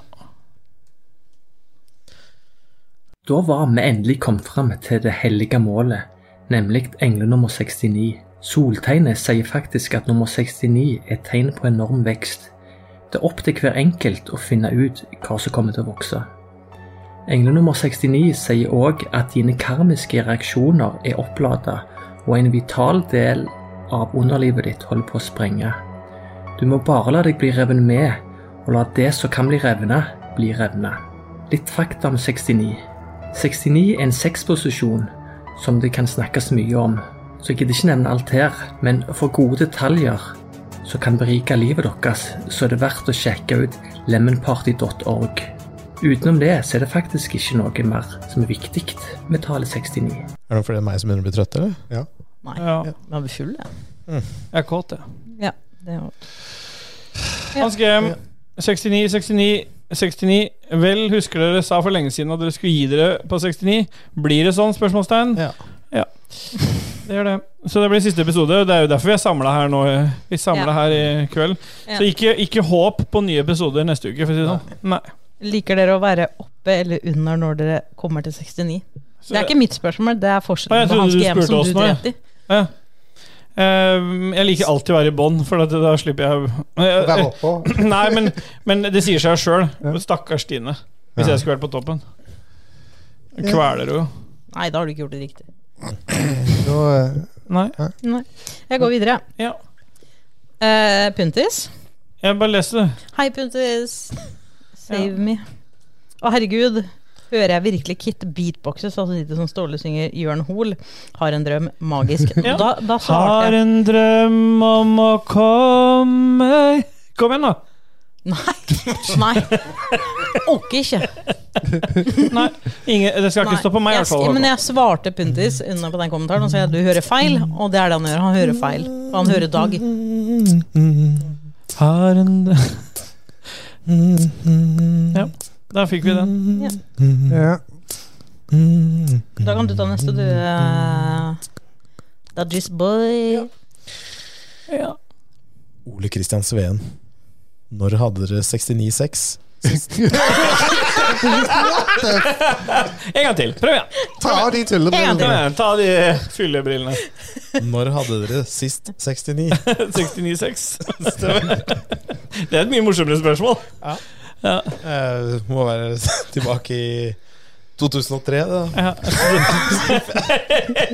Speaker 9: Da var vi endelig kommet fram til det hellige målet, nemlig engle nummer 69. Soltegnet sier faktisk at nummer 69 er et tegn på enorm vekst. Det er opp til hver enkelt å finne ut hva som kommer til å vokse. Engle nummer 69 sier òg at dine karmiske reaksjoner er opplada, og en vital del av underlivet ditt holder på å sprenge. Du må bare la deg bli revet med, og la det som kan bli revna, bli revna. Litt fakta om 69. 69 er en sexposisjon som det kan snakkes mye om. Så jeg gidder ikke nevne alt her, men for gode detaljer som kan berike livet deres, så er det verdt å sjekke ut lemonparty.org. Utenom det så er det faktisk ikke noe mer som er viktig med tallet 69.
Speaker 4: Er det noe fordi det er meg som begynner å bli trøtt, eller?
Speaker 5: Nei,
Speaker 1: ja.
Speaker 5: man blir full, ja.
Speaker 1: Jeg er kåt, jeg.
Speaker 5: ja det er jo-
Speaker 1: Hanskehjem. 69, 69, 69. Vel, husker dere sa for lenge siden at dere skulle gi dere på 69? Blir det sånn? Spørsmålstegn.
Speaker 4: Ja.
Speaker 1: Ja. Det gjør det. Så det blir siste episode. Det er jo derfor vi er samla her nå. eh. Vi samlet
Speaker 5: Ja.
Speaker 1: her i kveld.
Speaker 5: Ja.
Speaker 1: Så ikke, ikke håp på nye episoder neste uke, for å si det sånn. Nei.
Speaker 5: Liker dere å være oppe eller under når dere kommer til 69?
Speaker 1: Så,
Speaker 5: Det er ikke mitt spørsmål, det er
Speaker 1: Nei, jeg
Speaker 5: forskjellen på
Speaker 1: trodde
Speaker 5: hans
Speaker 1: du
Speaker 5: GM
Speaker 1: spurte
Speaker 5: som
Speaker 1: oss
Speaker 5: du
Speaker 1: nå, ja.
Speaker 5: drepte i.
Speaker 1: eh, jeg liker alltid å være i bånn, for at da slipper jeg Eh,
Speaker 2: Vær oppå.
Speaker 1: Nei, men, men det sier seg sjøl. Stakkars Stine. Hvis jeg skulle vært på toppen. Kveler hun jo.
Speaker 5: Nei, da har du ikke gjort det riktig.
Speaker 2: Da, eh,
Speaker 1: Nei.
Speaker 5: Nei. Jeg går videre.
Speaker 1: Ja.
Speaker 5: Eh, Puntis.
Speaker 1: Jeg bare leser det.
Speaker 5: Hei, Puntis. Save me. Å, herregud. Hører jeg virkelig Kit beatboxe så lite som Ståle synger Jørn Hoel? Har en drøm. Magisk.
Speaker 1: Ja.
Speaker 5: Da, da svarte
Speaker 1: Har
Speaker 5: jeg
Speaker 1: en drøm om å komme Kom igjen, da.
Speaker 5: Nei. Nei. Orker ikke.
Speaker 1: Nei, ingen, det skal ikke
Speaker 5: Nei.
Speaker 1: stå på meg, i
Speaker 5: jeg,
Speaker 1: hvert fall.
Speaker 5: sk- men jeg svarte Puntis unna på den kommentaren og sa at du hører feil, og det er det han gjør. Han hører feil. Og han hører Dag.
Speaker 1: Har en Ja, da fikk vi
Speaker 5: Mm.
Speaker 1: den.
Speaker 2: ja.
Speaker 5: Da kan du ta neste, du. Uh, Dodgies boy.
Speaker 1: Ja.
Speaker 4: Ole Kristian Sveen. Når hadde dere 69-6?
Speaker 1: En gang til. Prøv igjen.
Speaker 2: Ta av de
Speaker 5: En
Speaker 1: Kom
Speaker 5: gang til.
Speaker 2: tullebrillene.
Speaker 1: igjen. Ta de fyllebrillene.
Speaker 4: Når hadde dere sist 69?
Speaker 1: 69,6. Det er et mye morsommere spørsmål.
Speaker 4: Eh, må være tilbake i 2003, da.
Speaker 1: Ja.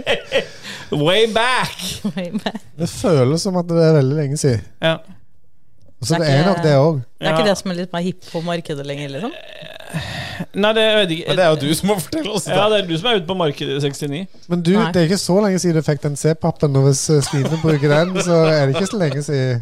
Speaker 1: Way back!
Speaker 5: Det
Speaker 2: Det føles som at det er veldig lenge siden.
Speaker 1: Ja.
Speaker 2: Så
Speaker 5: Det er
Speaker 2: det er
Speaker 5: ikke-
Speaker 2: nok det òg.
Speaker 5: er ikke
Speaker 1: Ja.
Speaker 5: det som er litt mer hipp på markedet lenger, liksom?
Speaker 1: Nei, det vet jeg ikke.
Speaker 4: Men det er jo du som må fortelle oss det.
Speaker 1: Ja, det er du som er ute på markedet i 69.
Speaker 2: Men du,
Speaker 5: Nei.
Speaker 2: det er ikke så lenge siden du fikk den C-pappen, og hvis eh, Stine bruker den, så er det ikke så lenge siden.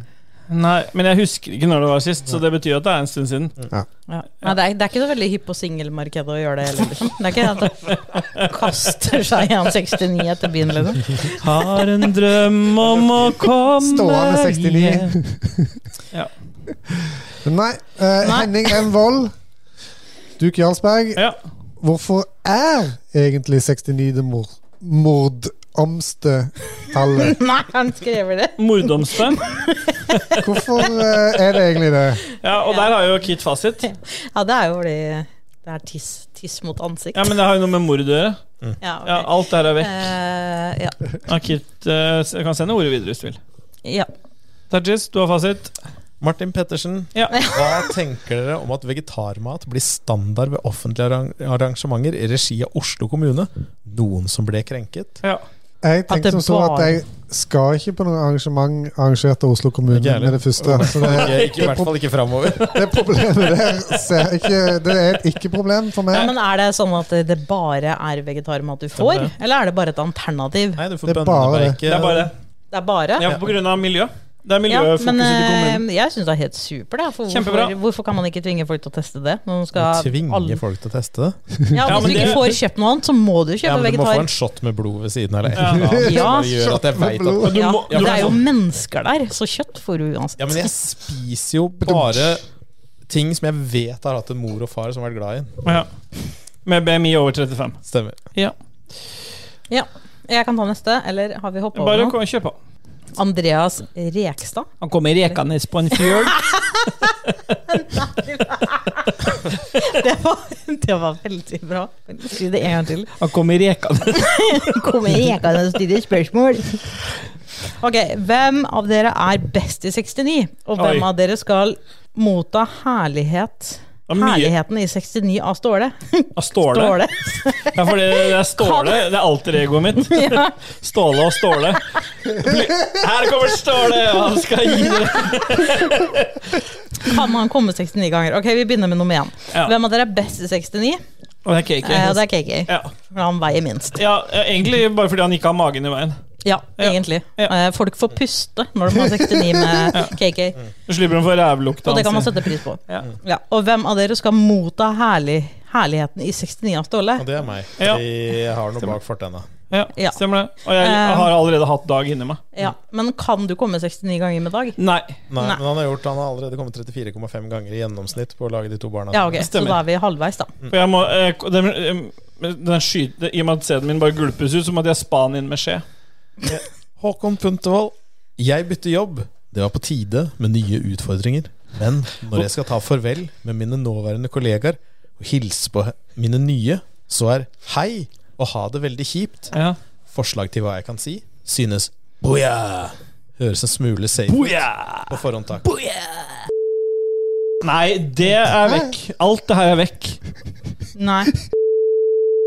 Speaker 1: Nei, men jeg husker ikke når det var sist, så det betyr at det er en stund siden.
Speaker 5: Ja. Nei, det, er, det er ikke så veldig hypp på singelmarkedet å gjøre det heller. Liksom. Det er ikke det at det kaster seg i han 69 etter byen, liksom.
Speaker 1: Har en drøm om å komme
Speaker 2: Stående 69.
Speaker 1: hjem.
Speaker 2: Nei. eh,
Speaker 5: Nei.
Speaker 2: Henning M. Wold, Duke Jarlsberg.
Speaker 1: Ja.
Speaker 2: Hvorfor er egentlig 69 det mor mordomste tallet?
Speaker 5: Nei, han skriver det.
Speaker 1: Mordomstegn.
Speaker 2: Hvorfor eh, er det egentlig det?
Speaker 1: Ja, og der har jo Kit fasit.
Speaker 5: Ja, det er jo fordi det er tiss, tiss mot ansikt.
Speaker 1: Ja, men det har jo noe med mord å gjøre.
Speaker 5: Ja, ok.
Speaker 1: Ja, alt der er vekk.
Speaker 5: Eh, ja.
Speaker 1: Ja, Kit eh, jeg kan sende ordet videre hvis du vil.
Speaker 5: ja.
Speaker 1: Tajis, du har fasit.
Speaker 4: Martin Pettersen,
Speaker 1: Ja.
Speaker 4: hva tenker dere om at vegetarmat blir standard ved offentlige arrang- arrangementer i regi av Oslo kommune? Noen som ble krenket?
Speaker 1: Ja.
Speaker 2: Jeg
Speaker 5: At
Speaker 2: tenkte
Speaker 5: det
Speaker 2: som så at
Speaker 5: bare-
Speaker 2: jeg skal ikke på noe arrangement arrangert av Oslo kommune
Speaker 4: Ikke heller.
Speaker 2: med det første. Så det,
Speaker 4: Ikke, ikke, I hvert fall ikke framover.
Speaker 2: det problemet der ser jeg ikke Det er et ikke-problem for
Speaker 5: Ja,
Speaker 2: meg.
Speaker 5: men er det sånn at det bare er vegetarmat du får,
Speaker 1: Det
Speaker 5: eller er det bare et alternativ?
Speaker 4: Nei, du får
Speaker 2: Det er bare det.
Speaker 4: bønneberg.
Speaker 1: Det er bare det.
Speaker 5: Det er bare?
Speaker 1: Ja, på grunn av miljø. Det er
Speaker 5: Ja,
Speaker 1: miljøfokuset
Speaker 5: men
Speaker 1: til kommunen.
Speaker 5: eh, jeg syns det er helt supert. da, For
Speaker 1: Kjempebra.
Speaker 5: hvorfor, hvorfor kan man ikke tvinge folk til å teste det? Når man skal alle-
Speaker 4: Tvinge folk til å teste det.
Speaker 5: Ja,
Speaker 1: Ja,
Speaker 5: Hvis
Speaker 1: men
Speaker 5: du ikke
Speaker 1: det-
Speaker 5: får kjøpt noe annet, så må du
Speaker 4: Ja,
Speaker 5: kjøpe
Speaker 4: men du må få
Speaker 5: vegetar.
Speaker 4: en shot med blod ved siden av.
Speaker 1: Ja.
Speaker 5: Ja,
Speaker 4: Det gjør at jeg vet at
Speaker 1: Du
Speaker 5: Ja,
Speaker 1: må- du
Speaker 5: det er
Speaker 1: må-
Speaker 5: jo mennesker der, så kjøtt får du uansett.
Speaker 4: Ja, men jeg spiser jo bare ting som jeg vet har hatt en mor og far som har vært glad i.
Speaker 1: Ja. Med BMI over 35.
Speaker 4: Stemmer.
Speaker 5: Ja. Jeg kan ta neste, eller har vi hoppa over
Speaker 1: Bare
Speaker 5: noe?
Speaker 1: kom, kjør på.
Speaker 5: Andreas Rekstad.
Speaker 1: Han kommer rekende på en fjøl.
Speaker 5: Det var, det var veldig bra. Si det en gang til.
Speaker 1: Han kommer rekende.
Speaker 5: Kommer rekende og stiller spørsmål. Ok, Hvem av dere er best i 69? Og hvem
Speaker 1: Oi.
Speaker 5: av dere skal motta herlighet?
Speaker 1: Det er mye-
Speaker 5: Herligheten i 69 av Ståle.
Speaker 1: Av Ståle.
Speaker 5: Ståle.
Speaker 1: Ja, for det, det er Ståle. Det er alter egoet mitt.
Speaker 5: Ja.
Speaker 1: Ståle og Ståle. Her kommer Ståle, og han skal gi det.
Speaker 5: Kan han komme 69 ganger? Ok, Vi begynner med nummer én.
Speaker 1: Ja.
Speaker 5: Hvem av dere er best i 69?
Speaker 1: Og det er cake.
Speaker 5: Eh, det er KK,
Speaker 1: Ja.
Speaker 5: for han veier minst.
Speaker 1: ja, egentlig bare fordi han ikke har magen i veien.
Speaker 5: Ja,
Speaker 1: Ja.
Speaker 5: egentlig.
Speaker 1: Ja.
Speaker 5: Eh, folk får puste når de har 69 med KK,
Speaker 1: Så slipper han å få rævlukta
Speaker 5: og det kan man
Speaker 1: hans.
Speaker 5: sette pris på.
Speaker 1: Ja.
Speaker 5: Ja, og hvem av dere skal motta herlig, herligheten i 69 av Ståle?
Speaker 4: Og det er meg.
Speaker 1: Ja.
Speaker 4: Jeg har noe bak fortenna.
Speaker 1: Ja,
Speaker 5: Ja. Eh.
Speaker 1: stemmer det. Og jeg har allerede hatt dag inni meg.
Speaker 5: Ja, men kan du komme 69 ganger med dag?
Speaker 1: Nei.
Speaker 4: Nei,
Speaker 5: Nei.
Speaker 4: men han har, gjort, han har allerede kommet 34,5 ganger i gjennomsnitt på å lage de to barna.
Speaker 5: Ja, ok, så
Speaker 1: stemmer.
Speaker 5: da er vi halvveis, da.
Speaker 1: For jeg må, eh, k- den, eh, den skyte, I og med at sæden min bare gulpes ut, så måtte jeg spa den inn med skje.
Speaker 4: Håkon Puntervold, jeg bytter jobb. Det var på tide med nye utfordringer. Men når jeg skal ta farvel med mine nåværende kollegaer og hilse på mine nye, så er hei og ha det veldig kjipt
Speaker 1: Ja.
Speaker 4: forslag til hva jeg kan si, synes boja. Høres en smule safe
Speaker 1: Oh,
Speaker 4: ut på forhånd, takk.
Speaker 1: Nei, det er vekk. Alt det her er vekk.
Speaker 5: Nei.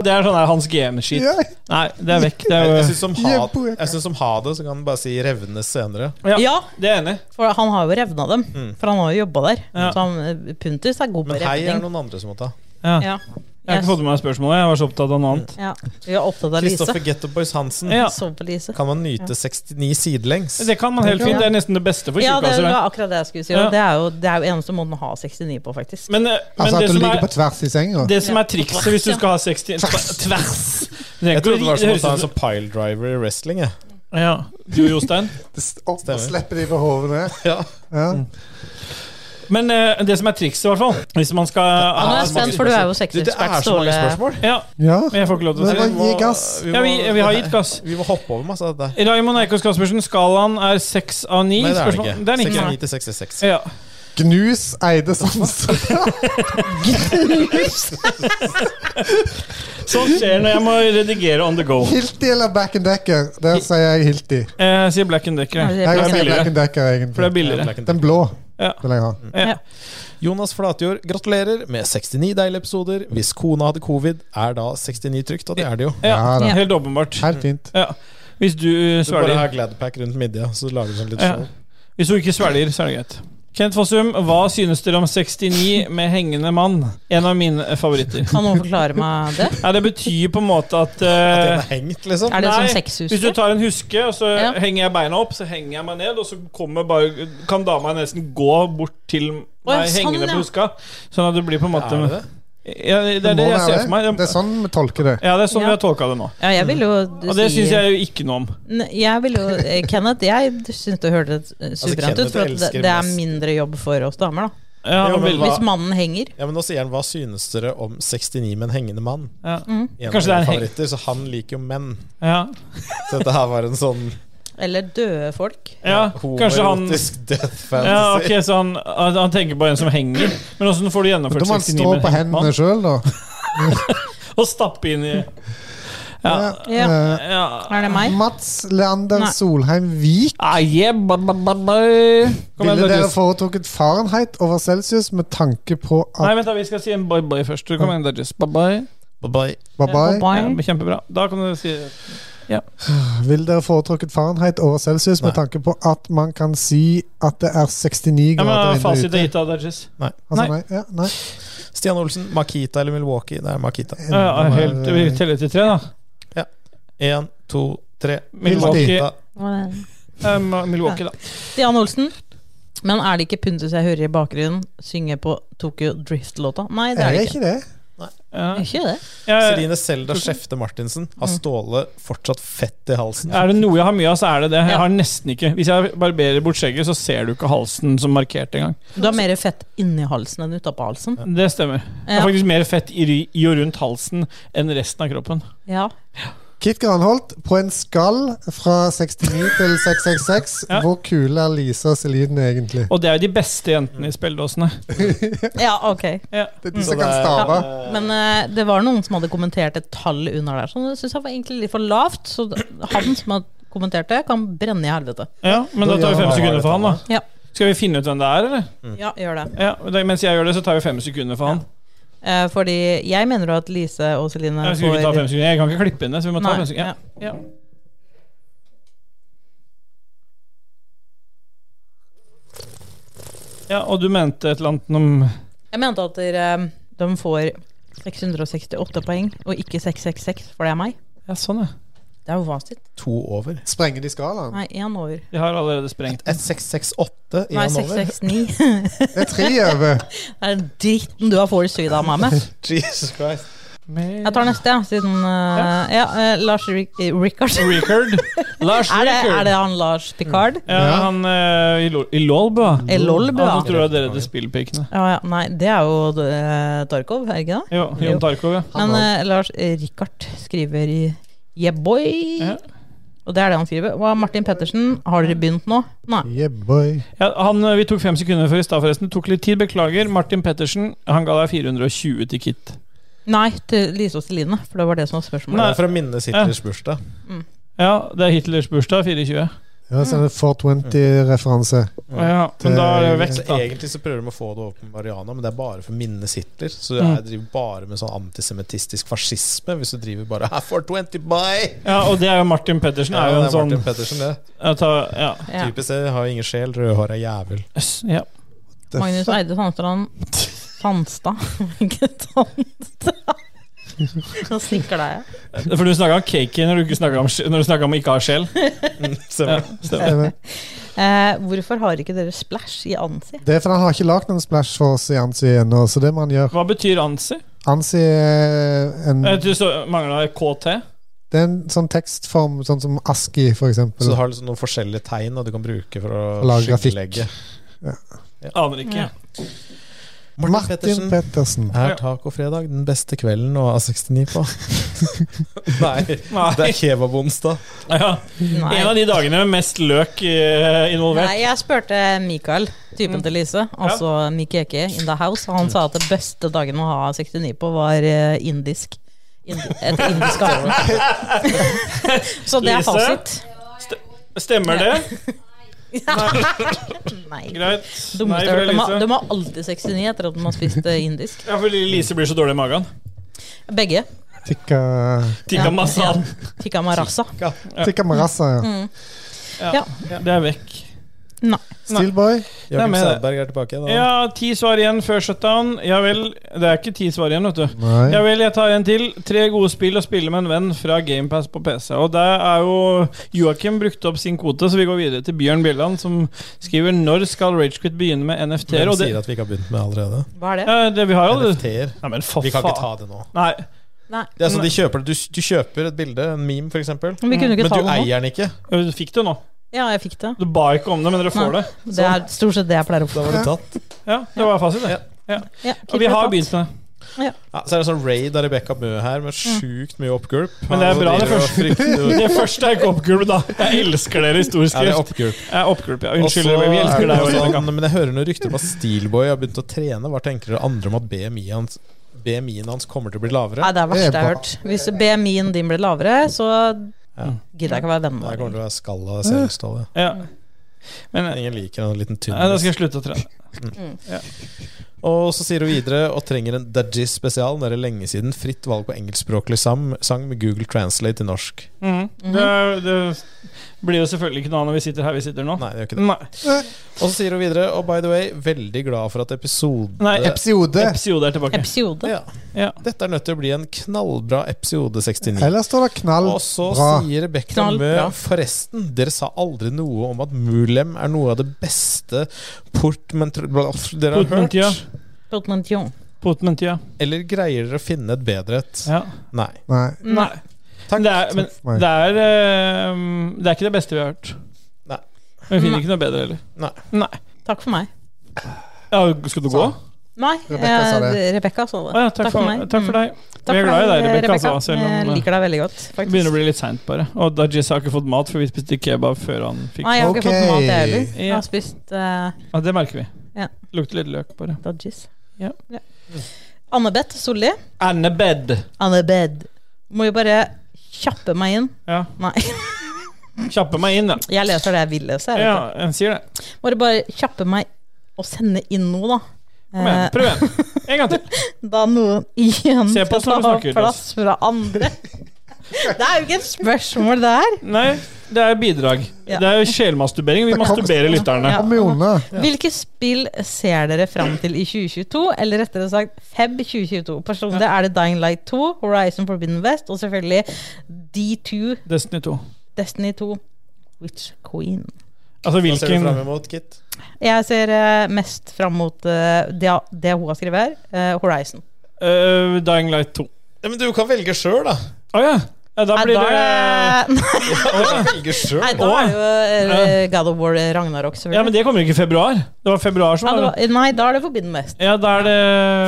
Speaker 1: Det er sånn der Hans GM-skit.
Speaker 2: Ja,
Speaker 1: Nei, det er vekk. Det
Speaker 4: Jeg, jeg
Speaker 1: er,
Speaker 4: syns som,
Speaker 2: Ja,
Speaker 4: ha-
Speaker 2: boja.
Speaker 4: jeg synes som ha det, så kan han bare si revnes senere.
Speaker 1: jo- ja,
Speaker 5: Ja,
Speaker 1: det er jeg enig. i.
Speaker 5: for han har jo revna dem. For han har jo jobba der.
Speaker 1: Ja.
Speaker 5: Så han, Puntis er god på
Speaker 4: Men hei er
Speaker 5: revning.
Speaker 4: noen andre som må ta.
Speaker 5: Ja.
Speaker 1: Jeg har ikke fått med meg spørsmålet. Jeg var så opptatt av noe annet.
Speaker 5: ja. Vi er opptatt av Lise.
Speaker 4: Kristoffer Getto Boys Hansen.
Speaker 1: Ja,
Speaker 5: Sov på Lise.
Speaker 4: Kan man nyte 69 sidelengs?
Speaker 1: Det kan man helt fint. Det er nesten det beste for
Speaker 5: Ja, det
Speaker 1: tjukkaser.
Speaker 5: var akkurat det jeg skulle si.
Speaker 1: Ja.
Speaker 5: Og det, er jo, det er jo eneste måten å ha 69 på, faktisk.
Speaker 1: Men, eh, men
Speaker 2: Altså at
Speaker 1: det,
Speaker 2: du
Speaker 1: som
Speaker 2: ligger
Speaker 1: er,
Speaker 2: på tvers i senga.
Speaker 1: det som er trikset hvis du skal ha 60 tver- Tvers!
Speaker 4: Jeg trodde det var som å ta en
Speaker 1: høres ut
Speaker 4: sånn piledriver i wrestling. Jeg.
Speaker 1: som- Ja. Du, Jostein?
Speaker 2: Opp og
Speaker 4: Stemmer.
Speaker 2: slippe de på hodet ned. Ja.
Speaker 1: Men eh, det som er trikset, i hvert fall Hvis man skal
Speaker 5: Ja, nå er
Speaker 1: ha
Speaker 5: jeg spent, for du er jo sexekspert, Ståle.
Speaker 1: Ja,
Speaker 2: ja.
Speaker 1: men jeg får ikke lov til å si
Speaker 2: Men hva
Speaker 1: det.
Speaker 2: gir gass?
Speaker 4: Vi,
Speaker 1: Ja, vi, vi har gitt gass.
Speaker 4: Vi må hoppe over masse av dette.
Speaker 1: Raymond Eikås Caspersen, skalaen er seks av ni.
Speaker 4: Nei, det er det
Speaker 1: Spørsmål-
Speaker 4: ikke.
Speaker 1: Det er den ikke.
Speaker 4: 69 til 66.
Speaker 1: Ja.
Speaker 2: Gnus eide Sandstad.
Speaker 1: Sånt skjer når jeg må redigere on the go.
Speaker 2: Hilti eller Back and Decker? Der sier jeg Hilti.
Speaker 1: Eh, sier Black and Decker. jeg.
Speaker 5: Ja,
Speaker 2: Jeg
Speaker 5: det
Speaker 1: er
Speaker 2: sier
Speaker 1: billigere.
Speaker 2: Black and Decker,
Speaker 1: For det er
Speaker 2: egentlig.
Speaker 1: billigere.
Speaker 4: Black and
Speaker 2: Den blå
Speaker 1: Ja.
Speaker 2: vil jeg ha.
Speaker 1: Ja.
Speaker 4: Jonas Flatjord, gratulerer med 69 deilige episoder. Hvis kona hadde covid, er da 69 trygt? Og det er det jo.
Speaker 1: Ja,
Speaker 2: Ja da.
Speaker 1: Helt åpenbart.
Speaker 2: Helt fint.
Speaker 1: Ja. Hvis du eh,
Speaker 4: Du bare
Speaker 1: svelger
Speaker 4: har Gladpack rundt midja, så lager du sånn litt
Speaker 1: Ja.
Speaker 4: skjold.
Speaker 1: Hvis du ikke svelger, så er det greit. Kent Fossum, hva synes dere om 69 med hengende mann? En av mine favoritter.
Speaker 5: Kan noen forklare meg det?
Speaker 1: Ja, det betyr på en måte at eh,
Speaker 4: Den er hengt, liksom.
Speaker 5: Er det
Speaker 1: Nei,
Speaker 5: sånn
Speaker 1: Hvis du
Speaker 5: sexhuske?
Speaker 1: tar en huske, og så
Speaker 5: Ja.
Speaker 1: henger jeg beina opp, så henger jeg meg ned, og så kommer bare, kan dama nesten gå bort til meg
Speaker 5: Å, ja, sånn,
Speaker 1: hengende
Speaker 5: ja.
Speaker 1: på huska. Sånn at det blir på en måte
Speaker 4: Er det det?
Speaker 1: Ja, det er det jeg ser for meg.
Speaker 2: Det er sånn vi tolker det.
Speaker 1: Ja, det er sånn
Speaker 5: Ja.
Speaker 1: vi har tolka det nå.
Speaker 5: Ja, jeg vil jo
Speaker 1: Mm. Og det
Speaker 5: si
Speaker 1: syns jeg jo ikke noe om.
Speaker 5: Nei, Jeg vil jo eh, Kenneth, jeg syns det hørtes eh,
Speaker 1: Altså,
Speaker 5: suverent
Speaker 4: Kenneth
Speaker 5: ut, for at det,
Speaker 4: elsker
Speaker 5: det er
Speaker 4: mest.
Speaker 5: mindre jobb for oss damer, da.
Speaker 1: Ja,
Speaker 4: Jo, men
Speaker 1: veldig.
Speaker 4: hva-
Speaker 5: Hvis mannen henger.
Speaker 4: Ja, men nå sier han 'Hva synes dere om 69 med en hengende mann?'
Speaker 1: ja.
Speaker 5: Mm.
Speaker 4: En
Speaker 1: Kanskje det er
Speaker 4: av
Speaker 1: en
Speaker 4: mine
Speaker 1: heng-
Speaker 4: favoritter, så han liker jo menn.
Speaker 1: Ja.
Speaker 4: Så dette her var en sånn
Speaker 5: Eller døde folk.
Speaker 1: ja, kanskje han
Speaker 4: homoerotisk death fantasy.
Speaker 1: ja, ok, Så han, han han tenker på en som henger. Men åssen får du gjennomført
Speaker 2: Da må han
Speaker 1: 69
Speaker 2: stå
Speaker 1: med
Speaker 2: på
Speaker 1: en
Speaker 2: hendene
Speaker 1: mann?
Speaker 2: sjøl, da.
Speaker 1: Og stappe inn i Ja.
Speaker 5: Ja.
Speaker 2: Eh,
Speaker 1: ja.
Speaker 5: Er det meg?
Speaker 2: Mats Leander
Speaker 5: Nei.
Speaker 2: Solheim Vik.
Speaker 1: Ah, yeah, ba, ba, ba, ba. Kom igjen,
Speaker 2: Ville dere
Speaker 1: Dodges.
Speaker 2: foretrukket Fahrenheit over Celsius med tanke på
Speaker 1: Nei,
Speaker 2: at
Speaker 1: vent da, vi skal si en bye-bye først. Kom igjen, Dodges. Bye-bye.
Speaker 4: Bye-bye.
Speaker 2: Bye-bye.
Speaker 1: Ja,
Speaker 5: Bye.
Speaker 1: kjempebra. Da kan du si
Speaker 2: Vil dere foretrukket Fahrenheit over Celsius med
Speaker 4: Nei.
Speaker 2: tanke på at man kan si at det er 69
Speaker 1: Ja,
Speaker 2: grader
Speaker 1: men
Speaker 2: inne
Speaker 1: Fasit er
Speaker 2: ute?
Speaker 1: gitt av Dodges.
Speaker 2: Altså, nei. Ja, nei.
Speaker 4: Stian Olsen, Makita eller Milwaukee? Det er Makita.
Speaker 1: Ja, ja, helt,
Speaker 2: eh,
Speaker 1: vi teller til tre, da.
Speaker 4: Én, to, tre.
Speaker 1: Milwaukee,
Speaker 4: Makita.
Speaker 1: eh, Ma- Milwaukee da.
Speaker 5: Stian Olsen. Men er det ikke Puntus jeg hører i bakgrunnen synge på Tokyo Drift-låta? Nei, det
Speaker 2: Er
Speaker 5: er det
Speaker 2: det
Speaker 5: ikke.
Speaker 2: ikke det?
Speaker 1: Ja.
Speaker 5: Er Ikke det.
Speaker 1: Jeg,
Speaker 4: Celine Selda Skjefte Martinsen. Har
Speaker 5: Mm.
Speaker 4: Ståle fortsatt fett i halsen?
Speaker 1: er det noe jeg har mye av, så er det det.
Speaker 5: Ja.
Speaker 1: Jeg har nesten ikke Hvis jeg barberer bort skjegget, så ser du ikke halsen som markert engang.
Speaker 5: Du har mer fett inni halsen enn utapå halsen.
Speaker 1: Det stemmer. Det
Speaker 5: Ja.
Speaker 1: er faktisk mer fett i, ry- i og rundt halsen enn resten av kroppen.
Speaker 5: Ja.
Speaker 2: Kit Granholt, på en skall fra 69 til 666,
Speaker 1: Ja.
Speaker 2: hvor kule er Lisa og Celine egentlig?
Speaker 1: Og det er jo de beste jentene i spilledåsene.
Speaker 5: ja, ok.
Speaker 1: Ja.
Speaker 2: Det er de som kan
Speaker 1: Mm.
Speaker 2: stave.
Speaker 5: Men eh, det var noen som hadde kommentert et tall under der, som jeg syns var egentlig litt for lavt. Så han som har kommentert det, kan brenne i helvete.
Speaker 1: Ja, men da tar vi fem
Speaker 4: Ja,
Speaker 1: sekunder for han, da.
Speaker 5: Ja,
Speaker 1: Skal vi finne ut hvem det er, eller?
Speaker 5: ja gjør det.
Speaker 1: Ja, det, mens jeg gjør det, så tar vi fem sekunder for han.
Speaker 5: Eh, fordi jeg mener jo at Lise og Celine
Speaker 1: Jeg, skal ikke ta fem sekunder. jeg kan ikke klippe inn det, så vi må ta
Speaker 5: Nei,
Speaker 1: fem sekunder. Ja. Ja. ja, og du mente et eller annet om
Speaker 5: Jeg mente at dere, eh, de får 668 poeng, og ikke 666, for det er meg.
Speaker 1: Ja, sånn, ja.
Speaker 5: Det er jo fasit.
Speaker 4: To over.
Speaker 2: Sprenger de skalaen?
Speaker 5: Nei, én over.
Speaker 1: De har allerede sprengt.
Speaker 4: Et 668
Speaker 5: Nei,
Speaker 4: igjen over.
Speaker 5: 669.
Speaker 2: Det er tre over.
Speaker 5: Det er dritten du har forsyda av meg med.
Speaker 4: Jesus Christ.
Speaker 5: Jeg tar neste, ja, siden eh, Ja, eh, Lars Rik eh, Rikard.
Speaker 1: Rikard. Lars
Speaker 5: Er det, er
Speaker 1: Rikard.
Speaker 5: det han Lars Picard?
Speaker 1: Ja, han eh, i Lo- i Lolba.
Speaker 5: I Lolba.
Speaker 1: Han som tror at dere er spillpikene.
Speaker 5: Ja, ja, nei, det er jo eh, Tarkov, er det ikke det?
Speaker 1: Jo,
Speaker 5: Jo.
Speaker 1: Jon Tarkov, ja.
Speaker 5: Men eh, Lars eh, Rikard skriver i Yeah, boy!
Speaker 1: Ja.
Speaker 5: Og det er det han skriver. Og Martin Pettersen, har dere begynt nå? Nei.
Speaker 2: Yeah, boy.
Speaker 1: ja han, eh, vi tok fem sekunder før i stad, forresten. Det Tok litt tid, beklager. Martin Pettersen, han ga deg 420 til Kit.
Speaker 5: Nei, til Lise og Celine, for det var det som var
Speaker 4: Det
Speaker 5: spørsmålet.
Speaker 4: er for å minnes Hitlers bursdag.
Speaker 1: Ja, det er Hitlers bursdag, 420.
Speaker 2: Ja, så er det 420-referanse.
Speaker 1: Ja, men da er det jo vekk,
Speaker 4: Så
Speaker 1: da.
Speaker 4: egentlig så prøver de å få det over på Mariana, men det er bare for å minnes Hitler. Så
Speaker 1: Mm.
Speaker 4: jeg driver bare med sånn antisemittistisk fascisme hvis du driver bare her for 20 by!
Speaker 1: Ja, og det er jo Martin Pettersen.
Speaker 4: Ja,
Speaker 1: er jo en
Speaker 4: det er
Speaker 1: sånn
Speaker 4: Martin Pettersen, det.
Speaker 1: Jeg tar- ja.
Speaker 5: Ja.
Speaker 4: Typisk det. Har jo ingen sjel, rødhåra jævel.
Speaker 1: Øss, ja.
Speaker 5: Magnus Eide Sandstrand Sandstad. Ikke Tandstad. Nå snikker deg.
Speaker 1: For du snakka om cakey når du ikke snakket om, sj- når du snakket om ikke ha sjel.
Speaker 4: Stemmer.
Speaker 1: Ja, stemmer.
Speaker 5: Eh, hvorfor har ikke dere splash i ansi?
Speaker 2: Det er fordi han har ikke lagd noen splash for oss i Ansi ennå, så det må han gjøre.
Speaker 1: Hva betyr ansi?
Speaker 2: Ansi er en,
Speaker 1: Jeg tror så mangla KT.
Speaker 2: det er en sånn tekstform, sånn som ASKI, for
Speaker 4: Så
Speaker 2: eksempel.
Speaker 4: du har liksom noen forskjellige tegn da, du kan bruke for å
Speaker 2: For å lage grafikk.
Speaker 4: skillelegge.
Speaker 1: Aner ikke.
Speaker 5: Ja.
Speaker 2: Martin Pettersen.
Speaker 4: Er tacofredag den beste kvelden å ha 69 på? Nei,
Speaker 1: Nei.
Speaker 4: det er kebabonsdag.
Speaker 1: Ja. En av de dagene med mest løk eh,
Speaker 5: Nei,
Speaker 1: involvert. Mm.
Speaker 5: jeg spurte Mikael, typen til Lise, altså Mikk Eke in the house, og han sa at det beste dagen å ha 69 på var eh, indisk. Indi et indisk aften. Så det er
Speaker 1: Lise?
Speaker 5: fasit.
Speaker 1: Stemmer det?
Speaker 5: Nei.
Speaker 1: Greit. Nei
Speaker 5: Dummeste jeg
Speaker 1: fra
Speaker 5: har hørt. De har-
Speaker 1: Lise.
Speaker 5: De har alltid 69 etter at de har spist eh, indisk.
Speaker 1: Ja, fordi Lise blir så dårlig i magen.
Speaker 5: Begge.
Speaker 2: Tikka,
Speaker 1: Tikka
Speaker 5: Ja.
Speaker 1: masan.
Speaker 5: Tikka marasa.
Speaker 2: tikka marassa, ja.
Speaker 1: Det er vekk.
Speaker 5: Nei.
Speaker 2: Steelboy.
Speaker 1: er
Speaker 4: Jørgen
Speaker 1: med det.
Speaker 4: Sædberg er tilbake. Da.
Speaker 1: Ja, ti svar igjen før shutdown. Ja vel. Det er ikke ti svar igjen, vet du. Ja
Speaker 2: Nei.
Speaker 1: vel, jeg tar en til. Tre gode spill å spille med en venn fra GamePass på PC. Og der er jo Joakim brukt opp sin kvote, så vi går videre til Bjørn Bjelland, som skriver Når skal Ragequit begynne med NFT-er?
Speaker 4: Hvem
Speaker 1: Og det,
Speaker 4: sier at vi ikke har begynt med allerede?
Speaker 5: Hva er det?
Speaker 1: ja, det vi har jo det.
Speaker 4: NFT-er.
Speaker 1: Nei, men for
Speaker 4: Vi kan ikke ta
Speaker 1: faen.
Speaker 4: det nå.
Speaker 1: Nei.
Speaker 5: Nei.
Speaker 4: Det er sånn de kjøper, du, du kjøper et bilde, en meme f.eks., men
Speaker 5: Men vi kunne
Speaker 4: du
Speaker 5: ikke ta det nå.
Speaker 4: eier den ikke.
Speaker 1: Du fikk det nå.
Speaker 5: Ja, jeg fikk det.
Speaker 1: Du ba ikke om det, men dere får
Speaker 5: Nei.
Speaker 1: det.
Speaker 5: Det er stort sett det jeg pleier å
Speaker 4: Da
Speaker 5: få.
Speaker 4: var det tatt.
Speaker 1: Ja, det var fasit, det.
Speaker 5: Ja,
Speaker 1: Og vi har begynt med det.
Speaker 4: Ja, så er det sånn raid av Rebekka Mø her, med sjukt mye oppgulp.
Speaker 1: Men det er
Speaker 4: Han
Speaker 1: bra, det
Speaker 4: driver og
Speaker 1: første.
Speaker 4: frykter-
Speaker 1: Det første er ikke oppgulp, da. Jeg elsker dere i stor
Speaker 4: Ja, det er
Speaker 1: skrift.
Speaker 4: oppgulp.
Speaker 1: Jeg er oppgulp, ja.
Speaker 4: Og så
Speaker 1: Unnskyld,
Speaker 4: er
Speaker 1: vi elsker deg
Speaker 4: det
Speaker 1: også,
Speaker 4: sånn-
Speaker 1: Rebecca.
Speaker 4: Men jeg hører noen rykter om at Steelboy har begynt å trene. Hva tenker dere andre om at BMI-en hans, BMI hans kommer til å bli lavere?
Speaker 5: Nei, det er det
Speaker 2: Det
Speaker 5: verste
Speaker 2: er
Speaker 5: jeg har hørt. Hvis BMI-en din blir lavere, så
Speaker 4: Ja.
Speaker 5: gidder jeg ikke å være venn
Speaker 4: Det
Speaker 5: med
Speaker 4: her
Speaker 5: deg.
Speaker 4: kommer til å være skalla selvstålet.
Speaker 1: Ja. Men eh,
Speaker 4: Ingen liker en liten tynn
Speaker 1: nei, da skal jeg slutte å trene.
Speaker 5: Mm.
Speaker 4: Og så sier hun videre og trenger en Dajis spesial. Nå er det lenge siden fritt valg på engelskspråklig sam sang med Google Translate til norsk.
Speaker 1: Det, det blir jo selvfølgelig ikke noe annet når vi sitter her vi sitter nå.
Speaker 4: Nei, det gjør ikke det.
Speaker 1: Nei.
Speaker 4: Og så sier hun videre, og by the way, veldig glad for at episode
Speaker 1: Nei,
Speaker 2: Episode.
Speaker 1: Episode er tilbake.
Speaker 5: Episode.
Speaker 4: ja.
Speaker 1: Ja.
Speaker 4: Dette er nødt til å bli en knallbra episode 69.
Speaker 2: Ellers står det knall
Speaker 4: Og så
Speaker 2: bra.
Speaker 4: sier Rebekka
Speaker 5: Knall
Speaker 4: Mø
Speaker 5: bra.
Speaker 4: Forresten, dere sa aldri noe om at Mulem er noe av det beste portmentor... Dere har hørt?
Speaker 1: Portmentia.
Speaker 5: Portmanteau.
Speaker 1: Potmentia.
Speaker 4: Eller greier dere å finne et bedre et?
Speaker 1: Ja.
Speaker 4: Nei.
Speaker 2: Nei.
Speaker 1: Nei.
Speaker 4: Takk.
Speaker 1: Det er, men
Speaker 2: for meg.
Speaker 1: det er, eh, det er ikke det beste vi har hørt.
Speaker 4: Nei.
Speaker 1: Men vi finner ikke noe bedre heller.
Speaker 4: Nei.
Speaker 5: Takk for meg.
Speaker 1: Ja, skal du gå?
Speaker 4: Sånn.
Speaker 5: Nei,
Speaker 2: Rebecca sa det.
Speaker 5: eh, Rebecca sa
Speaker 1: Å
Speaker 5: det.
Speaker 1: ja, takk, for,
Speaker 5: meg. Mm.
Speaker 1: takk for deg.
Speaker 5: Takk
Speaker 1: Vi er
Speaker 5: for
Speaker 1: glad i deg, Rebecca,
Speaker 5: Rebecca.
Speaker 1: altså, selv om,
Speaker 5: Jeg
Speaker 1: eh,
Speaker 5: liker deg veldig godt,
Speaker 1: Det begynner å
Speaker 5: faktisk.
Speaker 1: bli litt seint, bare. Og Dajis har ikke fått mat, for vi spiste kebab før han fikk
Speaker 5: Nei, jeg har ikke fått mat, jeg heller.
Speaker 2: Ok.
Speaker 5: Jeg har spist eh,
Speaker 1: Ja, Det merker vi.
Speaker 5: Ja.
Speaker 1: Lukter litt løk, bare.
Speaker 5: Dodges.
Speaker 1: Ja.
Speaker 5: Anne-Beth Solli.
Speaker 1: Annebed.
Speaker 5: Anne-Bed. Må jo bare kjappe meg inn.
Speaker 1: Ja.
Speaker 5: Nei,
Speaker 1: Kjappe meg inn, da.
Speaker 5: jeg leser det jeg vil lese. jeg vet
Speaker 1: Ja,
Speaker 5: ikke.
Speaker 1: en sier det.
Speaker 5: Må du bare kjappe meg og sende inn noe, da.
Speaker 1: Kom igjen,
Speaker 5: Eh.
Speaker 1: prøv igjen. En gang til.
Speaker 5: Da noen igjen
Speaker 1: Se på
Speaker 5: skal
Speaker 1: oss når
Speaker 5: ta
Speaker 1: du snakker,
Speaker 5: plass fra andre. Det er jo ikke et spørsmål, det her.
Speaker 1: Nei, det er bidrag.
Speaker 5: Ja.
Speaker 1: Det er sjelmasturbering. Vi
Speaker 2: Det kom-
Speaker 1: masturberer lytterne.
Speaker 5: Ja.
Speaker 2: Kom jo unna.
Speaker 5: Hvilke spill ser dere fram til i 2022? Eller rettere sagt Feb 2022. Personlig er det Dying Light 2, Horizon Forbidden West og selvfølgelig D2,
Speaker 1: Destiny Altså, 2.
Speaker 5: Destiny 2, Witch Queen.
Speaker 1: Altså
Speaker 4: Hva ser du
Speaker 1: hvilken
Speaker 4: fram imot, Kit?
Speaker 5: Jeg ser eh, mest fram mot eh, det, det hun har skrevet her, eh, Horizon.
Speaker 1: Øh, Dying Light 2. Å
Speaker 4: Ja, men du kan velge sjøl, da.
Speaker 1: ja. ja. Da
Speaker 5: Nei,
Speaker 1: blir
Speaker 5: da
Speaker 1: det
Speaker 5: er det
Speaker 4: Du kan velge selv.
Speaker 5: Nei, da er det jo eh, God of War eh, Ragnarok,
Speaker 1: Ja, men
Speaker 5: selvfølgelig.
Speaker 1: det kommer ikke i februar. Det var februar som
Speaker 5: Ja, det
Speaker 1: var
Speaker 5: var, nei, da er det Forbidden West.
Speaker 1: Ja, da er det,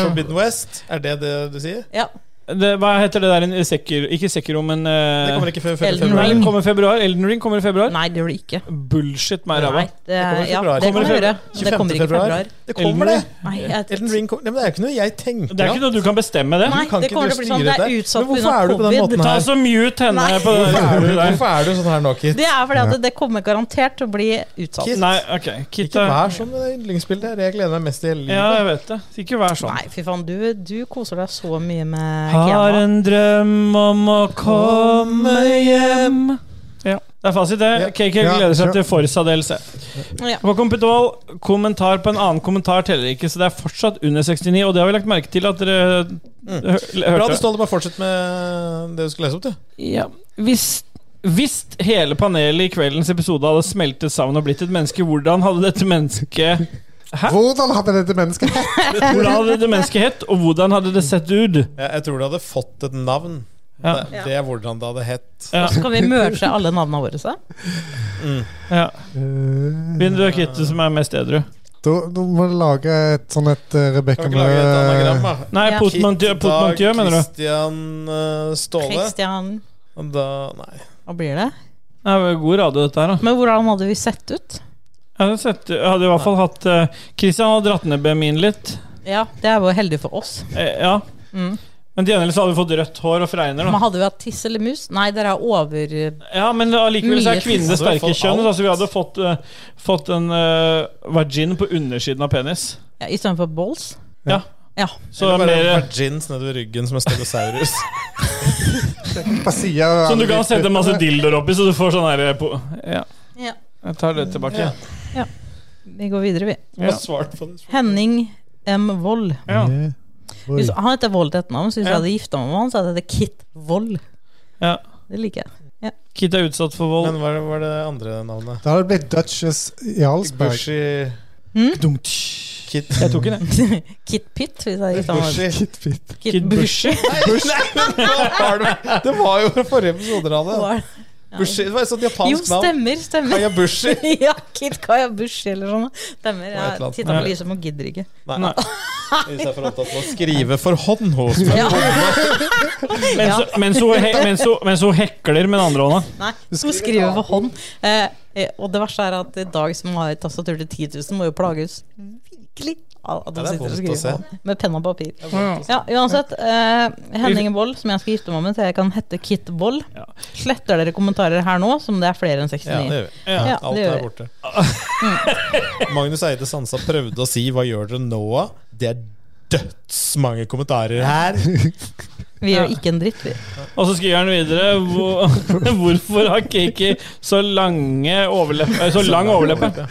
Speaker 4: Forbidden West, er det det du sier?
Speaker 5: Ja.
Speaker 1: det Hva heter det der en sekker, Ikke sekker men øh,
Speaker 4: Det kommer ikke før før i
Speaker 5: Elden
Speaker 1: Nei,
Speaker 4: februar.
Speaker 1: den kommer i februar. Elden Ring kommer i februar.
Speaker 5: Nei, det gjør det ikke.
Speaker 1: Bullshit meg i ræva.
Speaker 5: Nei, det,
Speaker 4: kommer i
Speaker 5: ja,
Speaker 4: februar.
Speaker 5: det
Speaker 1: Kommer
Speaker 5: kan
Speaker 1: i
Speaker 5: det gjøre. Men Det
Speaker 4: 25.
Speaker 5: kommer ikke i februar.
Speaker 4: Det kommer, det!
Speaker 5: Nei, jeg,
Speaker 4: Elden Ring kom... Nei, men det er jo ikke noe jeg tenker.
Speaker 1: Det er ikke noe du kan bestemme, det.
Speaker 5: Nei,
Speaker 4: Du kan
Speaker 5: det
Speaker 4: ikke
Speaker 5: kommer til å bli sånn. Det er
Speaker 4: styre dette.
Speaker 5: utsatt
Speaker 4: Men hvorfor er du
Speaker 5: pga.
Speaker 4: på den
Speaker 5: covid.
Speaker 4: måten
Speaker 1: Ta
Speaker 4: her?
Speaker 1: så mute henne
Speaker 5: Nei.
Speaker 1: på det
Speaker 4: Hvorfor er du,
Speaker 1: der.
Speaker 4: hvorfor er du sånn her nå, Kit?
Speaker 5: Det er fordi at det kommer garantert til å bli utsatt.
Speaker 4: Kit.
Speaker 1: Nei, ok. Kit
Speaker 4: Ikke
Speaker 1: er
Speaker 4: vær sånn med det yndlingsbildet her. Jeg gleder meg mest i hele livet.
Speaker 1: Ja, jeg vet det. Ikke vær sånn.
Speaker 5: Nei, fy faen, du, du koser deg så mye med
Speaker 1: Har
Speaker 5: Kena.
Speaker 1: en drøm om å komme hjem Ja, Det er fasit, det.
Speaker 4: Ja.
Speaker 1: KK
Speaker 2: Ja,
Speaker 1: gleder seg
Speaker 2: sure.
Speaker 1: til Forsa DLC.
Speaker 5: Ja.
Speaker 1: På Computol, kommentar på en annen kommentar teller ikke, så det er fortsatt under 69. Og det har vi lagt merke til at dere hø
Speaker 4: Mm. Bra du
Speaker 1: hørte.
Speaker 4: står der, bare fortsett med det du skal lese opp, du.
Speaker 1: Ja, hvis hvis hele panelet i kveldens episode hadde smeltet sammen og blitt et menneske, hvordan hadde dette mennesket
Speaker 2: Hvordan hadde dette mennesket hett?
Speaker 1: Hvordan hadde dette mennesket hett, og hvordan hadde det sett ut?
Speaker 4: Jeg, jeg tror du hadde fått et navn.
Speaker 1: Ja.
Speaker 4: Det, det er hvordan det hadde hett.
Speaker 1: Ja,
Speaker 5: Så kan vi merge alle navnene våre. Så.
Speaker 1: ja. Begynn du, Kit, du som er mest edru.
Speaker 2: Eh, Da, da må du lage et sånn et eh, Rebecca
Speaker 4: Kan ikke lage et anagram, da.
Speaker 1: Nei,
Speaker 5: Ja.
Speaker 1: Potmantieu, Potmantieu, mener du?
Speaker 4: Kristian eh, Ståle.
Speaker 5: Christian
Speaker 4: Og Da, nei.
Speaker 5: Hva blir det?
Speaker 1: Nei, det var god radio, dette her. da
Speaker 5: Men hvordan hadde vi sett ut?
Speaker 1: Jeg hadde, sett, jeg hadde i hvert fall hatt eh, Christian hadde dratt ned BMI-en litt.
Speaker 5: Ja, Det er jo heldig for oss.
Speaker 1: Eh, ja.
Speaker 5: Mm.
Speaker 1: Men til gjengjeld så hadde vi fått rødt hår og fregner.
Speaker 5: Men
Speaker 1: Da.
Speaker 5: hadde vi hatt tiss eller mus? Nei, dere er over...
Speaker 1: Ja, men allikevel så er
Speaker 5: Mye
Speaker 1: kvinner det sterke
Speaker 4: fisk. Så hadde vi fått
Speaker 1: kjønn.
Speaker 4: alt.
Speaker 1: da, Så vi hadde fått, eh, fått en eh, vagin på undersiden av penis.
Speaker 5: Ja, Istedenfor balls?
Speaker 1: Ja.
Speaker 5: Ja.
Speaker 1: Så
Speaker 4: Eller bare
Speaker 1: mer,
Speaker 4: virgins nedover ryggen som en stegosaurus.
Speaker 2: på sida?
Speaker 1: Som du kan sette masse dildoer oppi, så du får sånn her på- eh, Ja,
Speaker 5: ja.
Speaker 1: jeg tar det tilbake.
Speaker 4: Ja.
Speaker 5: Ja. Vi går videre, vi.
Speaker 4: Jeg har svart på det.
Speaker 5: Henning M. Vold.
Speaker 1: Ja.
Speaker 2: Yeah. Eh, Oi.
Speaker 5: Hvis han heter Vold til etternavn, så hvis
Speaker 1: Ja.
Speaker 5: jeg hadde gifta meg med han, så hadde jeg hett Kit Vold.
Speaker 1: Ja.
Speaker 5: Det liker jeg.
Speaker 1: Kit er utsatt for vold.
Speaker 4: Men hva var det andre navnet?
Speaker 2: Da hadde det blitt Duchess Jarlsberg.
Speaker 4: Bushy Kit
Speaker 1: Jeg tok den, jeg.
Speaker 5: Hm? Kit Pitt, hvis jeg hadde gifta meg med
Speaker 4: Bushy.
Speaker 2: Kit-bit.
Speaker 5: Kit,
Speaker 1: Kit
Speaker 5: Bush.
Speaker 1: Bushy.
Speaker 4: Nei, nei, men hva var det? det var jo fra forrige episoder av det.
Speaker 5: Hva er
Speaker 4: Bushy, det var et sånt
Speaker 5: Jo,
Speaker 4: japansk navn.
Speaker 5: stemmer, stemmer.
Speaker 4: Kaya Bushy.
Speaker 5: ja, Kit Kaya Bush eller sånn. Stemmer.
Speaker 4: Det var
Speaker 5: Jeg
Speaker 4: et
Speaker 5: titta
Speaker 4: eller
Speaker 5: på
Speaker 4: annet.
Speaker 5: lyset, men gidder ikke.
Speaker 4: Nei.
Speaker 1: Nei.
Speaker 4: Hvis jeg får lov til å skrive for hånd hos meg.
Speaker 5: Ja.
Speaker 1: Mens, mens, hun, he, mens, hun, mens hun hekler med den andre hånda.
Speaker 5: Nei, hun skriver for hånd. Eh, eh, og det verste er at i dag som har tastatur til 10 000, må jo plages virkelig av at hun
Speaker 4: Ja, det er
Speaker 5: sitter og
Speaker 4: vondt
Speaker 5: skriver
Speaker 4: å se.
Speaker 5: for hånd med penn og papir. Ja, uansett. Eh, Henning Wold, som jeg skal gifte meg med, så jeg kan hette Kit Wold.
Speaker 1: Ja.
Speaker 5: Sletter dere kommentarer her nå, som det er flere enn
Speaker 4: Ja,
Speaker 5: 69?
Speaker 4: det gjør vi.
Speaker 5: Ja,
Speaker 4: Alt
Speaker 5: det gjør
Speaker 4: er
Speaker 5: vi. Mm.
Speaker 4: borte. Magnus Eide Sansa prøvde å si 'hva gjør dere nå?' Det er dødsmange kommentarer her.
Speaker 5: Vi gjør ikke en dritt, vi.
Speaker 1: Og så skriver han videre hvor, Hvorfor har Kiki så lange overlepper Så lang overleppe?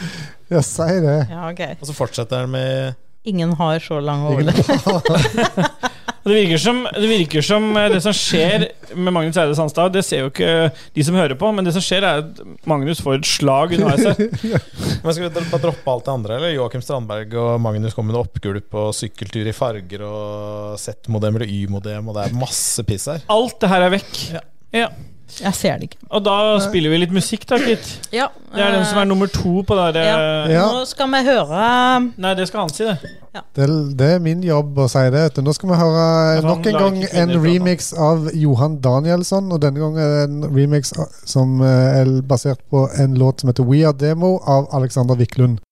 Speaker 2: Ja, si det.
Speaker 5: Ja, ok.
Speaker 4: Og så fortsetter han med
Speaker 5: Ingen har så lang overlepp.
Speaker 1: Det virker, som, det virker som eh, det som skjer med Magnus Eide Sandstad, det ser jo ikke de som hører på, men det som skjer, er at Magnus får et slag underveis her.
Speaker 4: Men Skal vi dro- bare droppe alt det andre? Eller Joakim Strandberg og Magnus kom med en oppgulp og sykkeltur i farger og Z-modem eller Y-modem, og det er masse piss her.
Speaker 1: Alt det her er vekk. Ja.
Speaker 5: Jeg ser det ikke.
Speaker 1: Og da spiller vi litt musikk, da, Kit.
Speaker 5: Ja,
Speaker 1: Det er den som er nummer to på det
Speaker 5: ja.
Speaker 1: der eh,
Speaker 2: Ja.
Speaker 5: Nå skal vi høre
Speaker 1: Nei, det skal han si, det.
Speaker 2: Det, det er min jobb å si det. vet du. Nå skal vi høre
Speaker 1: Ja, for han
Speaker 2: nok en
Speaker 1: lar
Speaker 2: gang
Speaker 1: ikke
Speaker 2: en
Speaker 1: kvinner prate.
Speaker 2: remix av Johan Danielsson. Og denne gangen er det en remix av- som eh, er basert på en låt som heter We Are Demo av Alexander Wiklund.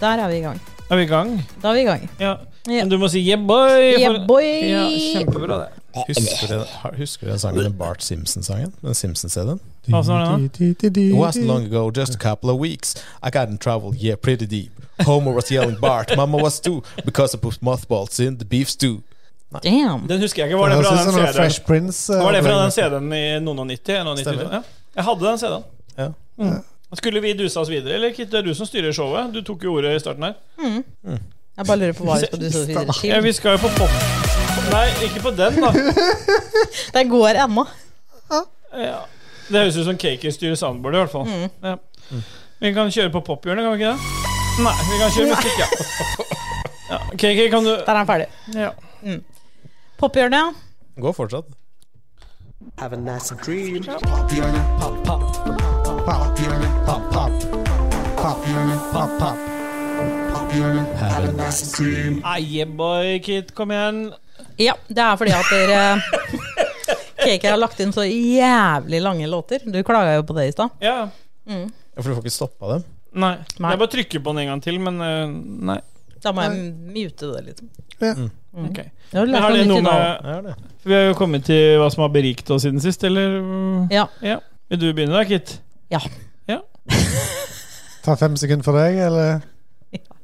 Speaker 5: Der er vi i gang.
Speaker 1: Er vi i gang?
Speaker 5: Da er vi i gang.
Speaker 1: Ja.
Speaker 5: Ja.
Speaker 1: Men du må si yeah, boy. for-
Speaker 5: Yeah, boy.
Speaker 1: Ja, kjempebra, det.
Speaker 4: Husker du, har- husker du den sangen, den Bart Simpson-sangen? Den Simpson-CD-en?
Speaker 1: Hva sa han da?
Speaker 4: It wasn't
Speaker 2: Mm-hmm.
Speaker 4: long ago, just a couple of weeks. I got in trouble, yeah, pretty deep. Homer was yelling Bart, Mama was too, because I put mothballs in the beef stew.
Speaker 5: Damn.
Speaker 1: Den husker jeg ikke. Var
Speaker 2: Det
Speaker 1: det fra
Speaker 2: høres ut
Speaker 1: den
Speaker 2: som en
Speaker 1: CD-en?
Speaker 2: Fresh Prince. eh,
Speaker 1: Var det fra
Speaker 2: opplegg.
Speaker 1: den CD-en i noen og nitti? en og nitti,
Speaker 4: Stemmer.
Speaker 1: Ja. Jeg hadde den CD-en.
Speaker 4: Ja.
Speaker 1: Mm. Skulle vi dusa oss videre, eller Kit? Det er du som styrer showet. Du tok jo ordet i starten her.
Speaker 5: Jeg bare lurer på hva vi skal duse oss videre
Speaker 1: Ja,
Speaker 5: til.
Speaker 1: vi skal jo på pop... Nei, ikke på den, da.
Speaker 5: Det går ennå.
Speaker 1: Ja. Det høres ut som Cakey styrer soundboardet, i hvert fall.
Speaker 5: Mm.
Speaker 1: Ja. Vi kan kjøre på pophjørnet, kan vi ikke det? Nei, vi kan kjøre musikk, ja. ja. Cakey, kan du
Speaker 5: Der er han ferdig.
Speaker 1: ja.
Speaker 5: Pophjørnet.
Speaker 4: Gå fortsatt.
Speaker 1: Aye, boy, Kit, kom igjen.
Speaker 5: Ja, det er fordi at dere Cake har lagt inn så jævlig lange låter. Du klaga jo på det i stad.
Speaker 1: Ja.
Speaker 5: Mm.
Speaker 4: Ja, For du får ikke stoppa dem?
Speaker 1: Nei.
Speaker 5: Nei.
Speaker 1: Jeg bare trykker på den en gang til, men eh, nei.
Speaker 5: Da må jeg mute det litt.
Speaker 2: Ja.
Speaker 5: Mm.
Speaker 1: Ok.
Speaker 5: Jeg har
Speaker 1: Men
Speaker 5: lært
Speaker 1: har det
Speaker 5: noe nytt
Speaker 1: noe
Speaker 5: sånn i dag.
Speaker 1: med
Speaker 4: Ja, det.
Speaker 1: Vi har jo kommet til hva som har berikt oss siden sist, eller? mm,
Speaker 5: Ja.
Speaker 1: ja. Vil du begynne da, Kit?
Speaker 5: Ja.
Speaker 2: Ta fem sekunder for deg, eller?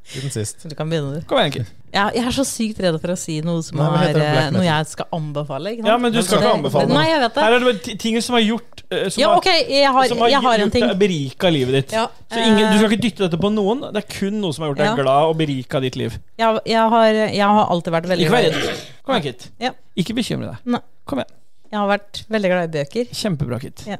Speaker 4: siden sist.
Speaker 5: Du kan begynne, du.
Speaker 1: Kom igjen, Kid.
Speaker 5: Ja, jeg er så sykt redd for å si noe som
Speaker 4: Nei, men
Speaker 5: er
Speaker 4: heter det black
Speaker 5: eh,
Speaker 4: metal?
Speaker 5: noe jeg skal anbefale. Ikke sant?
Speaker 1: Ja, men du skal
Speaker 5: Det-
Speaker 1: ikke anbefale.
Speaker 5: Nei, jeg
Speaker 1: Her
Speaker 5: vet det.
Speaker 1: er det bare ti- ting som er gjort eh, som
Speaker 5: Ja,
Speaker 1: har-
Speaker 5: ok, jeg har,
Speaker 1: som har,
Speaker 5: jeg har en ting.
Speaker 1: gjort deg berika livet ditt.
Speaker 5: Ja,
Speaker 1: Så ingen, Du skal
Speaker 5: eh,
Speaker 1: ikke dytte dette på noen. Det er kun noe som har gjort deg
Speaker 5: Ja.
Speaker 1: glad og berika ditt liv.
Speaker 5: jeg, eh, jeg, har, jeg har alltid vært veldig
Speaker 1: Ikke vær redd. Kom igjen, Kit.
Speaker 5: Ja.
Speaker 1: Ikke bekymre deg.
Speaker 5: Nei.
Speaker 1: Kom igjen.
Speaker 5: Jeg har vært veldig glad i bøker.
Speaker 1: Kjempebra, Kit.
Speaker 5: Men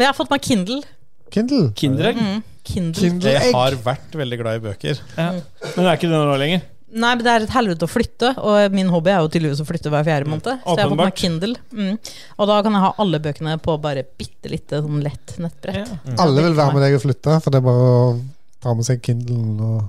Speaker 5: jeg har fått meg Kindle.
Speaker 2: Kindle.
Speaker 1: Kinderegg.
Speaker 5: Mm, Kindle.
Speaker 2: Kindle
Speaker 4: Jeg
Speaker 2: Egg.
Speaker 4: har vært veldig glad i bøker.
Speaker 5: Mm.
Speaker 1: Men det er ikke det nå lenger.
Speaker 5: Nei, men det er et helvete å flytte, og min hobby er jo tydeligvis å flytte hver fjerde måned. Så jeg har fått meg
Speaker 1: åpenbart.
Speaker 5: Kindle. Mm. Og da kan jeg ha alle bøkene på bare bitte lite sånn lett nettbrett.
Speaker 2: Alle vil være med deg og flytte, for det er bare å ta med seg Kindlen og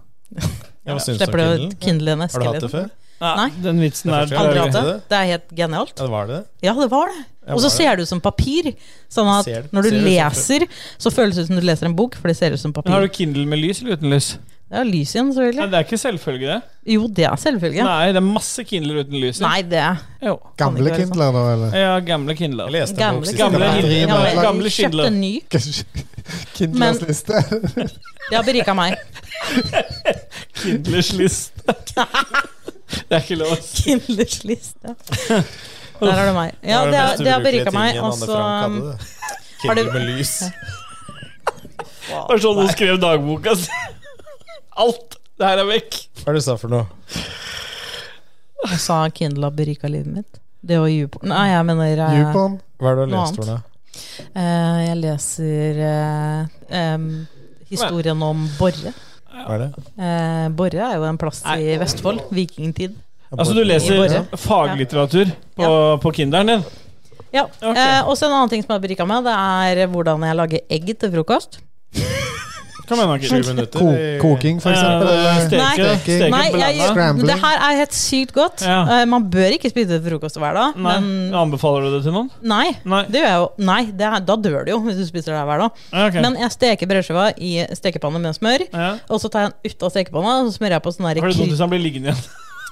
Speaker 4: Ja, hva syns du om
Speaker 5: Slipper du å
Speaker 4: Kindlen?
Speaker 5: kindle en eske?
Speaker 4: Har du hatt det
Speaker 5: liksom.
Speaker 4: før?
Speaker 5: Nei.
Speaker 1: Den vitsen
Speaker 4: Det er
Speaker 1: er
Speaker 4: første gang.
Speaker 5: Aldri hatt det.
Speaker 4: det?
Speaker 5: Det er helt genialt.
Speaker 4: Ja, det var det.
Speaker 5: Ja, det var det.
Speaker 4: Ja,
Speaker 5: Og
Speaker 4: var
Speaker 5: så ser det ut som papir. Sånn at
Speaker 4: Ser det-
Speaker 5: når du
Speaker 4: ser det ut som
Speaker 5: leser, så føles det ut som du leser en bok, for det ser ut som
Speaker 1: Men har du
Speaker 5: papir.
Speaker 1: Kindle med lys eller uten lys?
Speaker 5: Det er lys igjen,
Speaker 1: Nei,
Speaker 5: selvfølgelig.
Speaker 1: det er ikke selvfølge, det.
Speaker 5: Jo, det er selvfølgelig.
Speaker 1: Nei, det er masse Kindler uten lys. i.
Speaker 5: Nei, det er
Speaker 1: Jo.
Speaker 2: Gamle
Speaker 5: ikke være sånn.
Speaker 2: Kindler, da, eller?
Speaker 1: Ja, gamle Kindler.
Speaker 4: Jeg leste en bok
Speaker 5: gamle.
Speaker 4: sist.
Speaker 1: Gamle
Speaker 4: Jeg
Speaker 1: Kindle.
Speaker 5: Ja, jeg
Speaker 1: Gamle
Speaker 5: kjøpte
Speaker 1: Kindle.
Speaker 5: en ny.
Speaker 2: Kindlers
Speaker 5: Men-
Speaker 2: liste.
Speaker 5: Det har berika meg.
Speaker 1: Kindlers list. det er ikke lov. å si.
Speaker 5: Kindlers liste. Der har du meg. Ja, det, har-
Speaker 4: mest
Speaker 5: det har
Speaker 4: ubrukelige
Speaker 5: berika meg. altså,
Speaker 4: tingen
Speaker 5: Og
Speaker 4: Anne
Speaker 5: så
Speaker 4: Frank hadde, det. Kindle
Speaker 5: du-
Speaker 4: med lys.
Speaker 1: Det var sånn hun skrev dagboka si. Alt. Det her er vekk.
Speaker 4: Hva er det du sa for noe?
Speaker 5: um, sa Kindle har berika livet mitt. Det og YouPorn Nei, jeg mener eh,
Speaker 2: Newborn.
Speaker 4: Hva er det du har
Speaker 5: Noe
Speaker 4: lest for noe?
Speaker 5: eh, Jeg leser eh, em, historien om Borre.
Speaker 4: Hva er det?
Speaker 5: Eh, Borre er jo en plass i Vestfold. Vikingtid.
Speaker 1: Altså, du leser
Speaker 5: Bare.
Speaker 1: faglitteratur på, på Kinderen din?
Speaker 5: Ja.
Speaker 1: Ok.
Speaker 5: Eh, og så en annen ting som har berika meg, det er hvordan jeg lager egg til frokost.
Speaker 1: Kom igjen, Markus.
Speaker 4: Sju minutter
Speaker 2: Ko
Speaker 4: i-
Speaker 2: koking, for eksempel.
Speaker 1: Eh,
Speaker 2: eller?
Speaker 5: Nei.
Speaker 1: Steke, steke
Speaker 5: Nei,
Speaker 1: blanda.
Speaker 5: jeg,
Speaker 2: Scrambling.
Speaker 5: det her er helt sykt godt.
Speaker 1: Ja.
Speaker 5: Eh, man bør ikke spise det til frokost hver dag,
Speaker 1: Nei.
Speaker 5: men
Speaker 1: Anbefaler du det til noen?
Speaker 5: Nei,
Speaker 1: Nei.
Speaker 5: det gjør jeg jo. Nei, det er, da dør du jo hvis du spiser det hver dag.
Speaker 1: Ja, ok.
Speaker 5: Men jeg steker brødskiva i stekepanne med smør.
Speaker 1: ja.
Speaker 5: Og så tar jeg den ut av stekepanna og så smører jeg på sånn der
Speaker 1: Var det dumt
Speaker 5: kry-
Speaker 1: hvis han blir liggende igjen?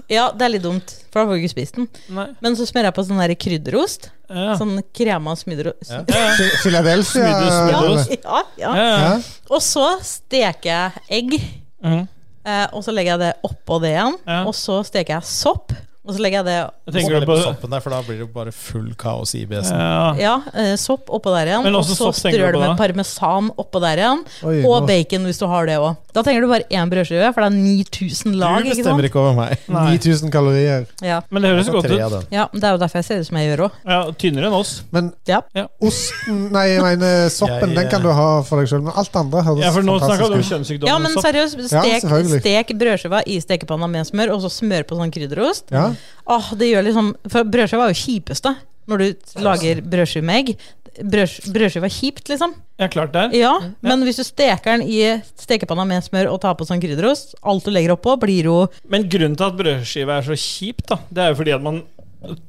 Speaker 5: Ja, det er litt dumt, for da får du ikke spist den.
Speaker 1: Nei.
Speaker 5: Men så smører jeg på sånn der krydderost.
Speaker 1: Ja.
Speaker 5: Sånn krema smidderost. Ja.
Speaker 2: Fi- Philadelphia.
Speaker 1: Smidde- smidde
Speaker 2: eller?
Speaker 1: oss.
Speaker 5: Ja,
Speaker 1: Ja, ja.
Speaker 2: Ja.
Speaker 5: Og så steker jeg egg,
Speaker 1: Mhm.
Speaker 5: eh, og så legger jeg det oppå det igjen.
Speaker 1: Ja.
Speaker 5: Og så steker jeg sopp, og så legger jeg det
Speaker 1: Jeg
Speaker 4: Tenker
Speaker 1: tenker
Speaker 4: du
Speaker 1: du
Speaker 4: på
Speaker 1: på
Speaker 4: soppen der, for da blir det jo bare full kaos i IBS-en.
Speaker 1: ja.
Speaker 5: Ja, eh, sopp oppå der igjen.
Speaker 1: Men
Speaker 5: Og
Speaker 1: også
Speaker 5: så
Speaker 1: sopp tenker du
Speaker 5: strør du
Speaker 1: på da?
Speaker 5: med parmesan oppå der igjen.
Speaker 2: Oi,
Speaker 5: Og
Speaker 2: nå-
Speaker 5: bacon, hvis du har det òg. Da trenger du bare én brødskive, for det er 9000 lag.
Speaker 4: Du
Speaker 5: ikke
Speaker 4: bestemmer
Speaker 5: sant?
Speaker 4: ikke over meg.
Speaker 1: Nei.
Speaker 2: 9000 kalorier.
Speaker 5: Ja.
Speaker 1: Men det høres
Speaker 4: Så
Speaker 1: jo godt
Speaker 4: tre
Speaker 1: ut.
Speaker 4: av den.
Speaker 5: ja, Det er jo derfor jeg ser ut som jeg gjør òg.
Speaker 1: Ja, Tynnere enn oss.
Speaker 2: Men
Speaker 5: Ja.
Speaker 2: osten Nei, jeg mener soppen.
Speaker 4: Jeg,
Speaker 2: den kan du ha for deg sjøl. Men alt det andre høres
Speaker 1: Ja, for nå snakka du om
Speaker 2: fantastisk ut.
Speaker 1: kjønnssykdom.
Speaker 5: ja,
Speaker 1: og
Speaker 5: men
Speaker 1: sånn. sopp.
Speaker 5: seriøst,
Speaker 2: Ja,
Speaker 5: stek,
Speaker 2: selvfølgelig.
Speaker 5: stek brødskiva i stekepanna med smør, og så smør på sånn krydderost.
Speaker 2: Ja.
Speaker 5: Åh, det gjør liksom For brødskiva er jo kjipeste når du lager brødskive med egg. Brød, brødskiva er kjipt, liksom.
Speaker 1: Ja, klart det er.
Speaker 5: Ja, men hvis du steker den i stekepanna med smør og tar på sånn krydderost, alt du legger oppå, blir jo
Speaker 1: Men grunnen til at brødskive er så kjipt, da, det er jo fordi at man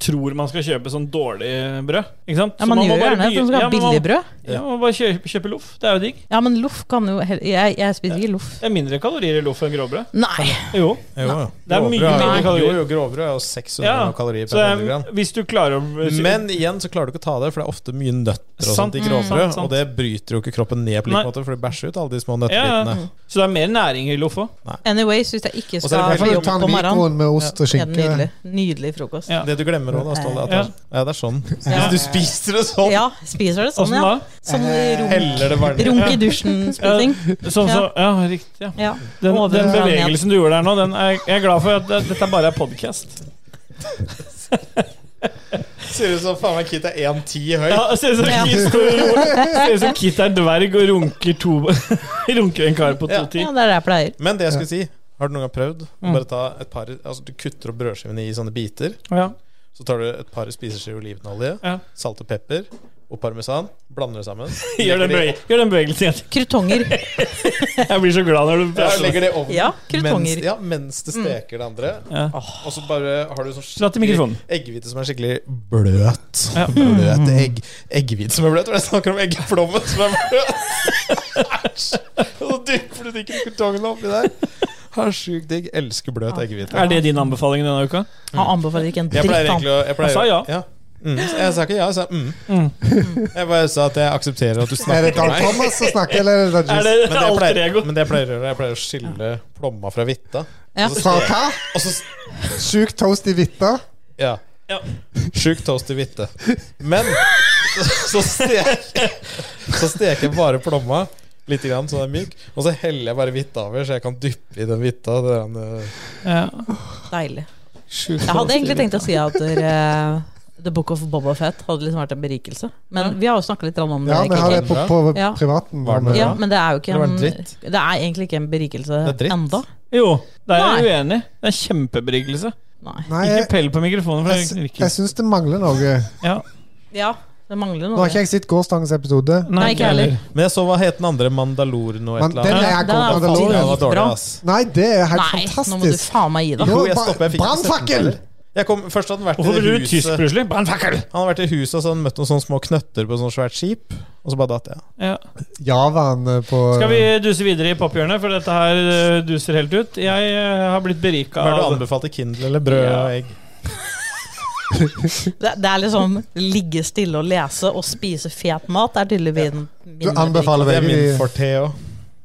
Speaker 1: tror man skal kjøpe sånn dårlig brød. Ikke sant?
Speaker 5: Ja,
Speaker 1: Så
Speaker 5: man,
Speaker 1: må
Speaker 5: gjør
Speaker 1: bare
Speaker 5: gjerne det,
Speaker 1: by-
Speaker 5: for man skal
Speaker 1: ja, men
Speaker 5: ha
Speaker 1: man-
Speaker 5: billig brød.
Speaker 1: Ja, man må bare kjøpe, kjøpe loff. Det er jo digg.
Speaker 5: Ja, men loff kan jo heller Jeg, jeg spiser ikke loff.
Speaker 1: Det er mindre kalorier i loff enn gråbrød.
Speaker 5: Nei.
Speaker 1: Jo.
Speaker 4: Jo, jo.
Speaker 1: Det er mye
Speaker 4: Grovbrød er-
Speaker 1: mindre kalorier.
Speaker 4: Jo, jo, grovbrød er jo 600
Speaker 1: Ja,
Speaker 4: kalorier
Speaker 1: Så
Speaker 4: per
Speaker 1: det er-
Speaker 4: 100 gram.
Speaker 1: hvis du klarer å
Speaker 4: Men igjen så klarer du ikke å ta det, for det er ofte mye nøtter og
Speaker 1: Sant,
Speaker 4: sånt i
Speaker 1: mm, sant,
Speaker 4: grovbrød.
Speaker 1: sant.
Speaker 4: Og det bryter jo ikke kroppen ned på lik
Speaker 1: Nei.
Speaker 4: måte, for det bæsjer ut alle de små
Speaker 1: Ja,
Speaker 4: nøttebitene.
Speaker 1: ja. Så det er mer næring i loff òg.
Speaker 5: Anyways, hvis jeg ikke
Speaker 4: Og så
Speaker 5: skal
Speaker 4: er det
Speaker 2: Jeg får
Speaker 5: på
Speaker 2: jo
Speaker 5: jobb
Speaker 2: ta en
Speaker 5: på morgenen
Speaker 2: mikroen med ost og
Speaker 5: ja, nydelig,
Speaker 2: skinke.
Speaker 5: nydelig frokost.
Speaker 1: Ja.
Speaker 5: Ja.
Speaker 4: Det du glemmer òg, da, Ståle, at det er, ja, det er sånn.
Speaker 5: Ja.
Speaker 4: Hvis du spiser det sånn,
Speaker 5: spiser det sånn,
Speaker 1: Åssen
Speaker 5: ja.
Speaker 1: da?
Speaker 5: Sånn
Speaker 4: Eh,
Speaker 5: runk,
Speaker 4: heller det bare ned.
Speaker 5: runk i dusjen-spising.
Speaker 1: Sånn, så, ja, riktig. Ja.
Speaker 5: Ja.
Speaker 1: Den,
Speaker 5: Over
Speaker 1: den
Speaker 5: og ned.
Speaker 1: bevegelsen du gjorde der nå, den er, jeg er glad for at det, dette bare er podkast.
Speaker 4: Ser ut som faen meg Kit er 1,10 høy.
Speaker 1: Ja, ser ut som
Speaker 5: Ja.
Speaker 1: Kit står og ro- ser ut som Kit er dverg og runker, to, runker en kar på
Speaker 4: Ja.
Speaker 1: 2,10.
Speaker 5: ja, det er det jeg pleier.
Speaker 4: Men det jeg skulle si, har du noen gang prøvd
Speaker 1: Mm.
Speaker 4: å bare ta et par Altså du kutter opp brødskivene i sånne biter,
Speaker 1: Ja.
Speaker 4: så tar du et par spiseskjeer olivenolje,
Speaker 1: Ja.
Speaker 4: salt og pepper og parmesan, blander det sammen.
Speaker 1: Gjør, den beveg, gjør den bevegelsen igjen.
Speaker 5: Krutonger.
Speaker 1: Jeg blir så glad når du
Speaker 4: Ja,
Speaker 1: prater.
Speaker 4: legger det i ovnen
Speaker 5: Ja,
Speaker 4: mens,
Speaker 5: krutonger.
Speaker 4: ja, mens det steker det andre.
Speaker 1: Ja.
Speaker 4: Og så bare har du sånn
Speaker 1: Dra til mikrofonen.
Speaker 4: eggehvite som er skikkelig bløt.
Speaker 1: Ja.
Speaker 4: Bløt egg Eggehvite som er bløt. For jeg snakker om eggplommen som er bløt. Æsj! Og så dypper du de krutongen oppi der. Har sjukt digg. Elsker bløt eggehvite.
Speaker 1: Er det din anbefaling denne uka?
Speaker 5: Han anbefaler ikke en
Speaker 4: Jeg
Speaker 5: dritt.
Speaker 4: pleier
Speaker 5: Han.
Speaker 4: egentlig å jeg pleier,
Speaker 1: Jeg sa ja.
Speaker 4: Mm. Så jeg sa ikke ja, jeg sa mm. Jeg bare sa at jeg aksepterer at du
Speaker 2: Er det Dan
Speaker 4: snakker til meg.
Speaker 2: Thomas som snakker, eller er det
Speaker 1: Er det
Speaker 2: Dodges?
Speaker 4: Men det jeg
Speaker 1: alter
Speaker 4: pleier,
Speaker 1: ego?
Speaker 4: men det jeg pleier å gjøre, jeg pleier å skille plomma fra hvitta.
Speaker 5: Ja.
Speaker 4: Og så
Speaker 2: Fra
Speaker 4: sier jeg-
Speaker 2: hva?
Speaker 4: og så
Speaker 2: Sjuk toast i hvitta?
Speaker 4: Ja.
Speaker 1: Ja.
Speaker 4: Sjuk toast i hvitte. Men så, så, steker, så steker jeg bare plomma litt, grann, så den er myk. Og så heller jeg bare hvitta over, så jeg kan dyppe i den hvitta. Det er den, eh,
Speaker 1: Ja.
Speaker 5: Deilig. Jeg hadde egentlig tenkt å si at eh, The Book of Boba Fett hadde liksom vært en berikelse. Men vi har jo snakket litt om det.
Speaker 2: Ja, vi har det
Speaker 5: KK.
Speaker 2: på, på
Speaker 5: Ja.
Speaker 2: privaten.
Speaker 4: Var det
Speaker 2: men-
Speaker 4: det?
Speaker 5: ja, men det er jo ikke
Speaker 4: Det var
Speaker 5: en,
Speaker 4: dritt.
Speaker 5: det er egentlig ikke en berikelse
Speaker 4: Det er dritt.
Speaker 5: enda.
Speaker 1: Jo, der er jeg
Speaker 5: Nei.
Speaker 1: uenig. Det er kjempeberikelse.
Speaker 5: Nei.
Speaker 2: Nei,
Speaker 1: Ikke
Speaker 2: jeg,
Speaker 1: pell på mikrofonen, for
Speaker 2: jeg,
Speaker 1: det
Speaker 2: sy-
Speaker 1: virker
Speaker 2: jeg syns det mangler noe.
Speaker 1: Ja.
Speaker 5: Ja, det mangler
Speaker 2: Nå
Speaker 5: noe.
Speaker 2: har ikke jeg sett gårsdagens episode.
Speaker 5: Nei, ikke heller.
Speaker 4: Men jeg så hva het den andre Mandaloren
Speaker 2: Men
Speaker 4: og et eller
Speaker 2: den er
Speaker 4: annet.
Speaker 5: Ja,
Speaker 2: jeg
Speaker 5: den er
Speaker 2: god
Speaker 5: faktisk
Speaker 4: Ja,
Speaker 2: Mandalorian.
Speaker 4: det var dårlig,
Speaker 5: Bra.
Speaker 4: ass.
Speaker 2: Nei, det er helt
Speaker 5: Nei, nå må du
Speaker 2: fantastisk.
Speaker 5: faen meg gi deg.
Speaker 2: Jo,
Speaker 4: Jo, jeg
Speaker 2: ba-
Speaker 4: stopper, jeg fikk ikke sett den
Speaker 2: brannfakkel!
Speaker 4: heller. Jeg kom, først hadde den vært i
Speaker 1: Hvorfor
Speaker 4: det
Speaker 1: blir du tysk
Speaker 4: huset
Speaker 1: plutselig? Brannfakkel!
Speaker 4: Han hadde vært i huset og så hadde han møtt noen sånne små knøtter på et sånt svært skip. Og så bare datt jeg.
Speaker 1: Ja.
Speaker 2: Javaen eh, på
Speaker 1: Skal vi duse videre i pophjørnet, for dette her eh, duser helt ut. Jeg eh, har blitt berika
Speaker 4: Hva er det du
Speaker 1: av
Speaker 4: anbefalte? Kindle eller brød
Speaker 1: Ja.
Speaker 4: og egg?
Speaker 5: Det, det er liksom ligge stille og lese og spise fet mat er tydeligvis min
Speaker 2: Du anbefaler
Speaker 4: Det er
Speaker 2: begge
Speaker 4: min
Speaker 2: de
Speaker 4: forte òg.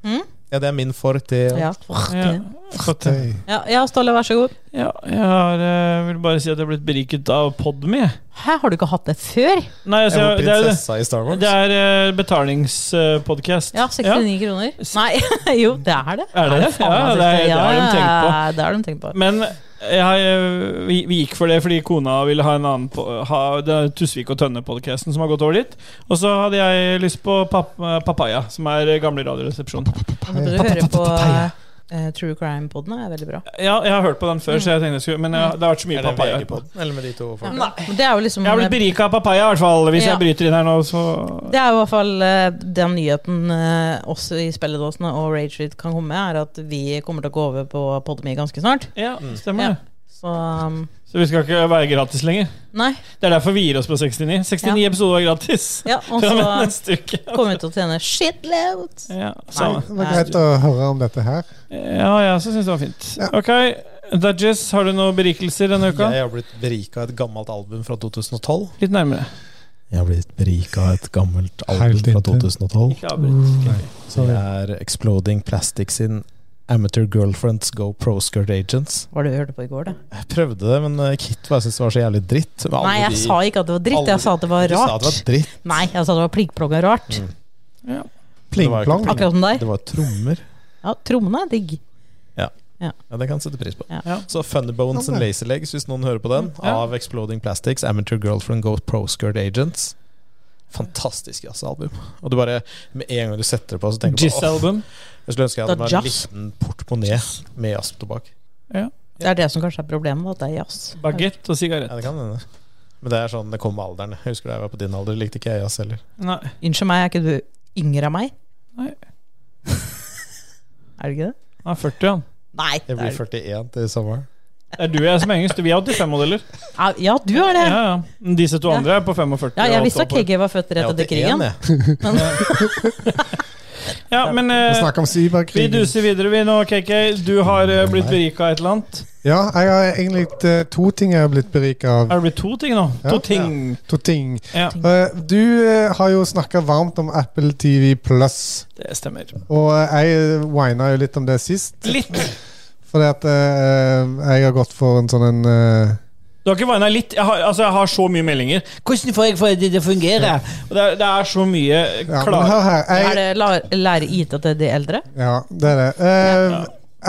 Speaker 5: Mm?
Speaker 4: Ja, det er min forte òg.
Speaker 5: Ja.
Speaker 1: ja. Fått-
Speaker 2: Hei.
Speaker 5: Ja, ja, Ståle, vær så god.
Speaker 1: ja, jeg har, eh, vil bare si at jeg har blitt beriket av Podme.
Speaker 5: Hæ, har du ikke hatt det før?
Speaker 1: Nei,
Speaker 4: Jeg
Speaker 1: altså,
Speaker 4: var
Speaker 1: jeg, det er,
Speaker 4: prinsessa i Star Wars.
Speaker 1: det er eh, betalingspodkast.
Speaker 5: Ja, 69 kroner. Nei, jo, det er det.
Speaker 1: Er det det?
Speaker 5: faen
Speaker 1: Ja,
Speaker 5: meg
Speaker 1: det er- det har de tenkt på.
Speaker 5: Ja, Det har de tenkt på.
Speaker 1: Men jeg, eh, vi, vi gikk for det fordi kona ville ha en annen på, ha, Det er Tusvik og Tønne-podkasten som har gått over dit. Og så hadde jeg lyst på pap, Papaya, som er eh, gamle Radioresepsjon.
Speaker 5: Og så bør du høre på eh, True Crime-poden, er veldig bra.
Speaker 1: Ja, jeg har hørt på den før, så jeg tenkte jeg skulle Men jeg, det har vært så mye
Speaker 4: Er det
Speaker 1: papaya.
Speaker 4: VG på den, eller med de to folkene?
Speaker 5: Men Det er jo liksom
Speaker 1: Jeg har blitt berika av papaya, i hvert fall. Hvis
Speaker 5: Ja.
Speaker 1: jeg bryter inn her nå, så
Speaker 5: Det er i hvert fall eh, den nyheten eh, oss i spilledåsene og Ragerid kan komme med, er at vi kommer til å gå over på Podme ganske snart.
Speaker 1: Ja,
Speaker 4: Mm.
Speaker 5: Ja.
Speaker 1: stemmer det.
Speaker 5: Så um,
Speaker 1: Så vi skal ikke være gratis lenger.
Speaker 5: Nei.
Speaker 1: Det er derfor vi gir oss på 69. 69 episoder var gratis.
Speaker 5: Ja, og
Speaker 1: Fra
Speaker 5: så
Speaker 1: neste uke.
Speaker 5: kommer vi til å tjene shitload.
Speaker 1: Ja, så.
Speaker 2: Det var greit å høre om dette her.
Speaker 1: ja, jeg også syns det var fint. Ok, Dudges, har du noen berikelser denne uka?
Speaker 4: Jeg har blitt berika av et gammelt album fra 2012.
Speaker 1: Litt nærmere.
Speaker 4: Jeg har blitt berika av et gammelt
Speaker 2: Helt
Speaker 4: album fra
Speaker 2: inntil.
Speaker 4: 2012.
Speaker 1: Ikke avbryt.
Speaker 4: Så det er Exploding Plastic sin Amateur Girlfriends Go Pro Skirt Agents.
Speaker 5: Var det du hørte på i går, da?
Speaker 4: Jeg prøvde det, men eh, Kit bare syntes det var så jævlig dritt. Med alle
Speaker 5: Nei, jeg
Speaker 4: de-
Speaker 5: sa ikke at det var dritt,
Speaker 4: alle
Speaker 5: jeg sa at det var
Speaker 4: Du sa at
Speaker 5: rart.
Speaker 4: det var dritt.
Speaker 5: Nei, jeg sa det var plikkplogga rart.
Speaker 4: Det var
Speaker 2: Pling-plong.
Speaker 4: ikke pling.
Speaker 5: Akkurat som deg.
Speaker 4: Det var trommer.
Speaker 5: Ja, trommene er digg.
Speaker 4: Ja, Det kan jeg sette pris på.
Speaker 5: Ja.
Speaker 1: Ja.
Speaker 4: Så Funny Bones and Lazy Legs, hvis noen hører på den,
Speaker 1: Ja.
Speaker 4: av Exploding Plastics, Amateur Girlfriend Go Pro Skirt Agents. Fantastisk jazzalbum. Og du bare, med en gang du setter det på, så tenker du på
Speaker 1: Jizz-album.
Speaker 4: Jeg skulle ønske jeg hadde
Speaker 5: Det
Speaker 4: bare
Speaker 5: er
Speaker 4: en
Speaker 5: jazz.
Speaker 4: liten portemonee med jazztobakk.
Speaker 5: Det er det som kanskje er problemet, at det er jazz.
Speaker 1: Bagett og
Speaker 4: Ja,
Speaker 1: sigarett.
Speaker 4: det kan hende. Men det er sånn det kommer med alderen. Jeg husker da jeg var på din alder, likte ikke jeg jazz heller.
Speaker 1: Nei.
Speaker 5: Unnskyld meg, er ikke du yngre enn meg?
Speaker 1: Nei.
Speaker 5: er du ikke det?
Speaker 1: Han er 40, han.
Speaker 5: Nei.
Speaker 4: Jeg blir 41 til sommeren.
Speaker 1: Det er du og jeg som er yngst. Vi er 85-modeller.
Speaker 5: Ja, Ja, du er det.
Speaker 1: Ja, ja. Men Disse to andre er på 45.
Speaker 5: Ja, jeg
Speaker 1: og
Speaker 5: visste at
Speaker 1: 8 år.
Speaker 5: KG var født rett etter krigen.
Speaker 4: jeg.
Speaker 1: Ja, men eh,
Speaker 2: Vi snakker om
Speaker 1: vi
Speaker 2: cyberkrig.
Speaker 1: duser videre, vi nå, KK. Du har eh, blitt berika av et eller annet.
Speaker 2: Ja, jeg har egentlig eh, to ting jeg har blitt berika av.
Speaker 1: Er det blitt to ting nå?
Speaker 2: Ja.
Speaker 1: To ting.
Speaker 2: To ting.
Speaker 1: Ja.
Speaker 2: Eh, Du eh, har jo snakka varmt om Apple TV Pluss,
Speaker 1: det stemmer.
Speaker 2: og eh, jeg wina jo litt om det sist.
Speaker 1: Litt.
Speaker 2: Fordi at eh, jeg har gått for en sånn en eh,
Speaker 1: Du har ikke vina litt? Jeg har, altså, jeg har så mye meldinger. Hvordan får jeg for det til å fungere? Og det, er, det er så mye
Speaker 2: Ja, men
Speaker 1: klare
Speaker 2: hør her. Jeg,
Speaker 5: Er det la- lære IT til de eldre?
Speaker 2: Ja, det er det. Eh,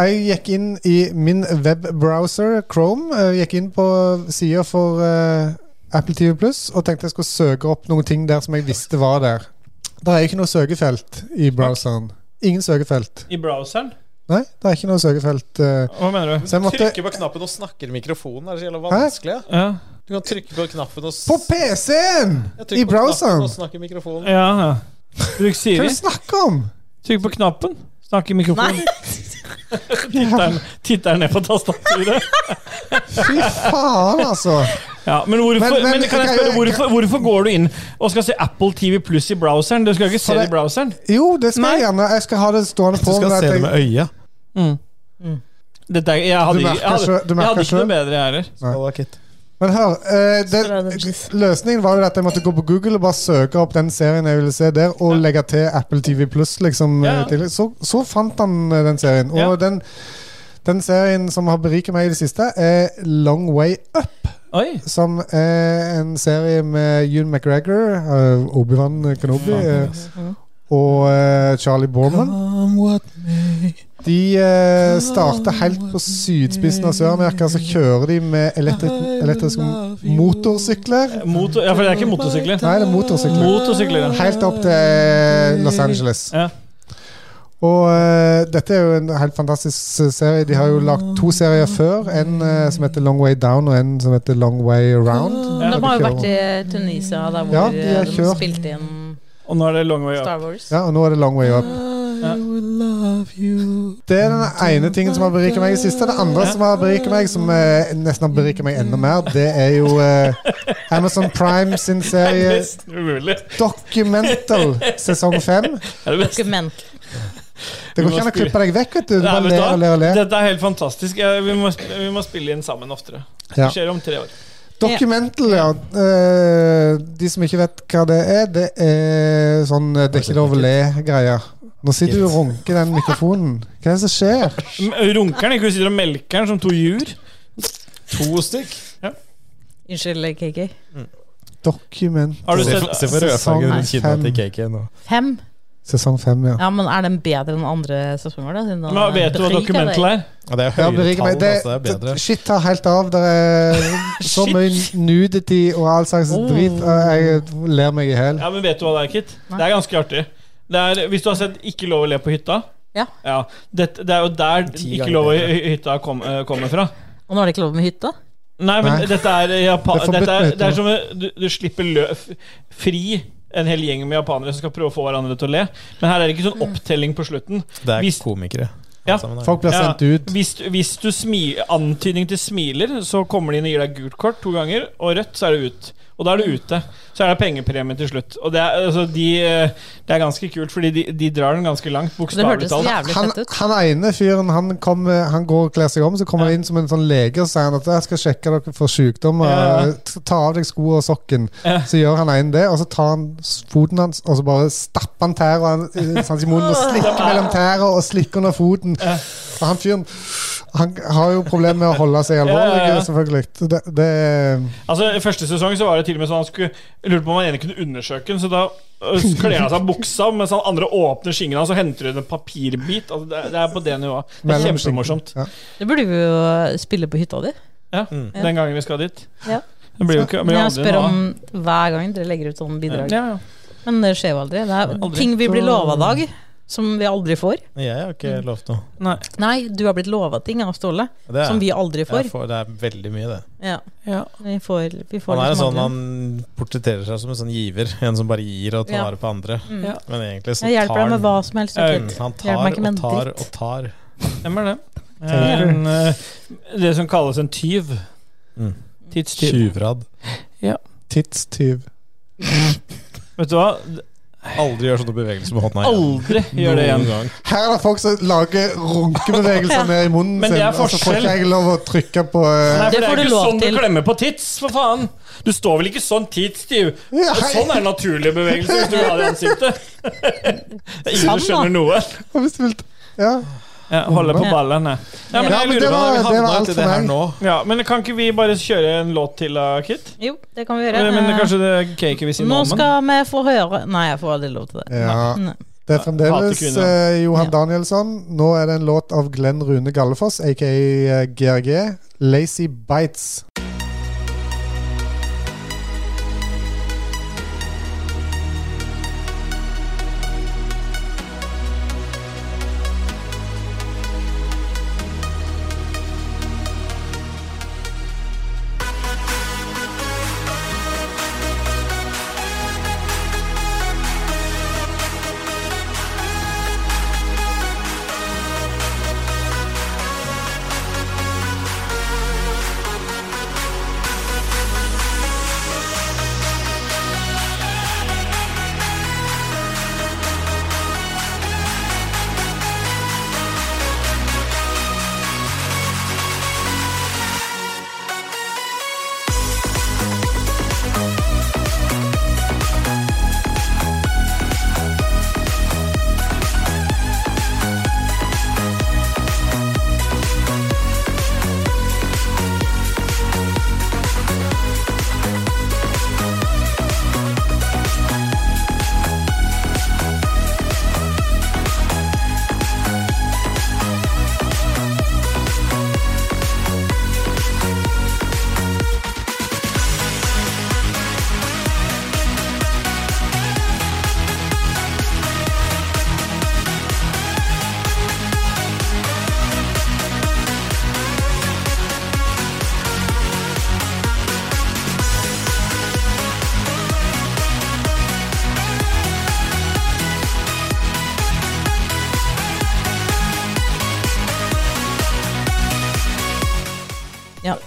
Speaker 2: Jeg gikk inn i min webbrowser, Chrome. eh, gikk inn på sida for eh, Apple TV Pluss og tenkte jeg skulle søke opp noen ting der som jeg visste var der. Det er ikke noe søkefelt i browseren. Ingen søkefelt.
Speaker 1: i browseren.
Speaker 2: Nei, det er ikke noe søkefelt. eh.
Speaker 1: Hva mener du?
Speaker 2: Så jeg måtte
Speaker 4: Trykker på knappen og snakker i mikrofonen. Er det så jævla vanskelig? ja?
Speaker 1: Ja,
Speaker 4: Du kan trykke på knappen og s-
Speaker 2: På PC-en!
Speaker 4: Jeg
Speaker 2: I
Speaker 4: trykker på knappen
Speaker 2: browseren!
Speaker 4: Og snakke i mikrofonen.
Speaker 1: ja. ja. Bruk
Speaker 2: Hva er
Speaker 1: Siri.
Speaker 2: det du snakker om?
Speaker 1: Trykk på knappen. Snakk i mikrofonen. Titter, titter ned på tastaturet.
Speaker 2: Fy faen, altså.
Speaker 1: Ja, men, hvorfor,
Speaker 2: Men-
Speaker 1: men,
Speaker 2: men-
Speaker 1: kan jeg spørre, hvorfor, hvorfor går du inn og skal se Apple TV Pluss i browseren? Du skal ikke se
Speaker 2: For
Speaker 1: det
Speaker 2: det-
Speaker 1: i browseren.
Speaker 2: Jo, det skal jeg gjerne. Jeg skal ha det stående
Speaker 4: Du
Speaker 2: på.
Speaker 4: skal
Speaker 2: men at
Speaker 4: se
Speaker 2: jeg-
Speaker 4: det med øya.
Speaker 1: Dette, er- jeg, hadde,
Speaker 2: Du
Speaker 1: ikke-
Speaker 2: merker
Speaker 1: jeg, hadde,
Speaker 2: selv- du
Speaker 1: jeg
Speaker 2: merker
Speaker 1: hadde ikke noe
Speaker 2: selv.
Speaker 1: bedre, jeg heller.
Speaker 2: Nei.
Speaker 4: Halla, Kit.
Speaker 2: Men hør, eh, det,
Speaker 5: Strategies.
Speaker 2: løsningen var jo at jeg måtte gå på Google og bare søke opp den serien jeg ville se der, og legge til Apple TV Pluss. Liksom,
Speaker 1: Ja, ja.
Speaker 2: eh, til. så, så fant han eh, den serien. Og
Speaker 1: Ja.
Speaker 2: den, den serien som har beriket meg i det siste, er Long Way Up.
Speaker 1: Oi!
Speaker 2: Som er en serie med Ewan McGregor, eh, Obi-Wan Kenobi eh, og eh, Charlie Borman. De eh, starter helt på sydspissen av Sør-Amerika, så kjører de med elektri- elektriske motorsykler.
Speaker 1: Motor, ja, for det er ikke motorsykler.
Speaker 2: Nei, det er motorsykler.
Speaker 1: Motorsykler, ja.
Speaker 2: Helt opp til eh, Los Angeles.
Speaker 1: Ja.
Speaker 2: Og eh, dette er jo en helt fantastisk serie. De har jo lagd to serier før. En eh, som heter Long Way Down, og en som heter Long Way Around.
Speaker 1: Ja.
Speaker 5: Mm, De
Speaker 2: Der de
Speaker 5: har jo
Speaker 2: kjører-
Speaker 5: vært i Tunisia, der hvor
Speaker 2: Ja, de har
Speaker 5: eh, de
Speaker 2: kjørt.
Speaker 5: spilte inn
Speaker 1: Og nå er det long way up.
Speaker 5: Star Wars.
Speaker 2: Ja, og nå er det Long Way Up. Det er den ene tingen som har beriket meg i det siste. Det andre som har beriket meg, som eh, nesten har beriket meg enda mer, det er jo eh, Amazon Prime sin serie
Speaker 1: Nesten umulig.
Speaker 2: Documental sesong fem.
Speaker 1: Det er det beste.
Speaker 5: Dokument.
Speaker 2: Det går ikke an å klippe deg vekk, vet du. Du
Speaker 1: Nei,
Speaker 2: bare
Speaker 1: vet du
Speaker 2: ler
Speaker 1: hva?
Speaker 2: og ler og ler.
Speaker 1: Dette er helt fantastisk. Ja, Vi må, sp- vi må spille inn sammen oftere.
Speaker 2: Ja.
Speaker 1: Det skjer om tre år.
Speaker 2: Documental, ja. Eh, De som ikke vet hva det er, det er sånn eh, Det er ikke lov å le-greia. Nå sitter du og runker den mikrofonen. Hva er det som skjer?
Speaker 1: M- Runker den ikke? Hun sitter og melker den som to jur.
Speaker 4: To stykk.
Speaker 5: Unnskyld, KK.
Speaker 2: Documental
Speaker 1: Har du
Speaker 4: Se
Speaker 1: sett
Speaker 4: for- se for rødfargen rundt kinna til KK nå.
Speaker 5: Fem?
Speaker 2: sesong fem, ja.
Speaker 5: Ja, men er den bedre enn andre sesonger, da? siden den
Speaker 1: Men
Speaker 5: er
Speaker 1: Vet du hva
Speaker 5: beriket,
Speaker 1: dokumental
Speaker 5: da?
Speaker 1: er?
Speaker 4: Ja, det er
Speaker 2: Ja,
Speaker 4: høyere
Speaker 2: beriker meg.
Speaker 4: tall,
Speaker 2: Det,
Speaker 4: altså. Det er bedre.
Speaker 2: det- shit tar helt av. Det er så
Speaker 1: Shit.
Speaker 2: mye nudity og all slags
Speaker 5: Oh.
Speaker 2: drit. og Jeg ler meg i hjel.
Speaker 1: Ja, men vet du hva det er, Kit? Det er ganske artig. Det er, hvis du har sett 'Ikke lov å le på hytta'
Speaker 5: Ja.
Speaker 1: Dette- det er jo der
Speaker 4: Ti
Speaker 1: 'Ikke
Speaker 4: ganger
Speaker 1: lov å
Speaker 4: bedre.
Speaker 1: hy- hytta' kom, eh, kommer fra.
Speaker 5: Og nå er det ikke lov med hytta?
Speaker 1: Nei, men
Speaker 2: Nei.
Speaker 1: dette er Japan...
Speaker 2: Det er forbudt
Speaker 1: dette er,
Speaker 2: med hytta.
Speaker 1: det er som eh, du, du slipper lø f- fri en hel gjeng med japanere som skal prøve å få hverandre til å le. Men her er det ikke sånn opptelling på slutten.
Speaker 4: Det er
Speaker 1: Hvis-
Speaker 4: komikere.
Speaker 1: Ja.
Speaker 4: alle sammen her.
Speaker 2: Folk blir
Speaker 1: Ja,
Speaker 2: sendt ut.
Speaker 1: Hvis, hvis du smi, antydning til smiler, så kommer de inn og gir deg gult kort to ganger, og rødt, så er det ut. Og da er du ute. Så er det pengepremie til slutt. Og det er, altså, de, eh, det er ganske kult, fordi de, de drar den ganske langt,
Speaker 5: Det
Speaker 1: bokstavelig
Speaker 5: hørtes
Speaker 1: talt.
Speaker 5: jævlig
Speaker 2: Han,
Speaker 5: fett ut.
Speaker 2: han ene fyren han, kom, han går og kler seg om, så kommer han inn som en sånn lege og sier han at jeg skal sjekke dere for sykdommer.
Speaker 1: Ja.
Speaker 2: eh, Ta av deg skoene og sokken.
Speaker 1: Ja.
Speaker 2: Så gjør han ene det, og så tar han s- foten hans og så bare stapper han tærne hans i munnen og slikker mellom tærne og slikker under foten. Og han fyren han har jo problemer med å holde seg alvorlig,
Speaker 1: Ja, ja, ja.
Speaker 2: selvfølgelig. Så Det, det
Speaker 1: Altså, I første sesong så var det til og med sånn han skulle jeg lurte på om han ene kunne undersøke den, så da øh, så kler han seg av buksa, mens han andre åpner skingen hans og henter ut en papirbit. Altså, det, er- det er på det nivået. Det er
Speaker 2: mellom-
Speaker 1: kjempemorsomt.
Speaker 2: Ja.
Speaker 5: Det burde vi jo eh, spille på hytta di.
Speaker 1: Ja,
Speaker 4: Mm.
Speaker 1: Den gangen vi skal dit.
Speaker 5: Ja.
Speaker 1: Det blir jo ikke
Speaker 5: Men
Speaker 1: blir
Speaker 5: jeg
Speaker 1: aldri
Speaker 5: spør
Speaker 1: noe av.
Speaker 5: om hver gang dere legger ut sånne bidrag.
Speaker 1: ja, ja.
Speaker 5: Men det skjer jo aldri. Det er
Speaker 1: Aldri.
Speaker 5: ting vi blir lova, Dag, som vi aldri får.
Speaker 4: Jeg har ikke lovt noe.
Speaker 1: Nei.
Speaker 5: Nei, du har blitt lova ting av Ståle
Speaker 4: Det er,
Speaker 5: som vi aldri
Speaker 4: jeg
Speaker 5: får.
Speaker 4: får, det er veldig mye, det.
Speaker 5: Ja,
Speaker 1: Ja.
Speaker 5: vi får, vi får
Speaker 4: Han er en
Speaker 5: liksom
Speaker 4: sånn,
Speaker 5: aldri.
Speaker 4: han portretterer seg som en sånn giver. En som bare gir og tar
Speaker 5: Ja.
Speaker 4: vare på andre.
Speaker 5: Mm.
Speaker 1: Ja.
Speaker 4: Men egentlig så
Speaker 5: Jeg hjelper
Speaker 4: tar
Speaker 5: deg
Speaker 4: Mm,
Speaker 5: med hva som helst.
Speaker 1: Ja,
Speaker 5: Kit.
Speaker 4: Han
Speaker 5: Hjelper
Speaker 4: tar
Speaker 5: meg ikke
Speaker 4: og
Speaker 5: med
Speaker 4: tar
Speaker 5: dritt.
Speaker 4: og tar.
Speaker 1: Hvem er det? Eh, En, eh, det som kalles en tyv.
Speaker 4: Mm.
Speaker 1: Tidstyv.
Speaker 4: Tjuvradd.
Speaker 2: Tidstyv.
Speaker 1: Vet du hva?
Speaker 4: Aldri gjør sånne bevegelser med hånda igjen.
Speaker 1: Aldri gjør det igjen.
Speaker 4: Noen gang.
Speaker 2: Her er det folk som lager runkebevegelser ned i munnen
Speaker 1: Men
Speaker 2: sin.
Speaker 1: det er
Speaker 2: Og så får
Speaker 1: forskjell.
Speaker 2: ikke jeg lov å trykke på eh,
Speaker 1: Nei, for
Speaker 5: Det
Speaker 1: det
Speaker 5: får
Speaker 1: er
Speaker 5: du
Speaker 1: ikke
Speaker 5: lov
Speaker 1: sånn
Speaker 5: til.
Speaker 1: du klemmer på tits, for faen! Du står vel ikke sånn tidstyv?
Speaker 2: Ja, hei.
Speaker 1: Sånn er en naturlig bevegelse hvis du har det i ansiktet. Det er Ingen som
Speaker 5: Sånn, da.
Speaker 1: skjønner noe.
Speaker 2: hvis du vil. Ja.
Speaker 1: Ja, holder på
Speaker 5: Ja.
Speaker 1: ballene. Ja, men
Speaker 2: Ja,
Speaker 1: jeg
Speaker 2: men det
Speaker 1: lurer på
Speaker 2: var-
Speaker 4: Vi
Speaker 2: det var
Speaker 4: havna
Speaker 2: alt
Speaker 4: uti
Speaker 2: for
Speaker 4: det her
Speaker 2: meg.
Speaker 4: nå.
Speaker 1: ja, men kan ikke vi bare kjøre en låt til, da, Kit?
Speaker 5: Jo, det kan vi gjøre.
Speaker 1: Eh, Men
Speaker 5: Eh,
Speaker 1: kanskje det er cake ved siden
Speaker 5: Nå
Speaker 1: av men-
Speaker 5: skal vi få høre Nei, jeg får aldri lov til det.
Speaker 2: ja.
Speaker 5: Nei.
Speaker 2: Det er fremdeles
Speaker 1: Hater kvinner.
Speaker 2: eh, Johan
Speaker 5: Ja.
Speaker 2: Danielsson. Nå er det en låt av Glenn Rune Gallefoss, aka eh, GRG. 'Lazy Bites'.
Speaker 8: Lazy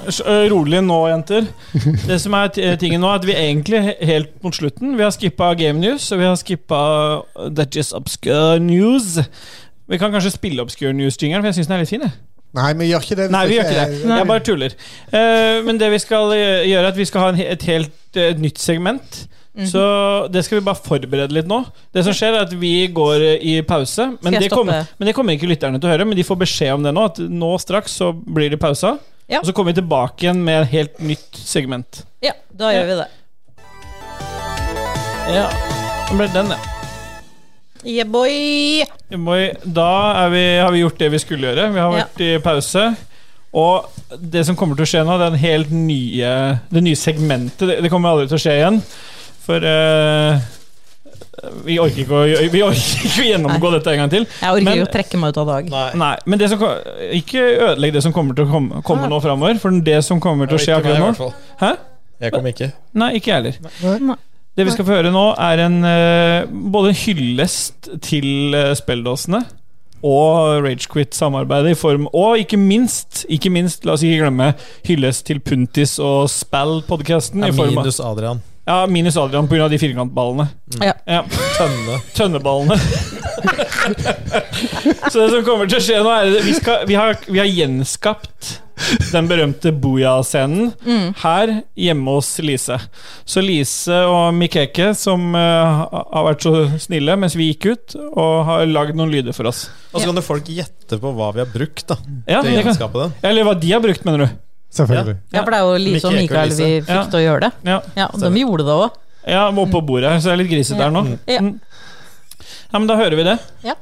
Speaker 1: s- øh, rolig nå, jenter. Det som er t- eh, tingen nå, er at vi egentlig he- helt mot slutten Vi har skippa Game News, og vi har skippa That Is Obscure News. Vi kan kanskje spille Obscure News-jingeren, for jeg syns den er litt fin. Jeg.
Speaker 2: Nei, vi gjør ikke det. hvis
Speaker 1: Nei, vi gjør
Speaker 2: ikke
Speaker 1: ikke
Speaker 2: er-
Speaker 1: det. Jeg bare tuller. Eh, men det vi skal eh, gjøre, er at vi skal ha en, he- et helt eh, et nytt segment.
Speaker 5: Mhm.
Speaker 1: Så det skal vi bare forberede litt nå. Det som skjer er at Vi går eh, i pause. Men
Speaker 5: jeg
Speaker 1: det, kommer,
Speaker 5: stoppe?
Speaker 1: men det kommer ikke lytterne til å høre. Men de får beskjed om det nå. At nå straks så blir det pausa.
Speaker 5: Ja.
Speaker 1: Og så kommer vi tilbake igjen med et helt nytt segment.
Speaker 5: Ja, da gjør vi det.
Speaker 1: Ja, det ble den, ja.
Speaker 5: Yeah, boy!
Speaker 1: Boy, Da er vi, har vi gjort det vi skulle gjøre. Vi har
Speaker 5: Ja.
Speaker 1: vært i pause. Og det som kommer til å skje nå, det er en helt nye, det nye segmentet. Det, det kommer aldri til å skje igjen. For eh, vi orker ikke å, vi orker ikke å gjennomgå dette en gang til.
Speaker 5: Jeg orker
Speaker 1: Men-
Speaker 5: ikke å trekke meg ut av dag.
Speaker 4: Nei.
Speaker 1: Nei, men det som, ko- Ikke ødelegg det som kommer til å komme, komme nå framover. For det som kommer til å skje
Speaker 4: Ikke meg, i
Speaker 1: akkurat nå
Speaker 4: hvert fall.
Speaker 1: Hæ?
Speaker 4: Jeg kom ikke.
Speaker 1: Nei, ikke jeg heller.
Speaker 5: Nei.
Speaker 1: Det vi skal få høre nå, er en, eh, både en hyllest til eh, spelledåsene og Ragequit-samarbeidet i form Og ikke minst, ikke minst, la oss ikke glemme, hyllest til Puntis og Spell-podkasten. i form av-
Speaker 4: Minus Adrian.
Speaker 1: Ja, minus Adrian pga. de firkantballene.
Speaker 5: Ja.
Speaker 4: Tønne.
Speaker 1: Tønneballene. Så det som kommer til å skje nå, er at vi, skal, vi, har, vi har gjenskapt den berømte Booyah-scenen
Speaker 5: Mm.
Speaker 1: her hjemme hos Lise. Så Lise og Mikeke, som eh, har vært så snille mens vi gikk ut, og har lagd noen lyder for oss.
Speaker 4: Og så kan jo folk gjette på hva vi har brukt da
Speaker 1: Ja,
Speaker 4: til å
Speaker 1: det kan,
Speaker 4: gjenskape den.
Speaker 1: eller hva de har brukt, mener du?
Speaker 2: Selvfølgelig.
Speaker 5: Ja, for det er jo Lise og
Speaker 4: Mikke Eke og
Speaker 5: Mikael vi
Speaker 4: Lise.
Speaker 5: fikk
Speaker 1: Ja.
Speaker 5: til å gjøre det.
Speaker 1: Ja.
Speaker 5: Ja, og De gjorde det òg.
Speaker 1: Ja, må oppå bordet her, så det er litt grisete her nå.
Speaker 5: Ja.
Speaker 1: Mm. Ja, men da hører vi det.
Speaker 5: Ja.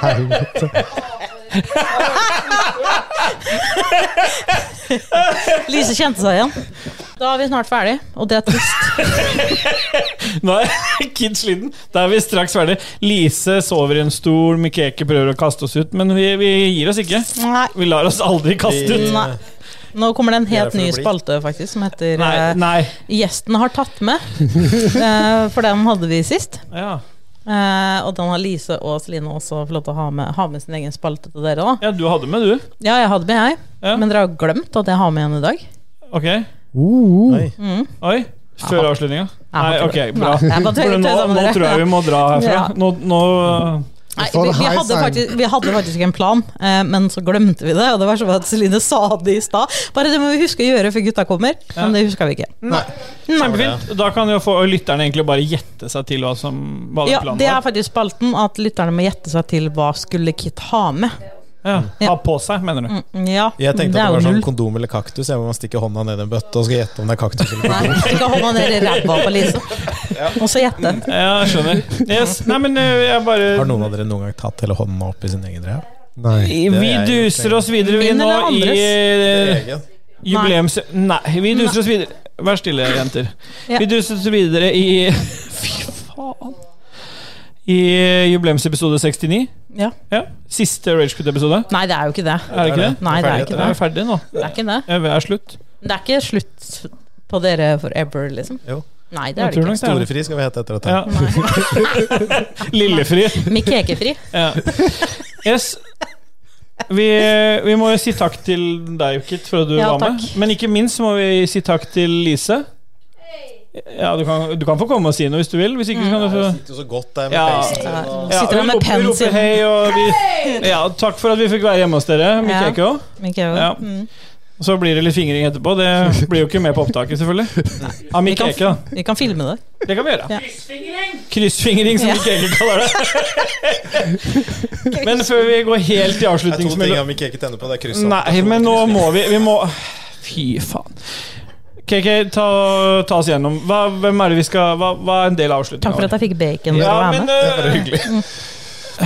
Speaker 2: Helvete.
Speaker 5: Lise kjente seg igjen. Da er vi snart ferdig, og det er trist.
Speaker 1: Nå er kids sliten. Da er vi straks ferdig. Lise sover i en stol, Mikeke prøver å kaste oss ut, men vi, vi gir oss ikke.
Speaker 5: Nei.
Speaker 1: Vi lar oss aldri kaste ut.
Speaker 5: Nei. Nå kommer det en helt
Speaker 4: for
Speaker 5: ny
Speaker 4: å bli.
Speaker 5: spalte faktisk som heter
Speaker 1: Nei,
Speaker 5: eh,
Speaker 1: nei.
Speaker 5: Gjesten har tatt med. Eh, for den hadde vi sist.
Speaker 1: Ja.
Speaker 5: Eh, og den har Lise og Celine også fått lov til å ha med, ha med sin egen spalte til dere. da
Speaker 1: ja, du hadde med, du.
Speaker 5: Ja, jeg hadde med, jeg.
Speaker 1: Ja.
Speaker 5: Men dere har glemt at jeg har med en i dag.
Speaker 1: Ok.
Speaker 2: Uh,
Speaker 4: Nei.
Speaker 5: Mm.
Speaker 1: Oi. Før avslutninga?
Speaker 5: har
Speaker 1: Nei,
Speaker 5: ikke
Speaker 1: ok,
Speaker 5: det.
Speaker 1: bra.
Speaker 5: Nei, jeg bare
Speaker 1: For
Speaker 5: tøyser
Speaker 1: nå, nå
Speaker 5: med dere.
Speaker 1: tror jeg vi må dra herfra.
Speaker 5: Ja. Mm.
Speaker 1: Nå, nå
Speaker 5: Nei,
Speaker 2: får
Speaker 5: vi,
Speaker 2: en
Speaker 5: vi,
Speaker 2: high
Speaker 5: hadde
Speaker 2: sign.
Speaker 5: faktisk, vi hadde faktisk en plan, eh, men så glemte vi det. Og det var sånn at Celine sa det i stad. Bare det må vi huske å gjøre før gutta kommer. Men det huska vi ikke.
Speaker 1: Kjempefint. Da kan jo få lytterne egentlig bare gjette seg til hva som hva
Speaker 5: Ja,
Speaker 1: planen
Speaker 5: Det er
Speaker 1: var.
Speaker 5: faktisk spalten at lytterne må gjette seg til hva skulle Kit ha med.
Speaker 1: Ja. Ha på seg, mener
Speaker 5: Mm.
Speaker 1: du.
Speaker 5: Ja,
Speaker 4: Jeg
Speaker 5: det
Speaker 4: tenkte at det
Speaker 5: er
Speaker 4: var
Speaker 5: jo
Speaker 4: sånn
Speaker 5: null.
Speaker 4: kondom eller kaktus. Jeg må stikke hånda ned i en bøtte og skal gjette om det er kaktus eller kondom.
Speaker 5: Nei, Ikke hånda ned i ræva på Lise. Og så gjette.
Speaker 1: Ja, jeg skjønner. Yes. Nei, men eh, jeg bare
Speaker 4: Har noen av dere noen gang tatt hele hånda opp i sin egen ræv?
Speaker 2: nei.
Speaker 1: I-
Speaker 4: Det
Speaker 1: Vi
Speaker 4: er jo
Speaker 1: duser
Speaker 4: ikke-
Speaker 1: oss videre vi
Speaker 5: Min
Speaker 1: nå
Speaker 5: eller
Speaker 1: i
Speaker 5: andres?
Speaker 1: eh,
Speaker 4: Egen.
Speaker 1: jubileums... Nei, vi duser oss videre. Vær stille, jenter.
Speaker 5: Ja.
Speaker 1: Vi duser oss videre i Fy faen. I eh, jubileumsepisode 69.
Speaker 5: Ja.
Speaker 1: Ja. Siste Ragequit-episode.
Speaker 5: Nei, det er jo ikke det.
Speaker 1: Er det ikke det?
Speaker 5: Nei, det er
Speaker 1: Vi
Speaker 5: ikke det.
Speaker 1: er ferdig nå.
Speaker 5: Det er ikke det.
Speaker 1: Ja, Vi er slutt.
Speaker 5: Det er ikke slutt på dere forever, liksom.
Speaker 4: Jo.
Speaker 5: Nei, det
Speaker 1: Jeg
Speaker 5: er det
Speaker 1: tror
Speaker 5: ikke.
Speaker 1: nok det er det.
Speaker 4: Storefri skal vi hete etter dette.
Speaker 1: Ja. Lillefri.
Speaker 5: Mikekefri.
Speaker 1: Ja. Yes. Vi, vi må jo si takk til deg, Kit, for at du
Speaker 5: Ja,
Speaker 1: var med.
Speaker 5: takk.
Speaker 1: Men ikke minst må vi si takk til Lise. Ja, du kan, du kan få komme og si noe hvis du vil. Hvis ikke så kan du få
Speaker 4: Det er så godt der med
Speaker 1: Ja.
Speaker 4: peisen.
Speaker 1: ja,
Speaker 5: Sitter
Speaker 1: vi
Speaker 5: der med
Speaker 1: roper- vi roper
Speaker 5: pensel.
Speaker 1: hei, og vi, ja, Takk for at vi fikk være hjemme hos dere. Mikke
Speaker 5: Ja.
Speaker 1: Eke også.
Speaker 5: Mikael.
Speaker 1: Ja.
Speaker 5: Mm.
Speaker 1: Så blir det litt fingring etterpå. Det blir jo ikke med på opptaket, selvfølgelig. Av Mikke
Speaker 5: kan-
Speaker 1: Eke, da.
Speaker 5: Vi kan filme det.
Speaker 1: Det kan vi gjøre.
Speaker 5: Ja.
Speaker 1: Kryssfingring, som
Speaker 5: Ja.
Speaker 1: Mikke Eke kaller det. Men før vi går helt i
Speaker 4: Det er to
Speaker 1: avslutningsmålet
Speaker 4: ting jeg ikke tenner på. Det er krysset.
Speaker 1: Nei, men nå må vi Vi må Fy faen. KK, ta, ta oss gjennom. Hva, hvem er det vi skal Hva, hva er en del av
Speaker 5: Takk for
Speaker 1: avslutningen?
Speaker 5: at jeg fikk bacon. for å
Speaker 1: Ja,
Speaker 5: være
Speaker 1: men
Speaker 5: med.
Speaker 1: eh,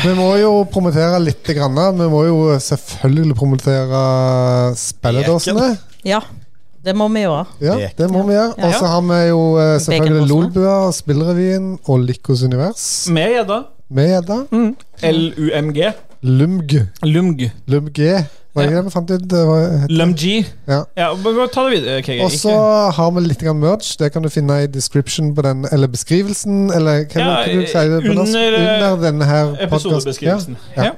Speaker 2: Vi må jo promotere litt. Grann. Vi må jo selvfølgelig promotere spilledåsene.
Speaker 5: Ja, det må vi jo ha.
Speaker 2: Ja, det må vi gjøre. Og så har vi jo eh, selvfølgelig
Speaker 5: Baconbossene.
Speaker 2: Lolbua,
Speaker 1: Mm.
Speaker 2: Spillrevyen og Lykkos univers
Speaker 1: Med gjedda.
Speaker 2: med gjedda.
Speaker 1: LUMG.
Speaker 2: Lumg.
Speaker 1: Lumg.
Speaker 2: Lumg-G. Var det ikke det vi fant ut? Det var,
Speaker 1: Lumgi.
Speaker 2: Ja.
Speaker 1: Ja, men bare ta det videre, KG.
Speaker 2: Og så har vi litt grann merch. Det kan du finne i description på den, eller beskrivelsen. Eller hva
Speaker 1: Ja,
Speaker 2: kan du si det på norsk?
Speaker 1: under, eh,
Speaker 2: under denne her
Speaker 1: Ikke
Speaker 2: podcasten.
Speaker 1: Episodebeskrivelsen. Ja.
Speaker 2: Ja.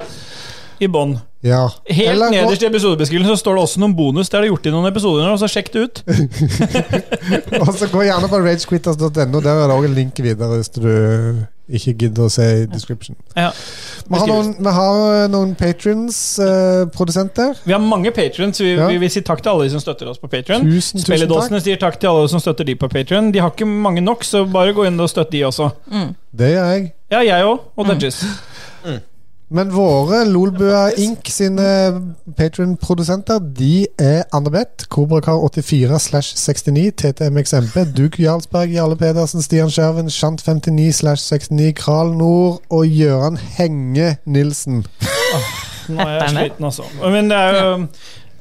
Speaker 1: I bånn.
Speaker 2: Ja. ja.
Speaker 1: Helt
Speaker 2: Eller gå-
Speaker 1: nederst i episodebeskrivelsen så står det også noen bonus. Det er det gjort i noen episoder nå, så sjekk det ut.
Speaker 2: Og så gå gjerne på ragequitters.no. Der er det òg en link videre hvis du eh, ikke gidder å se i description.
Speaker 1: Ja.
Speaker 2: Vi har noen, vi har eh, noen eh, patrions-produsenter.
Speaker 1: Vi har mange patrions. Vi,
Speaker 2: Ja.
Speaker 1: vi vil si takk til alle de som støtter oss på Patrion.
Speaker 2: tusen, tusen takk.
Speaker 1: Spelledåsene sier takk til alle som støtter de på Patrion. De har ikke mange nok, så bare gå inn og støtt de også.
Speaker 2: Det gjør jeg.
Speaker 1: Ja, jeg òg. Og
Speaker 2: Mm.
Speaker 1: Dudges.
Speaker 2: Men våre Lolbua Inc. sine patron-produsenter De er Anne-Beth, Kobrakar84 slash 69, TTMXMP, Duke Jarlsberg, Jarle Pedersen, Stian Skjerven, Shant59 slash 69, Kral Nord og Gøran Henge Nilsen.
Speaker 1: Nå er jeg sliten, altså. Men det er jo um,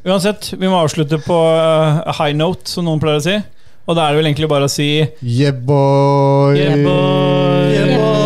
Speaker 1: Uansett, vi må avslutte på eh, high note, som noen pleier å si. Og da er det vel egentlig bare å si
Speaker 2: Yeah, boy!
Speaker 1: Yeah, boy.